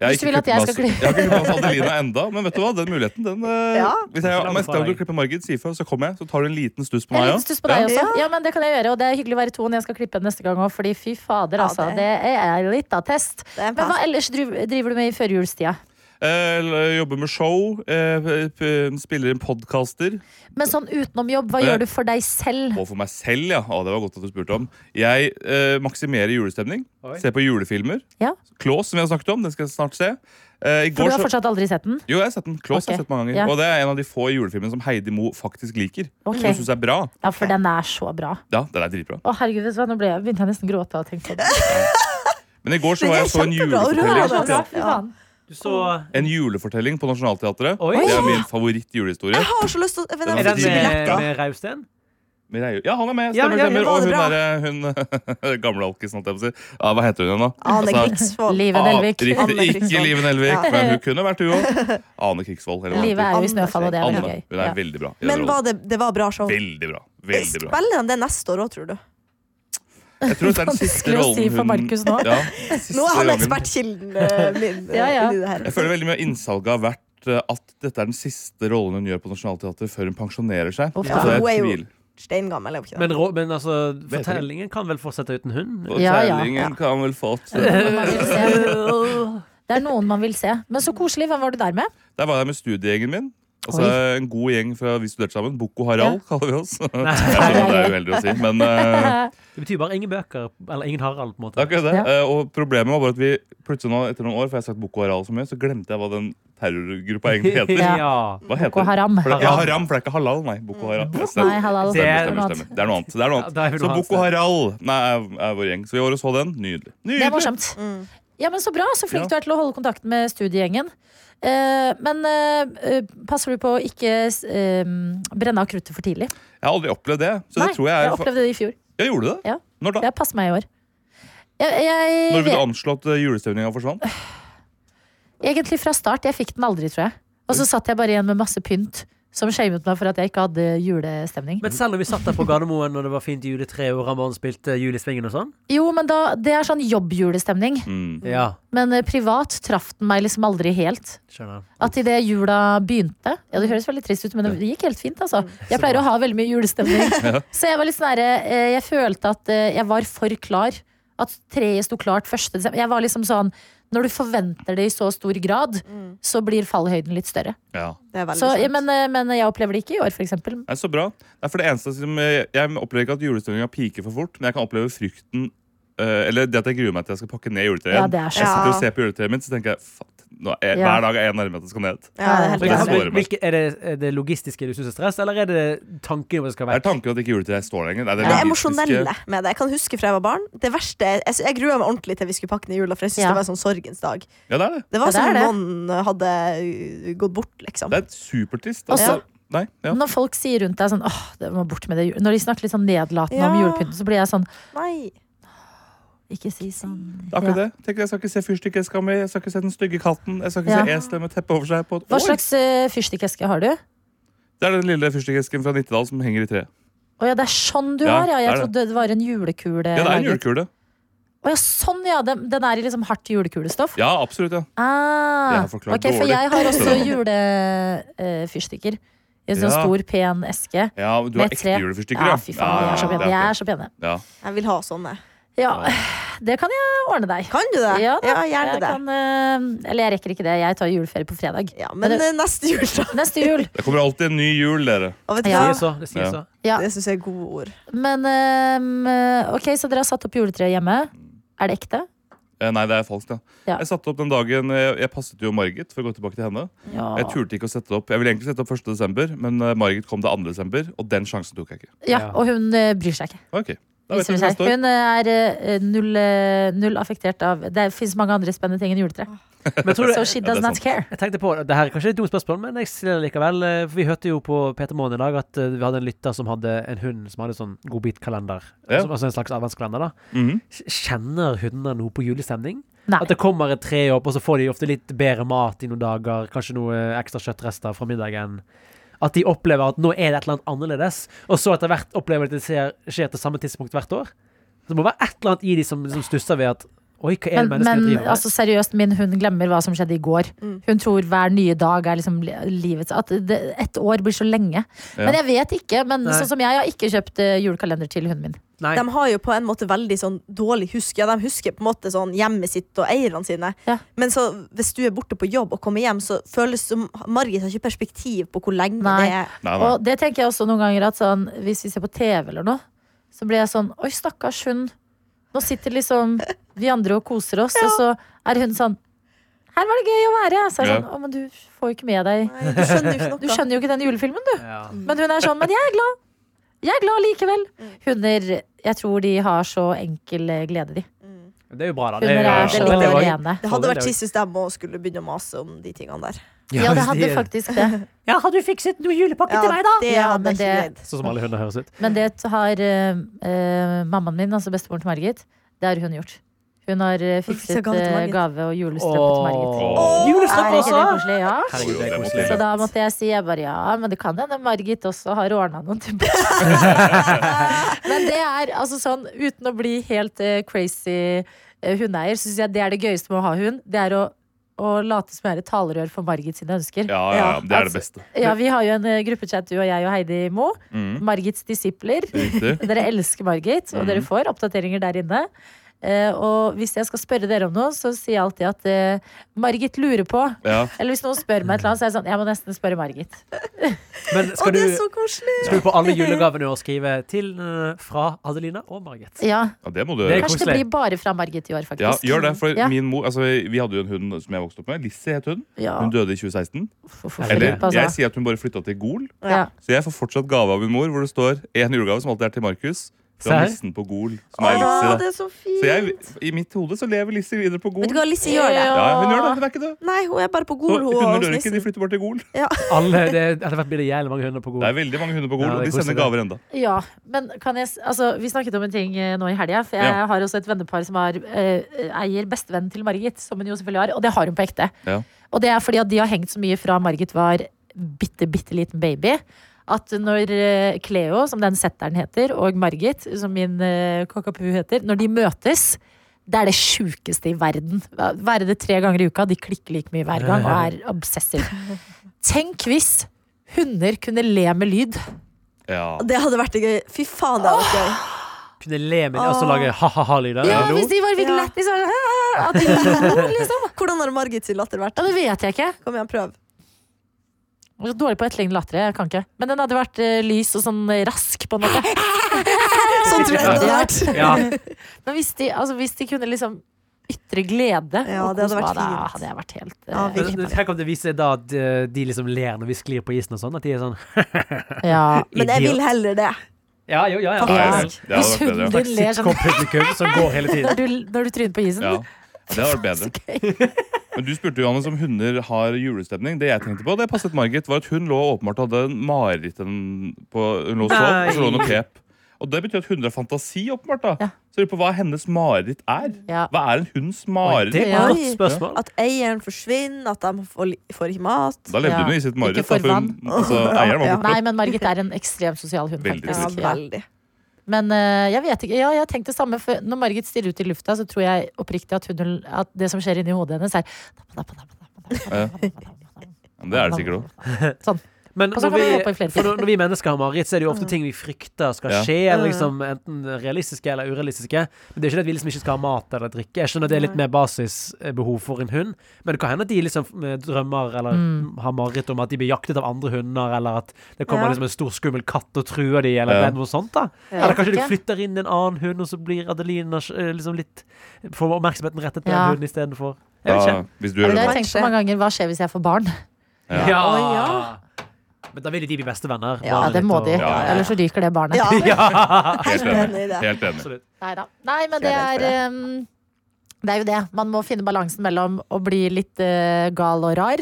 [SPEAKER 6] Jeg har
[SPEAKER 2] Hvis du
[SPEAKER 6] ikke
[SPEAKER 2] vil at
[SPEAKER 6] klippet
[SPEAKER 2] jeg
[SPEAKER 6] meg-
[SPEAKER 2] skal klippe-
[SPEAKER 6] jeg har ikke klippet meg hos Adelina enda, men vet du hva? den muligheten den, eh,
[SPEAKER 2] Ja.
[SPEAKER 6] Hvis jeg
[SPEAKER 5] Slagg
[SPEAKER 6] om jeg
[SPEAKER 5] for
[SPEAKER 6] skal
[SPEAKER 5] deg.
[SPEAKER 6] klippe Margit, si ifra, så kommer jeg. Så tar du en liten stuss på meg
[SPEAKER 2] Jeg er litt
[SPEAKER 6] også.
[SPEAKER 2] stuss på deg også.
[SPEAKER 6] Ja.
[SPEAKER 2] Ja, men det kan jeg gjøre, og det er hyggelig å være i tonen. Jeg skal klippe den neste gang òg, fordi fy fader,
[SPEAKER 4] Ja,
[SPEAKER 2] altså.
[SPEAKER 4] det-
[SPEAKER 2] Det er litt av test. Men hva ellers driv- driver du med i førjulstida?
[SPEAKER 6] Eh, l- jobber med show. eh, p- spiller inn podkaster.
[SPEAKER 2] Men sånn utenom jobb, hva
[SPEAKER 6] Eh.
[SPEAKER 2] gjør du for deg selv?
[SPEAKER 6] Og for meg selv, ja. Å, det var godt at du spurte om. Jeg eh, maksimerer julestemning.
[SPEAKER 2] Oi.
[SPEAKER 6] Ser på julefilmer.
[SPEAKER 2] Ja.
[SPEAKER 6] Klås, som vi har snakket om. Den skal jeg snart se. Eh, i
[SPEAKER 2] For
[SPEAKER 6] går
[SPEAKER 2] du har
[SPEAKER 6] så-
[SPEAKER 2] fortsatt aldri sett den?
[SPEAKER 6] Jo, jeg har sett den. Klås
[SPEAKER 2] Ok.
[SPEAKER 6] har jeg sett mange ganger.
[SPEAKER 2] Ja.
[SPEAKER 6] Og det er en av de få julefilmene som Heidi Mo faktisk liker.
[SPEAKER 2] Ok.
[SPEAKER 6] Som hun syns er bra.
[SPEAKER 2] Ja, for den er så bra.
[SPEAKER 6] Ja, den er dritbra.
[SPEAKER 2] Å herregud, vet du hva, nå ble jeg, begynte jeg nesten å gråte av å tenke på det.
[SPEAKER 6] Men i går så
[SPEAKER 2] Den
[SPEAKER 6] var
[SPEAKER 2] er
[SPEAKER 6] jeg så en
[SPEAKER 2] kjempebra, og rød er så bra, fy
[SPEAKER 6] julefortelling.
[SPEAKER 2] faen.
[SPEAKER 5] Du så
[SPEAKER 6] En julefortelling på Nationaltheatret. Det er min favorittjulehistorie.
[SPEAKER 4] Jeg har så lyst til å Men
[SPEAKER 5] Er
[SPEAKER 4] jeg
[SPEAKER 5] den
[SPEAKER 4] fikk ikke
[SPEAKER 5] med,
[SPEAKER 4] billetter.
[SPEAKER 5] med Rausten?
[SPEAKER 6] Med Reiulf. Ja, han er med.
[SPEAKER 5] Ja,
[SPEAKER 6] Stemmer,
[SPEAKER 5] ja, ja.
[SPEAKER 6] stemmer.
[SPEAKER 5] Var
[SPEAKER 6] Og
[SPEAKER 5] det
[SPEAKER 6] hun derre hun gamle alkisen, holdt jeg på å si. Ja, hva heter hun igjen, da?
[SPEAKER 4] Ane
[SPEAKER 6] Altså,
[SPEAKER 4] Krigsvold.
[SPEAKER 2] Live Nelvik.
[SPEAKER 6] Ah,
[SPEAKER 2] Anne
[SPEAKER 6] Riktig, ikke
[SPEAKER 2] Krigsvold.
[SPEAKER 6] Live Nelvik,
[SPEAKER 4] Ja.
[SPEAKER 6] men hun kunne vært hun òg. Ane Krigsvold. eller hva hun
[SPEAKER 2] Livet er jo i
[SPEAKER 6] heter.
[SPEAKER 2] snøfall, og det er veldig
[SPEAKER 6] Anne.
[SPEAKER 2] gøy.
[SPEAKER 6] Hun
[SPEAKER 2] Ja.
[SPEAKER 6] er veldig bra. i den
[SPEAKER 4] Men
[SPEAKER 6] rollen.
[SPEAKER 4] var det, det var bra show.
[SPEAKER 6] Veldig bra. Veldig bra.
[SPEAKER 4] Spiller han det neste år òg, tror du?
[SPEAKER 6] Jeg tror det er den siste
[SPEAKER 2] Vanskelig å
[SPEAKER 6] rollen
[SPEAKER 2] si for
[SPEAKER 6] hun-
[SPEAKER 2] Markus nå.
[SPEAKER 6] Ja,
[SPEAKER 4] Nå er
[SPEAKER 6] siste
[SPEAKER 4] han
[SPEAKER 6] gangen.
[SPEAKER 4] ekspertkilden eh, min. eh,
[SPEAKER 2] Ja, ja.
[SPEAKER 4] i det her.
[SPEAKER 6] Jeg føler veldig mye av innsalget har vært eh, at dette er den siste rollen hun gjør på Nationaltheatret før hun pensjonerer seg.
[SPEAKER 4] Uff,
[SPEAKER 6] Så
[SPEAKER 4] da.
[SPEAKER 6] jeg
[SPEAKER 4] Hun er jo
[SPEAKER 6] tviler.
[SPEAKER 4] steingammel, er hun ikke det?
[SPEAKER 5] Men, rå- men altså, fortellingen kan vel fortsette uten hund?
[SPEAKER 6] Og terlingen kan vel fortsette.
[SPEAKER 2] Det er noen man vil se. Men så koselig. Hvem var du der med?
[SPEAKER 6] Der var jeg med studiegjengen min. Altså
[SPEAKER 2] Oi.
[SPEAKER 6] En god gjeng fra vi studerte sammen. Boko Harald kaller vi oss. Jeg
[SPEAKER 5] Nei.
[SPEAKER 6] skjønner at det er uheldig å si, men eh,
[SPEAKER 5] Det betyr bare ingen bøker, eller ingen Harald, på en
[SPEAKER 6] det er
[SPEAKER 5] måte.
[SPEAKER 6] akkurat det. Eh, og problemet var bare at vi plutselig nå, etter noen år, for jeg har sagt Boko Harald så mye, så glemte jeg hva den terrorgruppa egentlig heter.
[SPEAKER 5] Ja.
[SPEAKER 6] Hva heter
[SPEAKER 5] Boko
[SPEAKER 6] den?
[SPEAKER 5] Haram.
[SPEAKER 6] For det, ja,
[SPEAKER 5] Haram.
[SPEAKER 6] haram, for det er ikke halal, nei. Boko Harald.
[SPEAKER 5] Nei,
[SPEAKER 6] Stemmer,
[SPEAKER 5] halal.
[SPEAKER 6] Stemmer,
[SPEAKER 5] Det er noe
[SPEAKER 6] stemmer, stemmer. Det er noe annet. Det er noe
[SPEAKER 5] Ja, det er
[SPEAKER 6] annet.
[SPEAKER 5] noe
[SPEAKER 6] så
[SPEAKER 5] annet,
[SPEAKER 6] Boko Harald nei, er, er vår gjeng. Så vi var og så den. Nydelig.
[SPEAKER 2] Det er morsomt. Ja, men Så bra. Så flink
[SPEAKER 6] Ja.
[SPEAKER 2] du er til å holde kontakten med studiegjengen. Eh, men eh, eh, passer du på å ikke eh, brenne av kruttet for tidlig?
[SPEAKER 6] Jeg har aldri opplevd det. Så
[SPEAKER 2] Nei,
[SPEAKER 6] det tror jeg er
[SPEAKER 2] jeg opplevde det i fjor.
[SPEAKER 6] Ja, gjorde du det?
[SPEAKER 2] Ja.
[SPEAKER 6] Når da?
[SPEAKER 2] Det passer meg i år. Jeg, jeg,
[SPEAKER 6] Når vil du anslå at eh, julestemninga forsvant?
[SPEAKER 2] Egentlig fra start. Jeg fikk den aldri, tror jeg. Og så satt jeg bare igjen med masse pynt som shamet meg for at jeg ikke hadde julestemning.
[SPEAKER 5] Men selv om vi satt der på Gardermoen og det var fint juletre, og Raman spilte Julesvingen og sånn
[SPEAKER 2] Jo, men da, det er sånn jobbjulestemning.
[SPEAKER 6] Mm.
[SPEAKER 5] Ja,
[SPEAKER 2] Men eh, privat traff den meg liksom aldri helt.
[SPEAKER 5] skjønner.
[SPEAKER 2] At idet jula begynte Ja, det høres veldig trist ut, men det gikk helt fint, altså. Jeg pleier å ha veldig mye julestemning.
[SPEAKER 5] Ja.
[SPEAKER 2] Så jeg var litt sånn derre eh, Jeg følte at eh, jeg var for klar. At treet sto klart 1. desember. Jeg var liksom sånn Når du forventer det i så stor grad, så blir fallhøyden litt større.
[SPEAKER 6] Ja.
[SPEAKER 2] Så, ja, men, eh, men jeg opplever det ikke i år, for eksempel.
[SPEAKER 6] Nei, så bra. Det er for det eneste som eh, Jeg opplever ikke at julestemninga piker for fort, men jeg kan oppleve frykten eh, Eller det at jeg gruer meg til jeg skal pakke ned juletreet.
[SPEAKER 2] Ja, det er så
[SPEAKER 6] jeg sitter og
[SPEAKER 2] sant.
[SPEAKER 6] ser på juletreet mitt, så tenker jeg fatt, nå er,
[SPEAKER 5] Ja.
[SPEAKER 6] Hver dag er jeg nærmere at det skal ned. Og det sårer meg.
[SPEAKER 5] Hvilke, er, det, er det logistiske du syns er stress, eller er det tanken om det
[SPEAKER 6] Det
[SPEAKER 5] skal være
[SPEAKER 6] er tanken at ikke juletreet står lenger. Nei, det
[SPEAKER 9] Det
[SPEAKER 6] er
[SPEAKER 9] emosjonelle
[SPEAKER 6] logistiske-
[SPEAKER 9] med det. Jeg kan huske fra jeg var barn. Det verste, Jeg, jeg grua meg ordentlig til vi skulle pakke ned jula, for jeg syntes
[SPEAKER 6] Ja.
[SPEAKER 9] det var en sånn sorgens dag.
[SPEAKER 6] Ja, det er det.
[SPEAKER 9] Det var som om noen hadde uh, gått bort, liksom.
[SPEAKER 6] Det er supertrist.
[SPEAKER 9] Og
[SPEAKER 6] Altså.
[SPEAKER 9] så-
[SPEAKER 6] Nei, ja.
[SPEAKER 2] Når folk sier rundt deg sånn Åh, det må bort med det jul-» Når de snakker litt sånn nedlatende om
[SPEAKER 9] Ja.
[SPEAKER 2] julepynten, så blir jeg sånn
[SPEAKER 9] Nei.
[SPEAKER 2] Ikke si sånn.
[SPEAKER 6] Det er akkurat
[SPEAKER 2] Ja.
[SPEAKER 6] det. Tenk, jeg skal ikke se fyrstikker jeg skal med, jeg skal ikke se den stygge katten, jeg skal ikke
[SPEAKER 2] Ja.
[SPEAKER 6] se eselet med teppe over seg på et
[SPEAKER 2] Hva
[SPEAKER 6] år.
[SPEAKER 2] slags eh, fyrstikkeske har du?
[SPEAKER 6] Det er den lille fyrstikkesken fra Nittedal som henger i treet.
[SPEAKER 2] Å ja, det er sånn du
[SPEAKER 6] Ja,
[SPEAKER 2] har, ja.
[SPEAKER 6] det
[SPEAKER 2] Jeg
[SPEAKER 6] er det.
[SPEAKER 2] trodde det var en julekule.
[SPEAKER 6] Ja, det er en
[SPEAKER 2] laget.
[SPEAKER 6] julekule.
[SPEAKER 2] Å ja, sånn ja. Den, den er i liksom hardt julekulestoff.
[SPEAKER 6] Ja, absolutt, ja. Det
[SPEAKER 2] Ah,
[SPEAKER 6] har jeg forklart
[SPEAKER 2] ok, for
[SPEAKER 6] dårlig.
[SPEAKER 2] jeg har også julefyrstikker. I en sånn
[SPEAKER 6] Ja.
[SPEAKER 2] stor, pen eske.
[SPEAKER 6] Ja, men du
[SPEAKER 2] med
[SPEAKER 6] har ekte
[SPEAKER 2] tre.
[SPEAKER 6] julefyrstikker,
[SPEAKER 2] ja.
[SPEAKER 6] ja.
[SPEAKER 2] Fy
[SPEAKER 6] Ja,
[SPEAKER 2] faen, de
[SPEAKER 6] ja,
[SPEAKER 2] er så
[SPEAKER 6] ja,
[SPEAKER 2] pene.
[SPEAKER 6] det er
[SPEAKER 2] De
[SPEAKER 6] ok.
[SPEAKER 2] er så pene.
[SPEAKER 6] Ja.
[SPEAKER 9] Jeg vil ha sånne.
[SPEAKER 2] Ja, det kan jeg ordne deg.
[SPEAKER 9] Kan du det?
[SPEAKER 2] Ja, da.
[SPEAKER 9] Ja, gjerne
[SPEAKER 2] jeg
[SPEAKER 9] det.
[SPEAKER 2] Kan, eh, eller jeg rekker ikke det. Jeg tar juleferie på fredag.
[SPEAKER 9] men, eh, neste jul, da.
[SPEAKER 2] Neste jul.
[SPEAKER 6] Det kommer alltid en ny jul, dere.
[SPEAKER 9] Og vet du
[SPEAKER 2] Ja.
[SPEAKER 9] hva?
[SPEAKER 6] Ja.
[SPEAKER 9] Det syns jeg er gode ord.
[SPEAKER 2] Men eh, ok, så dere har satt opp juletreet hjemme. Er det ekte?
[SPEAKER 6] Eh, Nei, det er falskt, ja.
[SPEAKER 2] Ja.
[SPEAKER 6] Jeg satte opp den dagen eh, Jeg passet jo Margit, for å gå tilbake til henne.
[SPEAKER 2] Ja.
[SPEAKER 6] Jeg turte ikke å sette det opp. Jeg ville egentlig sette det opp 1. desember, men eh, Margit kom det 2. desember, og den sjansen tok jeg ikke.
[SPEAKER 2] Ja, og hun eh, bryr seg ikke.
[SPEAKER 6] Ok, da vet
[SPEAKER 2] Viser
[SPEAKER 6] vi hvor det
[SPEAKER 2] det seg.
[SPEAKER 6] står.
[SPEAKER 2] Hun er eh, null, eh, null affektert av Det fins mange andre spennende ting enn juletre.
[SPEAKER 5] Ah. Men tror du-
[SPEAKER 2] So she does not care.
[SPEAKER 5] Jeg tenkte på, det her er kanskje et dumt spørsmål, men jeg stiller det likevel. eh, For vi hørte jo på Peter Målen i dag at eh, vi hadde en lytter som hadde en hund som hadde sånn godbitkalender.
[SPEAKER 6] Ja.
[SPEAKER 5] Altså en slags adventskalender, da.
[SPEAKER 6] Mhm.
[SPEAKER 5] Kj- Kjenner hundene noe på julestemning?
[SPEAKER 2] Nei.
[SPEAKER 5] At det kommer et tre opp, og så får de ofte litt bedre mat i noen dager. Kanskje noe eh, ekstra kjøttrester fra middagen. At de opplever at nå er det et eller annet annerledes, og så etter hvert opplever de at det ser- skjer til samme tidspunkt hvert år. Så det må være et eller annet i de som, som stusser ved at Oi, hva er Mm. det
[SPEAKER 2] Men,
[SPEAKER 5] menneskene
[SPEAKER 2] men
[SPEAKER 5] driver med?
[SPEAKER 2] altså, seriøst, min hund glemmer hva som skjedde i går. Hun tror hver nye dag er liksom li- livets At det, et år blir så lenge.
[SPEAKER 9] Ja.
[SPEAKER 2] Men jeg vet ikke. Men
[SPEAKER 9] Nei.
[SPEAKER 2] sånn som jeg, jeg har ikke kjøpt eh, julekalender til hunden min.
[SPEAKER 9] De har jo på en måte veldig sånn dårlig husk. Ja, de husker på en måte sånn hjemmet sitt og eierne sine. Men så hvis du er borte på jobb og kommer hjem, så føles det som Margit har ikke perspektiv på hvor lenge det er.
[SPEAKER 6] Nei, nei.
[SPEAKER 2] Og det tenker jeg også noen ganger at sånn, hvis vi ser på TV eller noe, så blir jeg sånn Oi, stakkars hund. Nå sitter liksom vi andre og koser oss, og så er hun sånn her var det gøy å være. Så er jeg
[SPEAKER 12] Ja.
[SPEAKER 2] sånn, å, men du får jo ikke med deg
[SPEAKER 9] Du skjønner jo ikke noe.
[SPEAKER 2] Du skjønner jo ikke den julefilmen, du. Men hun er sånn, men jeg er glad. Jeg er glad likevel. Hunder, jeg tror de har så enkel eh, glede, de.
[SPEAKER 5] Det er jo bra, da.
[SPEAKER 2] Hunder er så
[SPEAKER 5] det er jo-
[SPEAKER 2] alene.
[SPEAKER 9] Det hadde vært trist hvis de òg skulle begynne å mase om de tingene der.
[SPEAKER 5] Ja, Ja, det hadde det-
[SPEAKER 2] faktisk det.
[SPEAKER 5] Ja, har du fikset noe julepakke
[SPEAKER 9] Ja,
[SPEAKER 2] til meg, da?
[SPEAKER 9] Det
[SPEAKER 2] Ja,
[SPEAKER 9] hadde
[SPEAKER 2] men
[SPEAKER 9] jeg ikke
[SPEAKER 2] det-
[SPEAKER 9] greid.
[SPEAKER 5] Sånn som alle hunder høres ut.
[SPEAKER 2] Men det har eh, eh, mammaen min, altså bestemoren til Margit, det har hun gjort. Hun har eh, fikset
[SPEAKER 9] fikset gave til
[SPEAKER 2] eh,
[SPEAKER 9] Margit.
[SPEAKER 2] gave og julestrømpe til Margit.
[SPEAKER 5] Åh. Julestrømpe
[SPEAKER 2] Er ikke det
[SPEAKER 5] også?
[SPEAKER 2] koselig? Ja.
[SPEAKER 5] Herregud, det er koselig.
[SPEAKER 2] Så da måtte jeg si jeg bare ja, men det kan hende Margit også har ordna noen tilbake. men det er altså sånn, uten å bli helt eh, crazy eh, hundeeier, så syns jeg det er det gøyeste med å ha hund. Det er å, å late som jeg er et talerør for Margit sine ønsker.
[SPEAKER 6] Ja, ja, ja, det er det beste.
[SPEAKER 2] Ja, vi har jo en eh, gruppechat, du og jeg og Heidi Mo.
[SPEAKER 6] Mm.
[SPEAKER 2] Margits disipler.
[SPEAKER 6] Riktig.
[SPEAKER 2] Dere elsker Margit, og
[SPEAKER 6] Mm.
[SPEAKER 2] dere får oppdateringer der inne. Eh, og hvis jeg skal spørre dere om noe, så sier jeg alltid at eh, Margit lurer på.
[SPEAKER 6] Ja.
[SPEAKER 2] Eller hvis noen spør meg et eller annet, så er jeg sånn Jeg må nesten spørre Margit.
[SPEAKER 5] Men skal du,
[SPEAKER 9] koselig!
[SPEAKER 5] skal du på alle julegavene og skrive til eh, fra Adelina og Margit?
[SPEAKER 2] Ja.
[SPEAKER 6] Ja, det må du gjøre.
[SPEAKER 2] Kanskje det blir bare fra Margit i år, faktisk.
[SPEAKER 6] Ja, gjør det, for
[SPEAKER 2] Ja.
[SPEAKER 6] min mor altså, Vi hadde jo en hund som jeg vokste opp med. Lizzie het hun.
[SPEAKER 2] Ja.
[SPEAKER 6] Hun døde i 2016.
[SPEAKER 2] for
[SPEAKER 6] Eller
[SPEAKER 2] Filip, altså.
[SPEAKER 6] jeg sier at hun bare flytta til Gol.
[SPEAKER 2] Ja.
[SPEAKER 6] Så jeg får fortsatt gave av min mor, hvor det står en julegave som alltid er til Markus. Fra
[SPEAKER 5] Se her.
[SPEAKER 6] nissen på Gol. Som er
[SPEAKER 5] Åh,
[SPEAKER 6] Lizzie. da.
[SPEAKER 9] det er så fint.
[SPEAKER 6] jeg, I mitt hode så lever Lizzie videre på Gol.
[SPEAKER 9] Vet du hva, Lizzie gjør det.
[SPEAKER 6] Ja, hun gjør det. Hun er ikke død.
[SPEAKER 9] Nei, hun er bare på Gol,
[SPEAKER 6] så
[SPEAKER 9] hun og
[SPEAKER 6] hunder
[SPEAKER 9] hos
[SPEAKER 6] dør ikke,
[SPEAKER 9] nissen.
[SPEAKER 6] de flytter bare til Gol.
[SPEAKER 5] Alle, det, etter hvert blir det jævlig mange hunder på Gol.
[SPEAKER 6] Det er veldig mange hunder på Gol,
[SPEAKER 5] Ja,
[SPEAKER 6] og
[SPEAKER 5] det er
[SPEAKER 6] de sender
[SPEAKER 5] koselig, det.
[SPEAKER 6] gaver enda.
[SPEAKER 2] Ja, men kan jeg s- Altså, vi snakket om en ting eh, nå i helga, for jeg
[SPEAKER 6] Ja.
[SPEAKER 2] har også et vennepar som har, eh, eier bestevennen til Margit, som hun jo selvfølgelig har, og det har hun på ekte.
[SPEAKER 6] Ja.
[SPEAKER 2] Og det er fordi at de har hengt så mye fra Margit var bitte, bitte liten baby. At når eh, Cleo, som den setteren heter, og Margit, som min eh, kakapu heter, når de møtes, det er det sjukeste i verden. Hva- Være det tre ganger i uka, de klikker like mye hver gang og er obsessive. Tenk hvis hunder kunne le med lyd.
[SPEAKER 9] Det hadde vært gøy. Fy faen, det hadde vært gøy.
[SPEAKER 5] Kunne le med dem og så lage ha-ha-ha-lyder.
[SPEAKER 2] Ja,
[SPEAKER 5] Lo.
[SPEAKER 2] hvis de bare fikk lett liksom, «Æ», At de lo, liksom.
[SPEAKER 9] Hvordan har Margit sin latter vært?
[SPEAKER 2] Ja, det vet jeg ikke.
[SPEAKER 9] Kom igjen, prøv.
[SPEAKER 2] Jeg er så Dårlig på å etterligne latter. Jeg kan ikke. Men den hadde vært eh, lys og sånn eh, rask, på en måte. sånn
[SPEAKER 9] Sånn tror jeg det hadde vært.
[SPEAKER 5] Ja.
[SPEAKER 2] Men hvis de, altså, hvis de kunne liksom ytre glede.
[SPEAKER 4] Ja,
[SPEAKER 2] og
[SPEAKER 4] det
[SPEAKER 2] kos
[SPEAKER 4] hadde vært
[SPEAKER 2] meg. Da
[SPEAKER 4] fint.
[SPEAKER 2] hadde jeg vært helt eh,
[SPEAKER 4] Ja,
[SPEAKER 5] Men det- Tenk om det viser seg da at eh, de liksom ler når vi sklir på isen og sånn. At de er sånn
[SPEAKER 2] Ja.
[SPEAKER 4] Men jeg vil
[SPEAKER 5] Idiot.
[SPEAKER 4] heller det.
[SPEAKER 5] Ja, jo, ja, ja.
[SPEAKER 2] Ja,
[SPEAKER 6] det hadde
[SPEAKER 2] Hvis
[SPEAKER 6] vært bedre.
[SPEAKER 2] hunden din ler sånn
[SPEAKER 5] Sitcom-publikum som går hele
[SPEAKER 2] når
[SPEAKER 5] tiden.
[SPEAKER 2] du, når du tryner på isen.
[SPEAKER 6] Ja, det hadde vært bedre. Men du spurte Johannes om hunder har julestemning. Det jeg tenkte på, det passet Margit, var at hun lå åpenbart og hadde en mareritt en- på- Hun lå og sov, og så lå hun og pep. Og det betyr at hunder har fantasi, åpenbart. da Så lurer på hva hennes mareritt er.
[SPEAKER 2] Ja.
[SPEAKER 6] Hva er en hunds mareritt?
[SPEAKER 5] Det er et godt spørsmål.
[SPEAKER 4] At eieren forsvinner, at de får, li- får ikke mat.
[SPEAKER 6] Da levde
[SPEAKER 2] Ja.
[SPEAKER 6] hun i sitt mareritt.
[SPEAKER 2] Ikke for
[SPEAKER 6] da, for hun- Altså, eieren var
[SPEAKER 4] Ja.
[SPEAKER 6] borte.
[SPEAKER 2] Nei, men Margit er en ekstremt sosial hund.
[SPEAKER 6] Veldig
[SPEAKER 4] Ja,
[SPEAKER 2] faktisk. Ja.
[SPEAKER 4] veldig.
[SPEAKER 2] Men eh, jeg vet ikke, ja, jeg har tenkt det samme for Når Margit stirrer ut i lufta, så tror jeg oppriktig at, hun, at det som skjer inni hodet hennes, er
[SPEAKER 6] Men Det er det sikkert òg.
[SPEAKER 5] Men
[SPEAKER 2] Og så
[SPEAKER 5] når
[SPEAKER 2] kan
[SPEAKER 5] vi,
[SPEAKER 2] man hoppe i flere Mm.
[SPEAKER 5] for når, når vi mennesker har mareritt, så er det jo ofte ting vi frykter skal
[SPEAKER 6] Ja.
[SPEAKER 5] skje. Eller liksom, enten realistiske eller urealistiske. Men det er ikke det at vi liksom ikke skal ha mat eller drikke. Jeg skjønner at det er litt mer basisbehov for en hund. Men det kan hende at de liksom eh, drømmer eller
[SPEAKER 2] Mm.
[SPEAKER 5] har mareritt om at de blir jaktet av andre hunder, eller at det kommer
[SPEAKER 4] Ja.
[SPEAKER 5] liksom en stor skummel katt og truer de, eller
[SPEAKER 6] Ja.
[SPEAKER 5] noe sånt. da
[SPEAKER 4] Ja.
[SPEAKER 5] Eller kanskje de
[SPEAKER 2] Ikke.
[SPEAKER 5] flytter inn en annen hund, og så blir Adelina eh, liksom litt Får oppmerksomheten rettet mot
[SPEAKER 2] Ja.
[SPEAKER 5] en hund istedenfor. Jeg vet ikke.
[SPEAKER 6] Da- Hvis du
[SPEAKER 2] Det
[SPEAKER 6] gjør
[SPEAKER 2] har
[SPEAKER 6] det
[SPEAKER 2] jeg tenkt på mange ganger. Hva skjer hvis jeg får barn?
[SPEAKER 6] Ja.
[SPEAKER 4] Å,
[SPEAKER 5] Ja. Men da vil jo de bli bestevenner.
[SPEAKER 2] Ja, det
[SPEAKER 5] barnet ditt
[SPEAKER 2] må
[SPEAKER 5] og-
[SPEAKER 2] de.
[SPEAKER 6] ja, ja.
[SPEAKER 2] Ellers så ryker det barnet.
[SPEAKER 4] Ja,
[SPEAKER 5] Ja!
[SPEAKER 6] Helt
[SPEAKER 4] jeg er enig i
[SPEAKER 6] enig.
[SPEAKER 4] det.
[SPEAKER 6] Helt enig.
[SPEAKER 5] Absolutt.
[SPEAKER 2] Neida. Nei, men det
[SPEAKER 4] Jeg er
[SPEAKER 2] er ehm, Det er jo det. Man må finne balansen mellom å bli litt eh, gal og rar,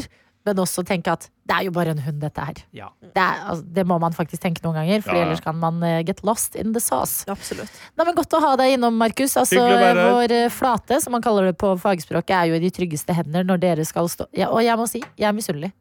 [SPEAKER 2] men også tenke at det er jo bare en hund, dette her.
[SPEAKER 5] Ja.
[SPEAKER 2] Det, er, altså, det må man faktisk tenke noen ganger, for
[SPEAKER 6] Ja, ja.
[SPEAKER 2] ellers kan man eh, get lost in the sauce.
[SPEAKER 4] Absolutt.
[SPEAKER 2] Nei, men Godt å ha deg innom, Markus. Altså,
[SPEAKER 6] Hyggelig å være her.
[SPEAKER 2] vår eh, flate, som man kaller det på fagspråket, er jo i de tryggeste hender når dere skal stå ja, Og jeg må si, jeg er misunnelig.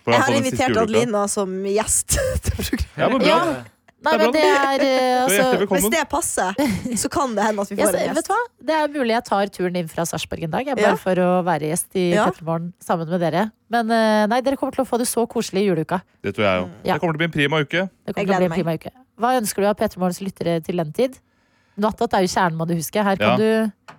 [SPEAKER 6] For han
[SPEAKER 4] Jeg har
[SPEAKER 6] får den siste
[SPEAKER 4] invitert
[SPEAKER 6] juleuka.
[SPEAKER 4] Adelina som gjest til programmet.
[SPEAKER 6] Ja, men bra.
[SPEAKER 2] Ja. Nei,
[SPEAKER 6] Det er
[SPEAKER 2] men det er eh,
[SPEAKER 6] Du er hjertelig
[SPEAKER 2] altså,
[SPEAKER 6] velkommen.
[SPEAKER 4] Hvis det passer, så kan det hende at vi
[SPEAKER 2] jeg,
[SPEAKER 4] får en
[SPEAKER 2] vet
[SPEAKER 4] gjest.
[SPEAKER 2] du hva? Det er mulig jeg tar turen inn fra Sarpsborg en dag. Jeg, bare
[SPEAKER 4] Ja.
[SPEAKER 2] for å være gjest i
[SPEAKER 4] Ja.
[SPEAKER 2] Petremorgen sammen med dere. Men eh, nei, dere kommer til å få det så koselig i juleuka.
[SPEAKER 6] Det tror jeg jo.
[SPEAKER 2] Ja.
[SPEAKER 6] Det kommer til å bli en prima uke.
[SPEAKER 2] Det
[SPEAKER 4] Jeg
[SPEAKER 2] kommer til å bli en
[SPEAKER 4] gleder
[SPEAKER 2] prima uke. Hva ønsker du av Petremorgens lyttere til den tid? Nattot er jo kjernen, må du huske. Her
[SPEAKER 6] Ja.
[SPEAKER 2] kan du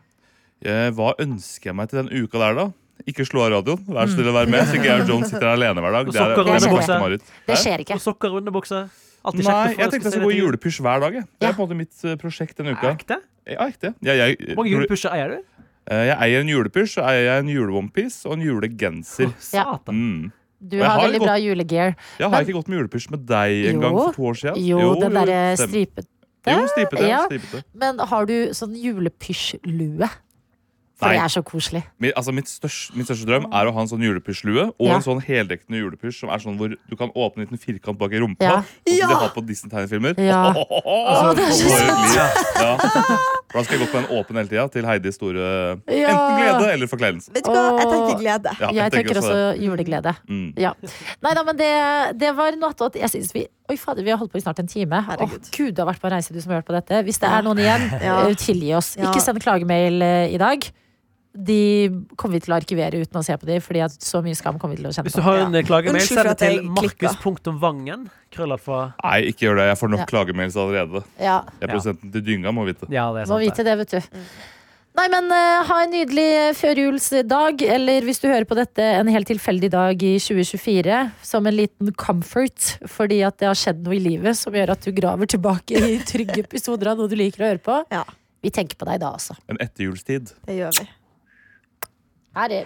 [SPEAKER 6] Eh, Hva ønsker jeg meg til den uka der, da? Ikke slå av radioen. Vær så snill å være med. Så Geir Jones sitter her alene hver dag. Det er
[SPEAKER 5] Sokker
[SPEAKER 6] det er
[SPEAKER 2] under
[SPEAKER 6] det verste
[SPEAKER 5] buksa.
[SPEAKER 6] mareritt.
[SPEAKER 2] Det
[SPEAKER 6] Hæ?
[SPEAKER 2] skjer ikke.
[SPEAKER 5] Og sokker og underbukse. Alltid kjekt å
[SPEAKER 6] Nei,
[SPEAKER 5] få-
[SPEAKER 6] jeg tenkte jeg skulle gå i julepysj hver dag. Jeg. Det
[SPEAKER 2] Ja.
[SPEAKER 6] er på en måte mitt eh, prosjekt denne
[SPEAKER 5] Er
[SPEAKER 6] uka.
[SPEAKER 5] ikke det?
[SPEAKER 6] Ja, ikke det. Jeg, jeg,
[SPEAKER 5] Hvor mange julepysjer eier du?
[SPEAKER 6] eh, jeg eier en julepysj, så eier jeg en juleonepiece og en julegenser.
[SPEAKER 5] Satan.
[SPEAKER 6] Mm.
[SPEAKER 2] Du
[SPEAKER 6] Jeg
[SPEAKER 2] har,
[SPEAKER 6] har
[SPEAKER 2] veldig
[SPEAKER 6] gått-
[SPEAKER 2] bra julegear.
[SPEAKER 6] Ja, har jeg ikke gått med julepysj med deg en gang
[SPEAKER 2] Jo.
[SPEAKER 6] for to år siden?
[SPEAKER 2] Jo, den derre
[SPEAKER 6] stemmer.
[SPEAKER 2] stripet.
[SPEAKER 6] Jo, stripete.
[SPEAKER 2] Ja.
[SPEAKER 6] stripete.
[SPEAKER 2] Men har du sånn julepysjlue? For
[SPEAKER 6] Nei.
[SPEAKER 2] det er så koselig.
[SPEAKER 6] Min, altså mitt, største, min største drøm er å ha en sånn julepysjlue. Og
[SPEAKER 2] Ja.
[SPEAKER 6] en sånn heldekkende julepysj som er sånn hvor du kan åpne en liten firkant bak i rumpa.
[SPEAKER 2] Ja.
[SPEAKER 6] Og som
[SPEAKER 4] Ja.
[SPEAKER 6] de har på Disney-tegnefilmer.
[SPEAKER 2] Ja.
[SPEAKER 6] Åh,
[SPEAKER 2] det er så
[SPEAKER 6] for et
[SPEAKER 2] søtt.
[SPEAKER 6] liv. Ja. For Da skal jeg gå på en åpen hele tida til Heidis store
[SPEAKER 2] Ja.
[SPEAKER 6] enten glede eller forkleinelse.
[SPEAKER 4] Vet du hva? Jeg tenkte
[SPEAKER 2] Åh.
[SPEAKER 4] glede.
[SPEAKER 6] Ja,
[SPEAKER 2] jeg tenker også
[SPEAKER 6] det.
[SPEAKER 2] juleglede.
[SPEAKER 6] Mm.
[SPEAKER 2] Ja. Nei da, men det, det var noe attåt. Jeg synes vi Oi, fader, vi har holdt på i snart en time. Herregud.
[SPEAKER 4] Herregud.
[SPEAKER 2] Gud, du har vært på reise, du som har hørt på dette. Hvis det er noen igjen,
[SPEAKER 4] Ja.
[SPEAKER 2] eh, tilgi oss.
[SPEAKER 4] Ja.
[SPEAKER 2] Ikke send klagemail eh, i dag. De kommer vi til å arkivere uten å se på de, fordi at så mye skam kommer vi til å kjenne
[SPEAKER 5] Hvis du
[SPEAKER 2] på.
[SPEAKER 5] har en eh, klagemail,
[SPEAKER 4] Unnskyld
[SPEAKER 5] send
[SPEAKER 4] for
[SPEAKER 5] det
[SPEAKER 4] at jeg
[SPEAKER 5] til
[SPEAKER 4] klikka.
[SPEAKER 5] markus.vangen. Krøllalfa
[SPEAKER 6] Nei, ikke gjør det. Jeg får nok
[SPEAKER 2] Ja.
[SPEAKER 6] klagemeldelser allerede.
[SPEAKER 2] Ja,
[SPEAKER 6] Jeg er
[SPEAKER 5] Ja.
[SPEAKER 6] produsenten til Dynga, må vite.
[SPEAKER 5] Ja, det er
[SPEAKER 2] må
[SPEAKER 5] sant.
[SPEAKER 2] vite det, vet du. Nei, men eh, ha en nydelig førjulsdag, eller hvis du hører på dette, en helt tilfeldig dag i 2024. Som en liten comfort, fordi at det har skjedd noe i livet som gjør at du graver tilbake i trygge episoder av noe du liker å høre på.
[SPEAKER 4] Ja.
[SPEAKER 2] Vi tenker på deg da, altså.
[SPEAKER 6] En etterjulstid.
[SPEAKER 4] Det gjør vi.
[SPEAKER 2] Her er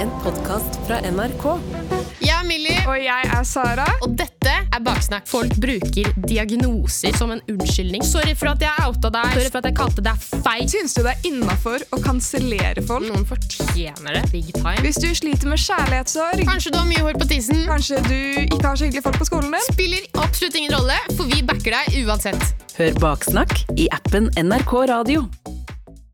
[SPEAKER 13] En podkast fra NRK.
[SPEAKER 14] Jeg er Millie. Og jeg er Sara. Og dette er Baksnakk. Folk bruker diagnoser som en unnskyldning. Sorry for at jeg outa deg. Sorry for at jeg kalte deg feit.
[SPEAKER 9] Syns du det er innafor å kansellere folk?
[SPEAKER 14] Noen fortjener det. Big time.
[SPEAKER 9] Hvis du sliter med kjærlighetssorg?
[SPEAKER 14] Kanskje du har mye hår på tissen.
[SPEAKER 9] Kanskje du ikke har så hyggelige folk på skolen din?
[SPEAKER 14] Spiller absolutt ingen rolle, for vi backer deg uansett.
[SPEAKER 13] Hør Baksnakk i appen NRK Radio.